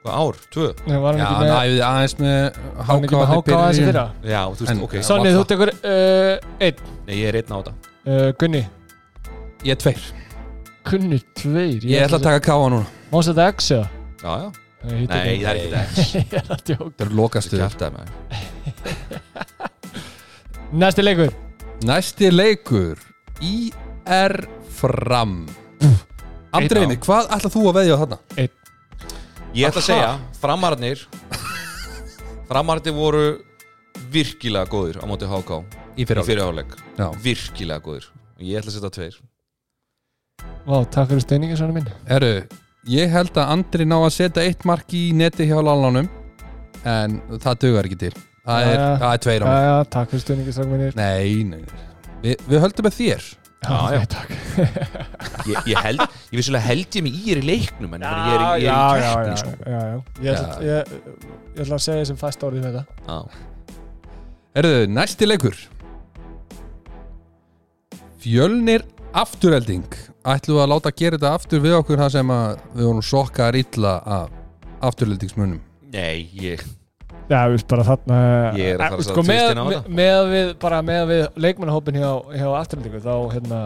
S2: hvað, ár, tvö
S3: Nei, var
S1: Já,
S3: hann ekki
S1: hann
S3: með
S1: æfði aðeins með
S3: Var hann ekki með háká
S1: hákáa
S3: aðeins í fyrra
S2: já, þú veist,
S1: En-
S2: ok,
S1: Sorry.
S3: Sonni,
S1: varla.
S3: þú tekur uh, einn
S2: Nei, ég er einn á þetta
S3: uh, Gunni
S1: Ég er tveir
S3: Gunni tveir
S1: Ég ætla að taka Káa núna
S3: Má þetta X eða?
S2: já, já,
S3: Nei,
S2: nei,
S3: ég tek
S2: það er ekki þetta
S3: ekki. Ég er að djóka
S1: Þeir eru lokastuður
S2: kjartaði með
S3: Næsti leikur
S1: Næsti leikur IR Fram Andreymi, hvað ætlað þú að veðja á þarna?
S2: ég ætla að segja, framararnir framararnir voru virkilega góðir á móti HK
S1: Í
S2: í fyrirháleik,
S1: Já.
S2: virkilega góðir ég ætla að setja tveir
S3: Vá, takk fyrir steininga svona minn
S1: Herru, ég held að Andri ná að setja eitt mark í neti hjá lálánum en það dugar ekki til Það er,
S3: Jæja.
S1: það er tveir á mig
S3: Jæja, takk fyrir steininga svona minnir
S1: Nei, nei, nei. Vi, við höldum með þér
S2: Já, já.
S3: takk
S2: ég, ég held, ég vissulega held ég mig í er í leiknum en ég, meina, ég er, í- ég er í
S3: já, já, já,
S2: keppni sko.
S3: já, já. Ég, ætla, ég, ég ætla að segja sem fast orðið með þetta
S2: Já.
S1: Herru, næsti leikur Fjölnir afturhelding Ætlum við að láta gera þetta aftur við okkur það sem að við vorum sokkar illa af afturheldingsmunum
S2: nei, ég,
S3: Já, við veist bara þarna
S2: Ég er að fara að
S3: Sko,
S2: setja
S3: með,
S2: tvistinn á
S3: með,
S2: þetta.
S3: með að við, bara með að við leikmannahópin hjá, hjá afturlendingu þá, hérna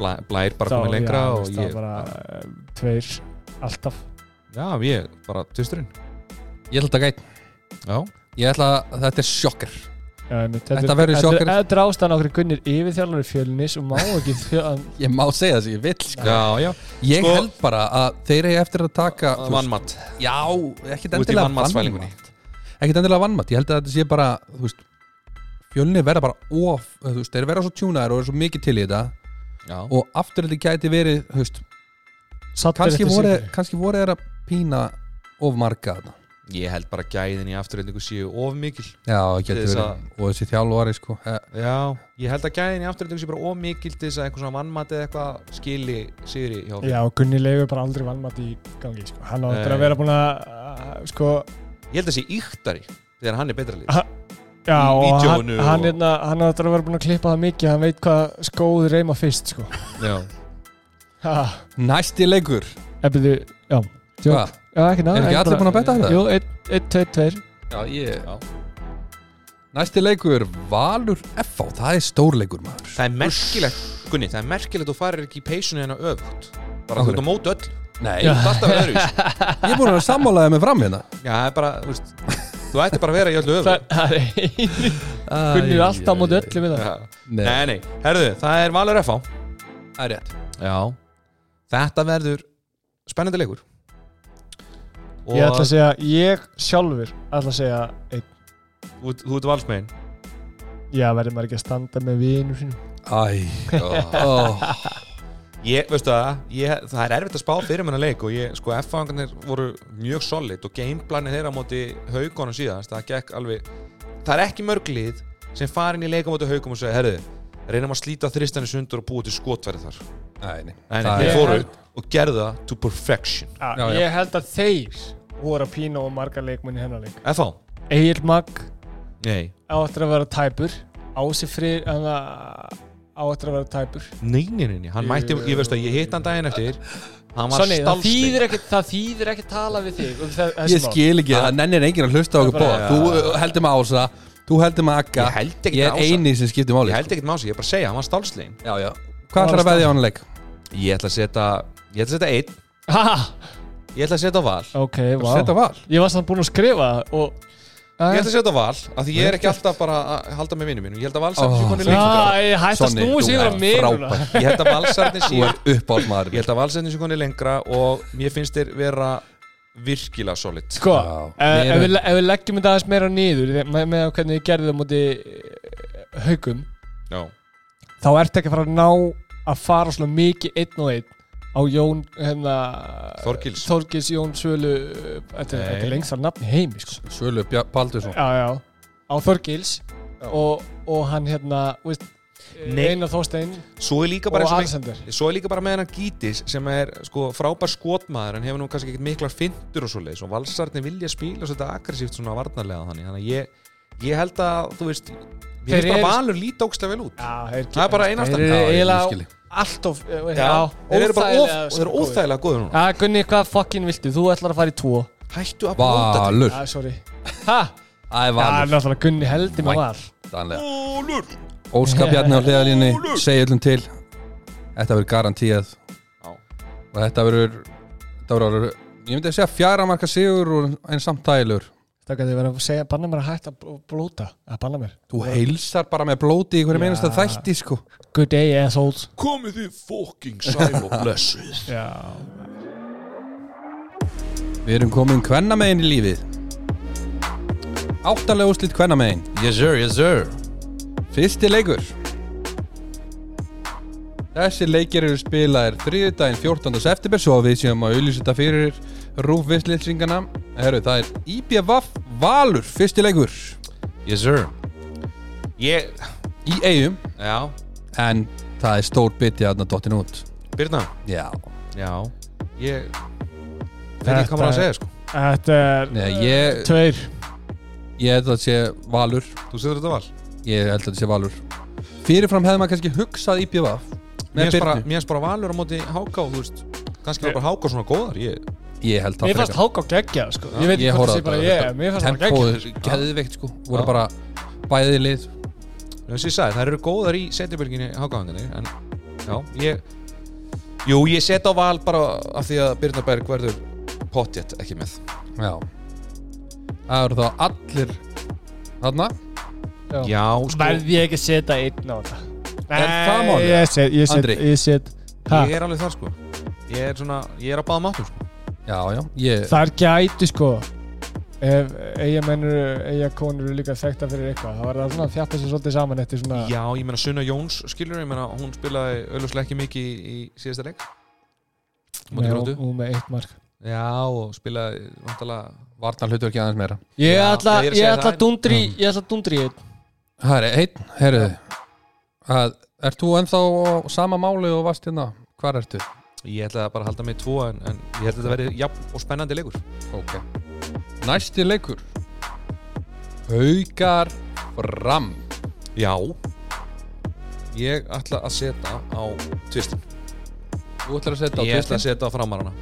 S2: Bla- blær bara
S3: þá,
S2: komið lengra
S3: já,
S2: og
S3: veist,
S2: ég,
S3: þá bara eh, tveir, alltaf
S2: já, ég bara tvisturinn
S1: Ég ætla að gæta
S2: já,
S1: Ég ætla að þetta er sjokkar
S3: Já, einmitt,
S1: Þetta verður sjokkar.
S3: Þetta er ástæðan okkur Gunnir yfirþjálfari fjölnis og má ekki þjálfan
S1: Ég má segja þessi, ég vill sko.
S2: já, já
S1: Ég
S2: Sko-
S1: held bara að þeir eru eftir að taka þú veist,
S2: vannmatt
S1: Já, ekkit
S2: Þú ert í
S1: endilega
S2: vanmatsvælingunni.
S1: vanmat. Ekkit endilega vannmatt, ég held að þetta sé bara þú veist, Fjölnir verða bara of, eh, þú veist, þeir verða svo tjúnaðar og eru svo mikið til í þetta
S2: já,
S1: og afturheldi gæti verið, þú veist kannski voru, kannski voru þeir að pína of marga þarna
S2: ég held bara gæðin í afturhendingu séu of mikil
S1: Já, það
S2: Til
S1: getur
S2: þess
S1: verið
S2: að-
S1: og þessi þjálfari sko Eh,
S2: já, ég held að gæðin í afturhendingu séu bara of mikil til þess að einhver svona vannmatt eða eitthvað skili sigri hjá
S3: Já, Gunni leiður bara aldrei vannmatt í gangi sko. Hann á
S2: Nei.
S3: eftir að vera búin að uh, sko,
S2: ég held að sé yktari þegar hann er betra lið
S3: Ah. já,
S2: Í
S3: og hann,
S2: vídeóinu
S3: hann,
S2: og-
S3: hérna, hann á eftir að vera búin að klippa það mikið hann veit hvað skóð reyma fyrst sko.
S2: já,
S3: Ha,
S1: Næsti leikur
S3: Ef þið, já,
S1: Hva?
S3: já, ekki ná
S1: Eru ekki allir búin að betta á það?
S3: Jú, 1, 2, 2
S1: Já, ég
S2: já.
S1: Næsti leikur, Valur F.A. Það er stórleikur maður
S2: Það er merkilegt, Gunni, það er merkilegt að þú farir ekki í peysunni hennar öfugt bara
S1: Af hverju?
S2: þú ert á móti öll Þú
S1: Nei,
S2: ert alltaf verið öðru Já,
S1: ég er búin að sammálaði með fram hérna
S2: það er bara, þú veist Þú ætti bara að vera í öllu öfugt
S3: Það það er einu Kunnir
S1: Æ, æ,
S3: alltaf móti
S1: æ.
S3: öllu við það
S2: Já.
S1: Nei.
S2: Nei, nei, herðu, það er Valur FH
S1: Það er rétt
S2: Já Þetta verður spennandi leikur Og
S3: Ég ætla að segja, ég sjálfur ætla að segja einn,
S2: þú, þú ert valsmegin
S3: Já, verður maður ekki að standa með vinur sínum
S1: Æ, oh,
S2: Ég, veistu það, ég, það er erfitt að spá fyrir menna leik og ég, sko, F-fangarnir voru mjög solid og gameplanið þeirra á móti haugunum síðast, það gekk alveg það er ekki mörglið sem farin í leik á móti haugum og segja, herðu, reynum að slíta þristan í sundur og búa til skotverði þar
S1: Æ, nei,
S2: en
S1: það
S2: þeir
S1: er
S3: fór-
S2: fóru og gerðu það to perfection
S1: Já, já.
S3: Ég held að þeir voru að pína og marga leikmenni hennar leik
S2: F-á?
S3: Egil Magg
S2: Nei
S3: áttur að vera tæpur Ási Freyr áttur að vera tæpur
S2: Nei, nei, nei, nei, hann mætti, ég veist að ég hitt hann daginn eftir hann var
S3: Sonni, það
S2: stálsleik
S3: þýðir ekki það þýðir ekki að tala við þig um þe-
S1: Ég
S3: þessi mál.
S1: skil ekki, það nennir enginn að hlusta á okkur
S3: Það er
S1: bóð
S3: bara-
S1: Þú uh, heldur maður Ása, þú heldur maður Akka
S2: Ég held ekki
S1: Ég
S2: Ása.
S1: er eini sem skiptir máli
S2: ég held ekki maður sér, ég er bara að segja, hann var stálsleik
S1: Já, já Hvað ætlar að veðja á hann leik?
S2: ég ætla að setja, ég ætla að setja einn
S3: Ha,
S2: ég ætla að setja á val
S3: Ok, vá
S1: Þetta val
S3: Ég var samt búinn að skrifa það og
S2: Ég ætla að setja val, af því ég er ekki alltaf bara að halda með vinnum mínum Ég held að valsarnir
S1: Ó.
S2: séu konir lengra
S3: Já, ég hætti að
S1: Sonni,
S3: snúi
S1: þú
S3: sig yfir
S1: ert
S3: að mig núna.
S1: frábær.
S2: Ég held að valsarnir
S1: Þú
S2: séu
S1: ert uppáhaldsmaður
S2: Ég held að valsarnir séu konir lengra og mér finnst þeir vera virkilega solid
S3: Sko,
S1: Já,
S3: eh,
S1: meira-
S3: ef við, le- ef við leggjum þetta aðeins meira niður þe- með, með hvernig þið gerðum múti haugum
S2: Já,
S3: þá ertu ekki að fara að ná að fara svona mikið einn og einn á Jón hérna,
S2: Þorgils.
S3: Þorgils Jón Svölu eh, þetta er-
S2: Nei.
S3: þetta er lengst að nafni heimi sko.
S1: Svölu Bjar- Baldursson
S3: já, já, á Þorgils og, og hann hérna veist,
S2: Nei.
S3: Einar Þorstein
S2: svo er líka
S3: og
S2: bara eins og mig-
S3: Alexander
S2: Svo er líka bara með hennan Gítis sem er sko frábær skotmaður en hefur nú kannski ekkert miklar fyndur og svo leiðis og valsarnir vilja spila svolítið aggressíft svona varnarlega þannig þannig að ég, ég held að þú veist, mér
S3: Þeir
S2: finnst bara
S3: eru-
S2: valur líta ógstlega vel út
S3: já, þeir,
S2: Það er bara eina ástæðan.
S1: Já,
S3: þeir eru
S1: ég skil
S3: eiginlega
S1: ég.
S3: allt of eh, já,
S2: þeir eru bara of,
S3: óþægilega sko,
S2: þeir eru
S3: góðir.
S2: óþægilega góður núna
S3: Já, Gunni, hvað fokkin viltu? Þú ætlar að fara í tvo
S2: Hættu að blóta til
S1: Valur
S3: Já, sorry Ha?
S1: Það er
S3: Já,
S1: Valur
S3: náttúrulega Gunni heldur með val
S1: Danlega Óska Bjarni á hliðalínni Segja öllum til Þetta verður garantíð
S2: Já.
S1: Og þetta verður Þetta verður Ég myndi að segja fjara marka sigur og en samt tælur
S3: Það gæti verið að segja, banna mér að hætta að bl- blóta að banna mér
S1: Þú heilsar bara með blóti í hverju
S3: Já.
S1: meinast að þætti sko
S3: Good day assholes
S2: Komið þið fucking sæl og blessuð
S3: Já,
S1: Við erum komin kvennamegin í lífið Áttalega úslit kvennamegin
S2: Yes sir, yes sir
S1: Fyrsti leikur Þessi leikir eru spilaðir þriðudaginn 14. september svo að við séum að auðlýsa þetta fyrir rúfvislýsingana Herru, það er IBVF Valur, fyrsti leikur
S2: Yes sir Ég,
S1: í eigum
S2: já,
S1: en það er stór biti aðna dottin út
S2: Birna
S1: Já,
S2: Já, ég Veit ekki hvað maður á að segja sko
S3: þetta er
S1: Nei, ég,
S3: Tveir
S1: ég held að þetta sé Valur
S2: Þú setur þetta val
S1: ég held að þetta sé Valur Fyrirfram hefði maður kannski hugsað IBVF
S2: Mér
S1: með
S2: finnst bara,
S1: Birnu,
S2: mér finnst bara valur á móti háká, þú veist Kannski var bara háká svona góðar ég,
S1: ég held það
S3: Mér fannst háka geggja, sko Ég veit ekki
S1: Ég
S3: hvort
S1: horfði
S3: það sé bara
S1: á
S3: ég
S1: þetta.
S3: Mér fannst það geggja
S1: Tempóður, geðveikt sko, voru
S2: Já.
S1: bara bæðið lið
S2: Þess að ég sagði, þær eru góðar í setjabölginni hákáðanginni En, já, ég Jú, ég set á val bara af því að Birna Berg verður potjett ekki með
S1: Já Það eru þá allir Þarna
S2: Já, sko,
S3: Verð ég ekki að setja einn á þetta? Nei,
S1: það málið?
S3: ég set, ég set,
S1: Andri?
S3: ég set ha,
S2: ég er alveg þar sko Ég er svona, ég er að báða mátum sko
S1: Já, já Ég
S3: Þar gæti, sko Ef eiga mennur, eiga konur eru líka þekkta fyrir eitthvað Það var það svona að þjappa sér svolítið saman eftir svona
S2: Já, ég meina Sunna Jóns skilur, ég meina hún spilaði auðvitað ekki mikið í, í síðasta leik Móti
S3: með,
S2: gróttu
S3: og með eitt mark
S2: Já, og spilaði vantalega
S1: varnar hlutur ekki aðeins meira
S3: Ég
S2: Já,
S3: ætla,
S2: ég er að
S3: ég
S2: segja
S3: ætla
S2: það.
S3: dundri, ég ætla dundri í einn
S1: Það er einn, heyrðu að, Ert þú ennþá á sama máli og varst hérna? Hvar ertu?
S2: Ég ætlaði bara að halda mig tvo en, en ég held að þetta verði jafn og spennandi leikur
S1: Ok Næsti leikur Haukar fram
S2: Já Ég ætla að setja á tvistin
S1: Þú ætlar að setja á
S2: Ég ætla að
S1: tvistin
S2: setja á framarana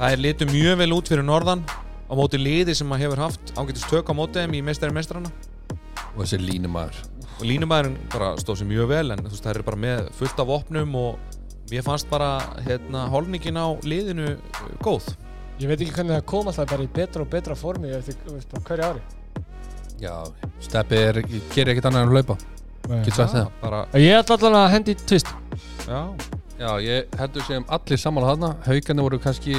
S2: Það er litur mjög vel út fyrir norðan á móti liði sem maður hefur haft ágætist tök á móti þeim í meistari meistarana
S1: Og og þessi línumæður
S2: og línumæðurinn bara stóð sér mjög vel en þú veist, það er bara með fullt af opnum og mér fannst bara hérna, holningin á liðinu uh, góð
S3: Ég veit ekki hvernig það kom alltaf bara í betra og betra formi eftir þú veist, bara hverju ári.
S1: já, steppi er, gerir ekkert annað en að laupa getur sagt það
S2: bara,
S3: Ég ætla allan að hendi í tvist.
S2: já,
S1: Já, ég heldur sem allir sammála þarna Haukandi voru kannski,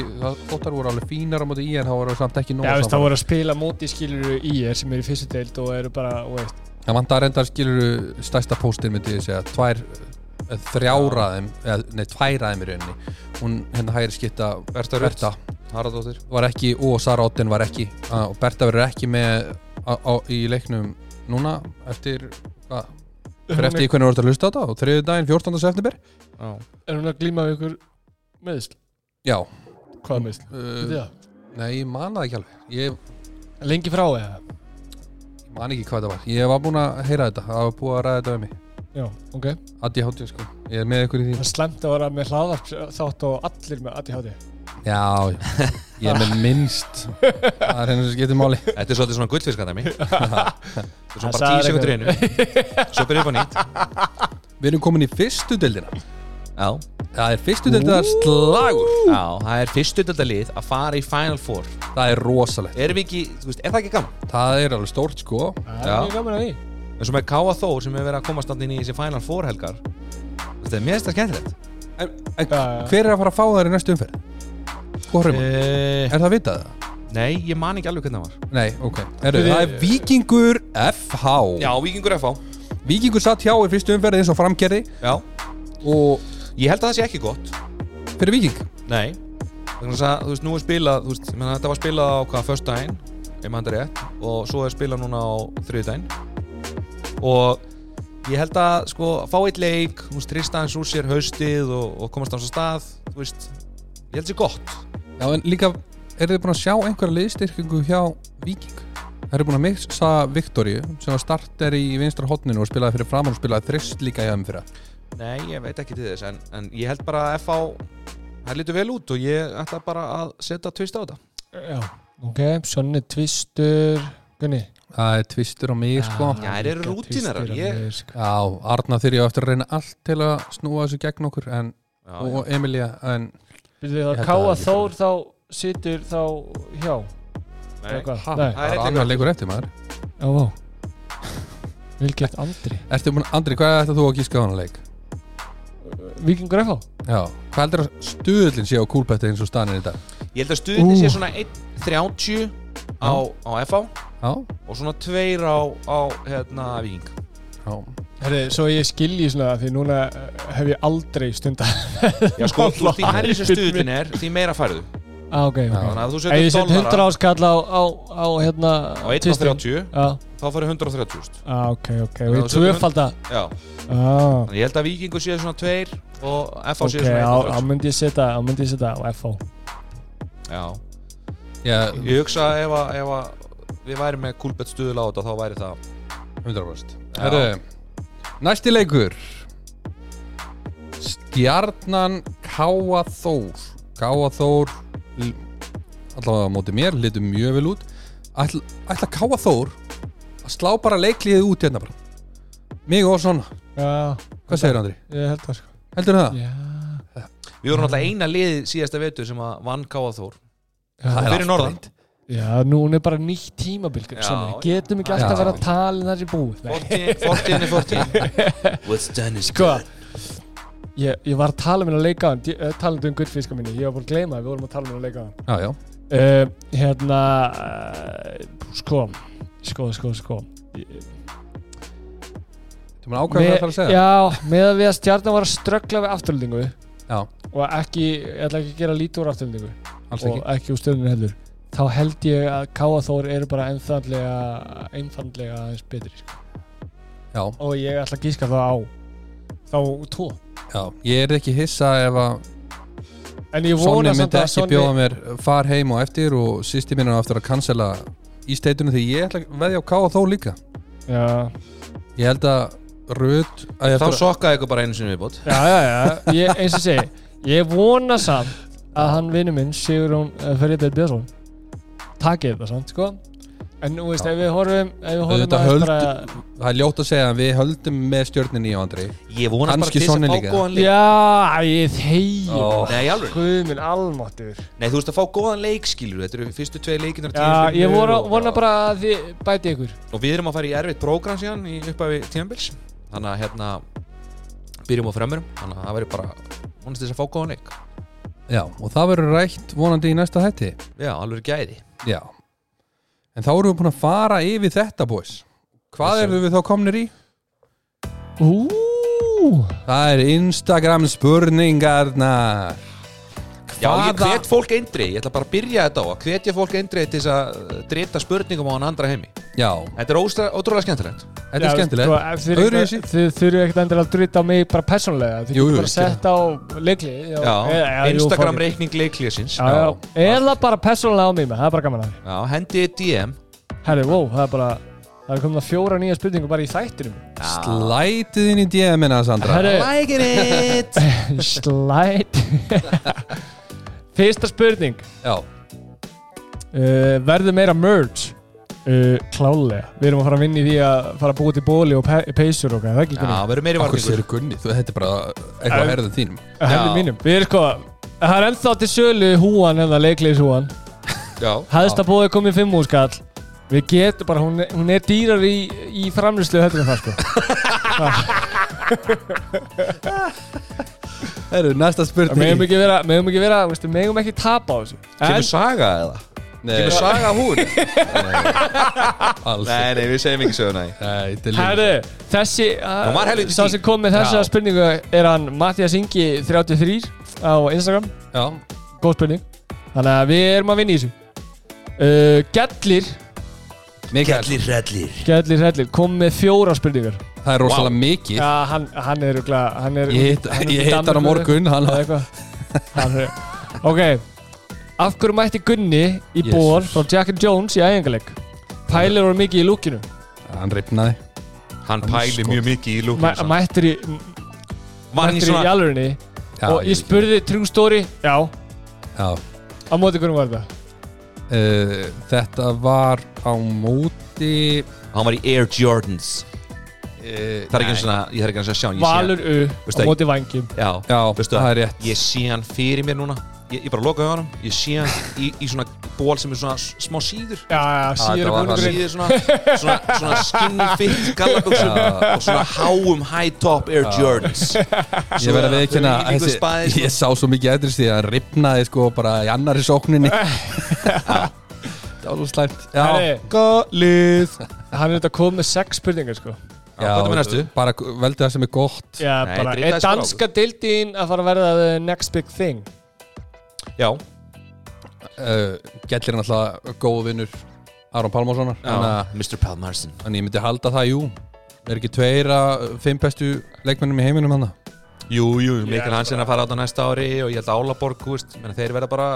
S1: þóttar voru alveg fínar á móti í en þá voru samt ekki nóg
S3: Já, veist, það
S1: saman
S3: voru að spila móti skilur í er sem eru í fyrstu deild og eru bara, og veist,
S1: Það vantar reyndar skilur stærsta póstin myndi ég segja, tvær eh, þrjár aðeim, nei tvær aðeim í rauninni hún hérna hægir skipta
S2: Berta Rut.
S1: Berta
S2: Harðardóttir
S1: var ekki og Sara Otten var ekki Ah, og Berta verður ekki með á, á, í leiknum núna eftir hvað, fyrir eftir í hvernig voru þetta að hlusta á þetta og þriðu daginn 14. september
S2: já.
S3: er hún að glíma við ykkur meðsl?
S1: Já,
S3: Hvað meðsl?
S1: uh,
S3: Uh,
S1: nei, ég man það ekki alveg ég
S3: Lengi frá eða?
S1: man ekki hvað það var ég var búinn að heyra þetta, það var búið að ræða þetta við mig
S3: Já, ok.
S1: Addi Háttin sko, ég er með ykkur í því
S3: Það er slemt að vera með hlaðvarp þátt og allir með ADHD.
S1: Já, ég er með minnst það er henni sem skiptir máli
S2: Þetta er svolítið svona gullfiskadæmi Þetta er svona
S3: Það
S2: bara tíu
S3: sagði
S2: sekundur einu Svo byrja upp á nýtt
S1: Við erum komin í fyrstu deildina
S2: Já,
S1: Það er fyrstu deildina slagur
S2: já það er fyrstu delta lið að fara í Final Four
S1: Það er rosalegt,
S2: Erum við ekki, þú veist, er það ekki gaman?
S1: það er alveg stórt sko
S3: Það
S2: Já.
S3: er mjög gaman að því.
S2: En svo með Káa Þór sem hefur verið að komast alltaf inn í þessi Final Four helgar Þetta er mér finnst það skemmtilegt
S1: En, en
S3: Já, já.
S1: hver er að fara að fá þær í næstu umferð? Hvorum? E
S2: e
S1: er það vitað það?
S2: Nei, ég man ekki alveg hvernig það var
S1: Nei, ok Heru, Það er Víkingur FH
S2: Víkingur FH
S1: Víkingur satt hjá í fyrstu umferð eins og framgerði
S2: Já,
S1: og
S2: ég held að það sé ekki gott
S1: fyrir Víking
S2: Nei Þannig að þú veist, nú er spilað, þú veist, ég meina, þetta var spilað á hvað, först daginn, ef maður þetta rétt og svo er spilað núna á þriði daginn og ég held að, sko, fá eitt leik þú veist, trista hans úr sér haustið og, og komast hans á stað, þú veist ég held sér gott
S1: Já, en líka, eru þið búin að sjá einhverja liðstyrkingu hjá Víking? Það eru búin að mixa Viktoríu sem var starter í vinstra hotninu og spilaði fyrir framann og spilaði þrist líka í aðeins fyrir það.
S2: Nei, ég veit ekki til þess, en, en ég held bara að FH það lítur vel út og ég ætla bara að setja tvist á þetta
S3: Já, ok. Sonni tvistur. Gunni. Ah,
S1: Það er tvistur á mig, sko.
S2: Já, þeir eru
S3: líka
S2: rútínerar,
S3: tvistur á
S2: ég-
S3: mér, sko.
S1: Já, Arna þeir ég á eftir að reyna allt til að snúa þessu gegn okkur en,
S2: já,
S1: og Emilia, en
S3: Býttu
S1: Ég
S3: það
S1: held
S3: að
S1: að
S3: Káa
S1: það er
S3: Þór þá situr þá hjá?
S2: Nei.
S3: Eða hvað?
S1: ha,
S3: Nei.
S1: það er
S2: einn
S1: annar leikur eftir maður.
S3: Já, vá. Vel gert Andri.
S1: Ertu búin, Andri, hvað ætlað þú að gíska á hann leik?
S3: Víkingur FH?
S1: Já, hvað heldur að stuðlinn sé á kúlbætti eins og stanir í dag?
S2: ég held að stuðinni sé
S3: Ú.
S2: svona 1.30 á, á FH
S1: Já,
S2: og svona tveir á, á hérna, Víking
S1: já.
S3: Herri, svo ég skilji svona því núna eh, hef ég aldrei stunda
S2: Já sko, þú veist, því hærri sem stuðin er, því meira færðu
S3: ah, ok,
S2: Þannig
S3: ok
S2: að þú
S3: Ef ég
S2: setur
S3: set 100
S2: dollara
S3: áskall á, á, á hérna
S2: á 1.30
S3: Já,
S2: þá færðu 130.000
S3: ah, ok, ok
S2: Já,
S3: Og ég
S2: þú setur
S3: tvöfalda
S2: Já,
S3: ah,
S2: þannig ég held að vikingu séu svona tveir og FH
S3: Ok,
S2: séu svona
S3: á, á
S2: 1.30
S3: myndi ég setja á myndi ég setja á FH
S2: Já,
S1: Ég,
S2: ég hugsa ef að, ef að við væri með kúlbett stuðil á þetta þá væri það
S1: 100%
S2: Já.
S1: Herru, næsti leikur Stjarnan Káa Þór Káa Þór l- allavega á móti mér, litur mjög vel út ætla, ætla Káa Þór að slá bara leikliðið út hérna bara mig og svona,
S3: Já,
S1: hvað segir Andri?
S3: ég held það sko
S1: heldur það?
S3: Já,
S2: Við vorum alltaf eina lið síðasta vetu sem að vann Káa Þór
S1: Það er
S2: Fyrir
S1: allt
S2: norðan.
S1: reynd.
S3: já núna er bara nýtt tímabil
S2: Já,
S3: Gunnar,
S2: já.
S3: Getum ekki alltaf
S1: Já.
S3: að vera að tala um þar í búið Nei.
S2: 14 er 14 What's done is
S3: Sko Ég, ég var að tala um minna leika á hann talandi um gullfiska minni, ég var bara að gleyma að við vorum að tala um minna leika á hann
S1: Já, já,
S3: uh, hérna uh, sko sko, sko, sko
S1: þú mér ákveða hvað það að segja
S3: já, með að við að stjarnan var að ströggla við afturlendingu
S1: Já,
S3: og ekki, ég ætla ekki að gera lítið úr afturlendingu
S1: alls
S3: og
S1: ekki
S3: ekki úr stjörninu heldur þá held ég að Káa Þór eru bara einfandlega einfandlega aðeins betri sko.
S1: Já,
S3: og ég ætla að gíska það á þá tvo
S1: já, ég er ekki hissa ef að
S3: en ég
S1: Sonni
S3: vona samt
S1: myndi
S3: að
S1: ekki
S3: Sonni
S1: bjóða mér far heim og eftir og sýsti minn er aftur að cancela í steitunum því ég ætla að veðja á K og þó líka
S3: já,
S1: ég held að Rut að ég
S2: Þá
S1: eftir,
S2: sokkaði ykkur bara einu sinni viðbót
S3: já, já, já. Ég, eins og segi, ég vona eh, samt að hann vinnu minn Sigur hún Ferriðar Björnsson takið þetta samt sko En þú veist, ef við horfum, ef við horfum
S1: Auðvitað
S3: aðeins
S1: höld-
S3: bara-
S1: það er ljótt að segja að við höldum með stjörninni og Andri
S2: Ég vonast bara
S1: Kannski
S2: til þess
S1: Sonny
S2: að fá
S1: líka.
S2: góðan leik
S3: Já, ég þegi
S1: Ó.
S2: Nei, alveg
S3: Guð minn almáttur
S2: Nei, þú veist að fá góðan leik, skilur Þetta eru fyrstu tvei leikinar
S3: Já, ég vona, vona bara að þið bæti ykkur
S2: Og við erum að fara í erfitt prógram síðan í upphafi tímabils Þannig að hérna Byrjum á fremurum Þannig að það verður bara Vonast til þess að fá góðan leik
S1: Já, og það verður rætt vonandi í næsta hætti
S2: Já, alveg gæði
S1: Já En þá erum við búin að fara yfir þetta boys Hvað erum við þá komnir í?
S3: Ú,
S1: Það er Instagram spurningarnar
S2: Já, ég
S1: Hvaða-
S2: hvet fólk eindri Ég ætla bara að byrja þetta á að Hvetja fólk eindri til þess að uh, Drita spurningum á hann andra heimi
S1: Já,
S2: Þetta er óstra- ótrúlega skemmtilegt
S1: þetta er skemmtilegt Öðru í
S3: sko, Þið þurfið ekkert endur að drita á mig bara persónulega Þið
S1: Jú,
S3: getur
S1: jú,
S3: bara að setja á leikli
S2: Já, Instagram reikning leiklíðsins
S3: Já, já, eða bara persónulega á mig maður, það er bara gaman að
S2: Já, hendi í DM
S3: því Herri, wow, það er bara Það er komin að fjóra nýja spurningu bara í þættinum
S1: Slætið inn í DM-ina, Sandra
S3: Herri,
S2: Like it
S3: slæt Fyrsta spurning
S1: Já,
S3: uh, Verður meira merge uh, Klálega Við erum að fara að vinna í því að fara að búa til bóli og pe peysur og hvað, það er ekki
S2: Já, verður meiri
S1: okkur
S2: varningur
S1: sér Gunni þú- Þetta er bara eitthvað að herða þínum
S3: Helmi
S2: Já.
S3: mínum Við erum sko Það er ennþá til sölu húan hérna, leikleis húan
S2: Já,
S3: Hæðsta bóði komið fimm húskall Við getum bara, hún, er- hún er dýrar í, í framlýslu heldur en það sko
S1: Herru, næsta
S3: Það Megum
S1: spurning
S3: ekki vera, megum ekki vera, veistu, megum ekki tapa á þessu
S2: kemur saga eða? Kemur saga hún?
S1: alls
S2: Nei, nei, við segjum ekki söguna í
S1: Nei, þetta er líka-
S3: Herðu, þessi ah,
S2: Hún var helviti
S3: Sá
S2: fín.
S3: sem kom með þessa
S2: Já.
S3: spurningu er hann Mattias Ingi 33 á Instagram
S1: Já,
S3: Góð spurning Þannig að við erum að vinna í þessu uh, Gellir
S1: Mikael,
S2: rellir
S3: Gellir Hellir kom með fjóra spurningar
S1: það er rosalega mikið
S3: Já, hann, hann er örugglega- hann er,
S1: Ég hitt-
S3: er
S1: ég
S3: í
S1: hitt hann á
S3: Danmörku
S1: morgun, hann-
S3: eða eitthvað Hann er- Ok Af hverju mætti Gunni í
S1: Jesus.
S3: ból frá Jack and Jones í æfingarleik? Pælir voru mikið í lúkinu
S1: Hann ripnaði
S2: Hann pæli mjög mikið í
S3: Mæ,
S2: lúkum
S3: Mættir í,
S2: Mann í
S3: mættir í
S2: svona
S3: alvörinni
S1: Já,
S3: Og ég
S1: veit
S3: spurði True Story Já, á
S1: ekki. Já
S3: móti hvernig var þetta?
S1: Uh, þetta var á móti
S2: Hann var í Air Jordans
S1: uh,
S2: Það er ekki eins og að Ég þarf ekki eins og að sjá hann, ég sé hann.
S3: Valur U á
S2: Veistu,
S3: móti vangjum
S2: Já,
S1: Já,
S2: veistu
S1: það
S2: að-
S1: er rétt.
S2: Ég sé hann fyrir mér núna Ég, ég bara lokaði á hann Ég sé hann í, í svona ból sem er svona s- smá síður
S3: Já, já, síður
S1: þetta var
S3: búningurinn
S2: Síður svona, svona, svona skinny fit gallabuxum Og svona háum high top Air Jordans
S1: Ég verði að viðkynna
S2: Þau eru í líku spaði,
S1: þessi-
S2: sko.
S1: Ég sá svo mikið eftir því að hann ripnaði sko bara í annari sókninni Það var svo slæmt Já,
S3: Herri.
S1: galið
S3: Hann er þetta komið með sex spurningar sko
S1: Já,
S2: hvað er með næstu?
S1: bara veldu það sem er gott
S3: Já,
S2: Nei,
S3: bara,
S2: drita sko.
S3: er
S2: þessu bara á.
S3: danska deildin að fara að verða the next big thing?
S2: Já,
S1: uh, Gellir hann alltaf góð vinnur Aron Pálmarssonar Þannig
S2: já.
S1: að-
S2: Mr. Palmarsson
S1: þannig ég myndi halda það, jú Er ekki tveir að fimm bestu leikmennum í heiminum hann
S2: Jú, jú, Mikael Hansen að fara á þetta næsta ári og ég held að Álaborg, þú veist, menn þeir verða bara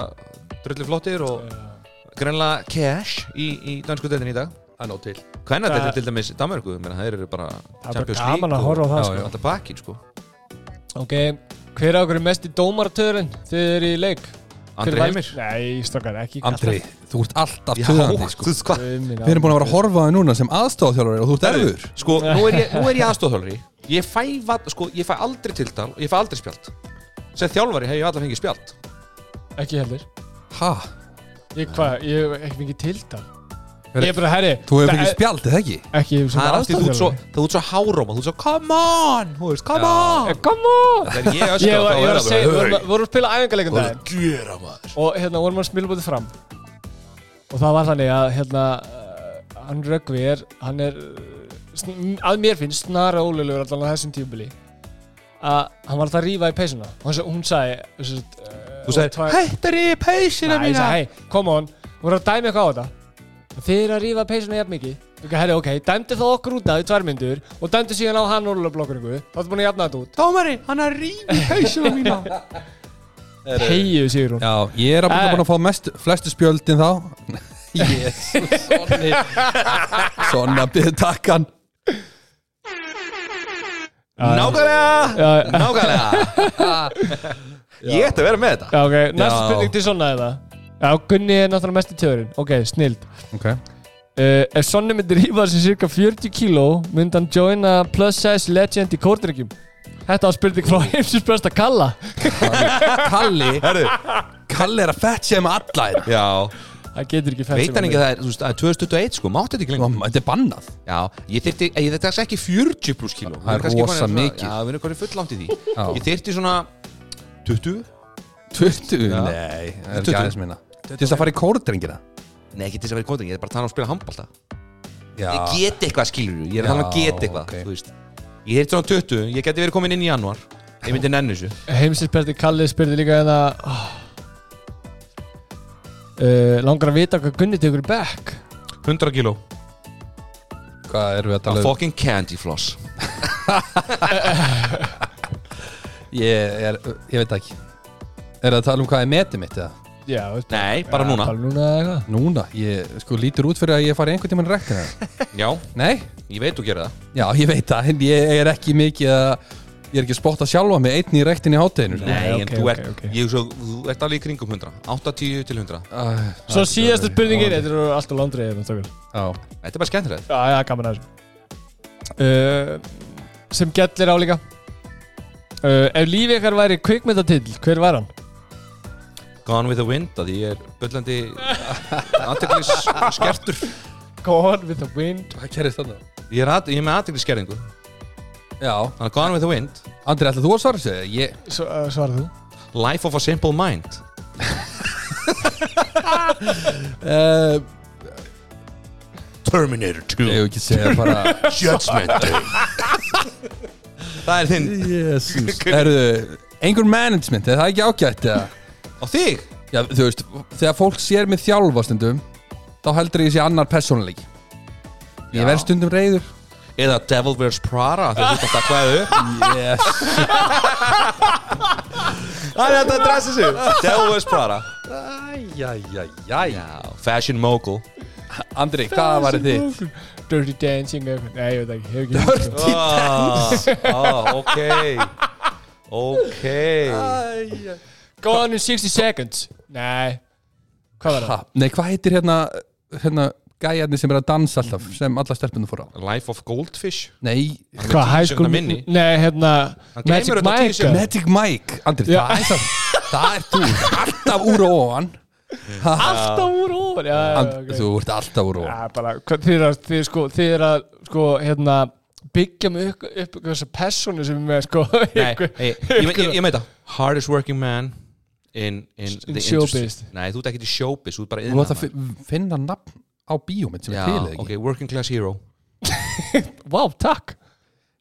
S2: drullu flottir og greinlega cash í, í dansku deildin í dag
S1: Það er nóg til
S2: Hvernig þetta
S3: Það-
S2: til dæmis í Danmarku, menn þeir eru bara
S3: Það er bara gaman að horfa á það
S1: Já,
S3: sko
S2: Alltaf bakkin, sko
S3: Ok, hver af okkur er mest í dómaratöðurinn þegar þið eru í leik? Hver
S2: Andri
S3: val-
S2: Heimir
S3: Nei, stokkar, ekki
S1: Andri, þú ert alltaf
S2: Já,
S1: töðandi sko
S2: þú veist hvað
S1: Við erum
S3: Við
S1: búin að vera að horfa á þig núna sem aðstofþjálfari og þú ert erfur
S2: Sko, nú er ég, nú er ég aðstofþjálfari Ég fæ, vat- sko, ég fæ aldrei tiltal og ég fæ aldrei spjald Sem þjálfari hef ég alltaf fengið spjald
S3: Ekki heldur
S1: Hæ?
S3: Ég hvað, ég hef ekki fengið tiltal
S1: Hver-
S3: Ég er bara, herri
S1: Þú hefur
S3: það
S1: fengið
S3: er-
S1: spjald, eða ekki?
S3: Ekki sem
S2: Það er alltaf, þú ert svo,
S3: aðstoðarþjálfari.
S2: þú ert svo háróma, þú ert svo Come on, þú veist, come
S3: Eh,
S2: on
S3: Come on
S2: Þegar ég
S3: Ég
S2: öskra
S3: var
S2: þá
S3: ég
S2: er
S3: var að
S2: það
S3: segja, við
S2: bara,
S3: vorum að- vorum að spila æfingarleikum daginn
S2: gera maður
S3: og hérna vorum að smilbúti fram og það var þannig að hérna uh, hann Röggvi er hann er uh, sn- að mér finnst snara ólulegur allan á þessum tímubili að hann var alltaf að rífa í peysuna og hann sa- hún sagði þessu, uh,
S2: Þú sagði, hættar ég peysina
S3: Nei, ég
S2: mína
S3: sagði, hei, come on, hún er að dæmi eitthvað á þetta Þið eru að rífa peysuna jafn mikið Ok, herri, ok, dæmdi þá okkur út af í tvær myndur og dæmdi síðan á hann ólulegblokkningu þá ertu búin að jafna þetta út
S2: Tómari, hann er að rífi peysina mína
S3: Heiðu, sigur hún
S1: Já, ég er að búin að,
S3: Æ.
S1: búin að fá mest, flestu spjöldin þá Jésus, Sonni Sonna, byrðu takkan
S2: Nákvæmlega,
S3: Já,
S2: nákvæmlega Ég ætti að vera með þetta
S3: Já, ok, næsta
S1: Já.
S3: spurning til svona eða Já, Gunni er náttúrulega mest í tjóðurinn Ok, snild
S1: Ok,
S3: Uh, ef Sonni myndi rífa þessi cirka 40 kíló myndi hann joina plus size legend í kórdryggjum Þetta var spurning frá heimsins besta kalla
S1: Kalli,
S2: Herðu,
S1: Kalli er að fett sem alla hérna. þeirna.
S2: já
S3: Það getur ekki
S2: Veit hann ekki að það er, þú veist, það er 2021 sko, mátti þetta ekki lengur
S1: Þetta er bannað
S2: Já, ég þyrti, ég þetta er ekki 40 pluss kíló
S1: Það er
S2: Kannski
S1: rosa
S2: bara svona-
S1: mikið.
S2: Já, við erum hvernig fullangt í því
S1: Já.
S2: Ég þyrti svona 20
S1: 20?
S2: Já.
S1: Nei, það er ekki
S2: 20.
S1: aðeins minna Til þess að fara í kórdrengina
S2: Nei, ekki til þess að vera í kóting, ég er bara að tala um að spila handbalta
S1: Já,
S2: Ég get eitthvað skilur Ég er að tala um að
S1: Já,
S2: get eitthvað,
S1: ok.
S2: þú veist Ég þyrti svona 20, ég geti verið komin inn í januar Ég myndi nennu þessu
S3: Heimsins besti kalli spurði líka hérna oh. uh, Langar að vita hvað Gunni tekur í back
S2: 100 kíló
S1: hvað erum við að
S2: A
S1: tala um?
S2: fucking candy floss
S1: Ég, er, ég veit það ekki Er það að tala um hvað er metið mitt eða?
S3: Já, veist
S2: Nei, bara núna
S3: Bara núna eða eitthvað
S1: Núna, ég sko lítur út fyrir að ég fari einhvern tímann rekna
S2: Já,
S1: Nei?
S2: ég veit þú gerir það
S1: Já, ég veit það, en ég er ekki mikið að Ég er ekki að spotta sjálfa mig einn í rektin í sko. hátteginu
S2: Nei,
S3: Nei,
S2: en
S3: ok,
S2: þú
S3: ok,
S2: ert,
S3: ok.
S2: ég svo, þú ert alveg í kringum 100 80 til 100
S1: Svo
S3: Svo síðasta spurningin, þetta eru alltaf landrið Já,
S1: Já,
S2: Þetta er bara skemmtilegt
S3: já, gaman að þessu uh, Sem gellir á líka uh, Ef lífi ykkar væri kvikmyndatill, hver var hann?
S2: Gone with the wind að ég er bullandi aðteglis skertur
S3: Gone with the wind
S1: hvað gerist þarna?
S2: Ég er, að, ég er með aðteglis skerðingu Þannig
S1: Já,
S2: að Gone with the wind
S1: Andri, ætlaðu þú að svara þessu? Ég,
S3: Svo- uh, Svarað þú
S2: Life of a simple mind
S1: uh,
S2: Terminator 2
S1: ég hef ekki að segja bara
S2: Judgment Day Það er þinn
S1: Jésús Erðu, einhver management, er það ekki ágætt eða?
S2: Og þig
S1: Já, þú veist, þegar fólk sér mig þjálfa stundum þá heldur ég sé annar persónuleik Ég
S2: Já.
S1: verð stundum reyður
S2: Eða Devil Wears Prada Þegar þú ert alltaf hvaðu
S1: yes.
S2: Það er þetta að dressa sig Devil Wears Prada
S1: Æjæjæjæj
S2: Já, Fashion mogul
S1: Andri, hvað var þið?
S3: Dirty Dancing eða eitthvað Nei, ég veit ekki, hefur ekki hugmynd, sko.
S2: Ah, ah, Ok Ok
S3: Go on in 60 seconds Nei Hvað var
S1: Ha,
S3: það?
S1: nei, hvað heitir hérna, hérna gæjarnir sem er að dansa alltaf sem alla stelpunum fór á?
S2: Life of Goldfish
S1: Nei,
S3: Hvað, high
S2: tíu sekúndna
S3: school
S2: minni.
S3: Nei, hérna
S2: Hann gleymir þetta tíu
S3: Magic Mike
S2: sekúndna.
S1: Magic Mike Andri,
S3: Já.
S1: það er það Það er þú, alltaf úr og ofan
S3: Alltaf úr ofan Já, já,
S1: And,
S3: ok
S1: Þú ert alltaf úr og ofan
S3: Já, bara hvað- Þið er að, þið er sko, þið er að, sko, hérna Byggja mig upp, upp þessa personu sem er með, sko
S2: Nei,
S3: ykkur-
S2: ei, ég, ég, ég meit það Hardest working man In, in,
S3: In
S2: the
S3: showbiz.
S2: industry. Nei, þú ert ekki til showbiz Þú ert bara
S1: Þú átt að
S2: iðnaðarmaður.
S1: fi- finna nafn á bíómynd sem er til eða
S2: Já,
S1: ekki
S2: ok, working class hero
S3: Vá, takk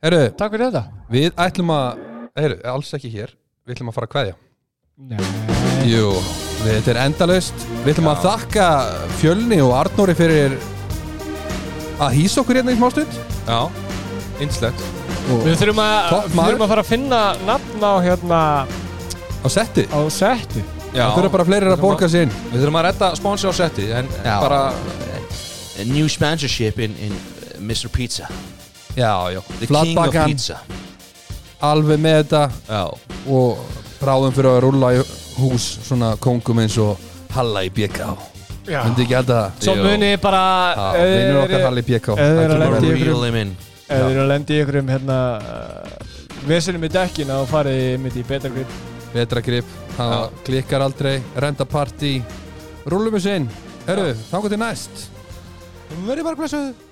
S1: Herru,
S3: Takk fyrir þetta
S1: Við ætlum að, heyru, alls ekki hér Við ætlum að fara að kveðja
S3: Nei
S1: Jú, við- þetta er endalaust Við ætlum að þakka Fjölni og Arnóri fyrir að hýsa okkur hérna í smástund
S2: Já, innslegt
S3: Við þurfum að,
S1: Topp
S3: við
S1: maður.
S3: þurfum að fara að finna nafn á, hérna,
S1: á setti
S3: á setti
S2: Já,
S1: Það þurfa bara fleiri að borga sér inn
S2: Við þurfum að redda sponsor á setti en
S1: Já.
S2: bara A new sponsorship in, in uh, Mr. Pizza
S1: Já, já,
S2: The king of
S1: flatbakan,
S2: pizza
S1: alveg með þetta
S2: Já,
S1: og bráðum fyrir að rúlla í hús svona kongum eins og Halla í BK
S3: Já
S1: Myndi ekki held að
S3: Svo
S2: Jú.
S3: munið bara
S1: Já,
S3: ef þið
S1: Vinnur okkar
S3: eruð-
S1: Halla í BK
S3: ef þið eru að
S1: Hann kemur
S3: lendi
S1: vel.
S3: í
S2: Reel
S3: einhverjum-
S2: him in
S3: Ef þið eru að lendi í einhverjum hérna Vesinum í dekkina og farið mitt í betra grip
S1: vetragrip, það klikkar aldrei renda partí, rúlum við sinn herru, þá til næst verið bara blessuð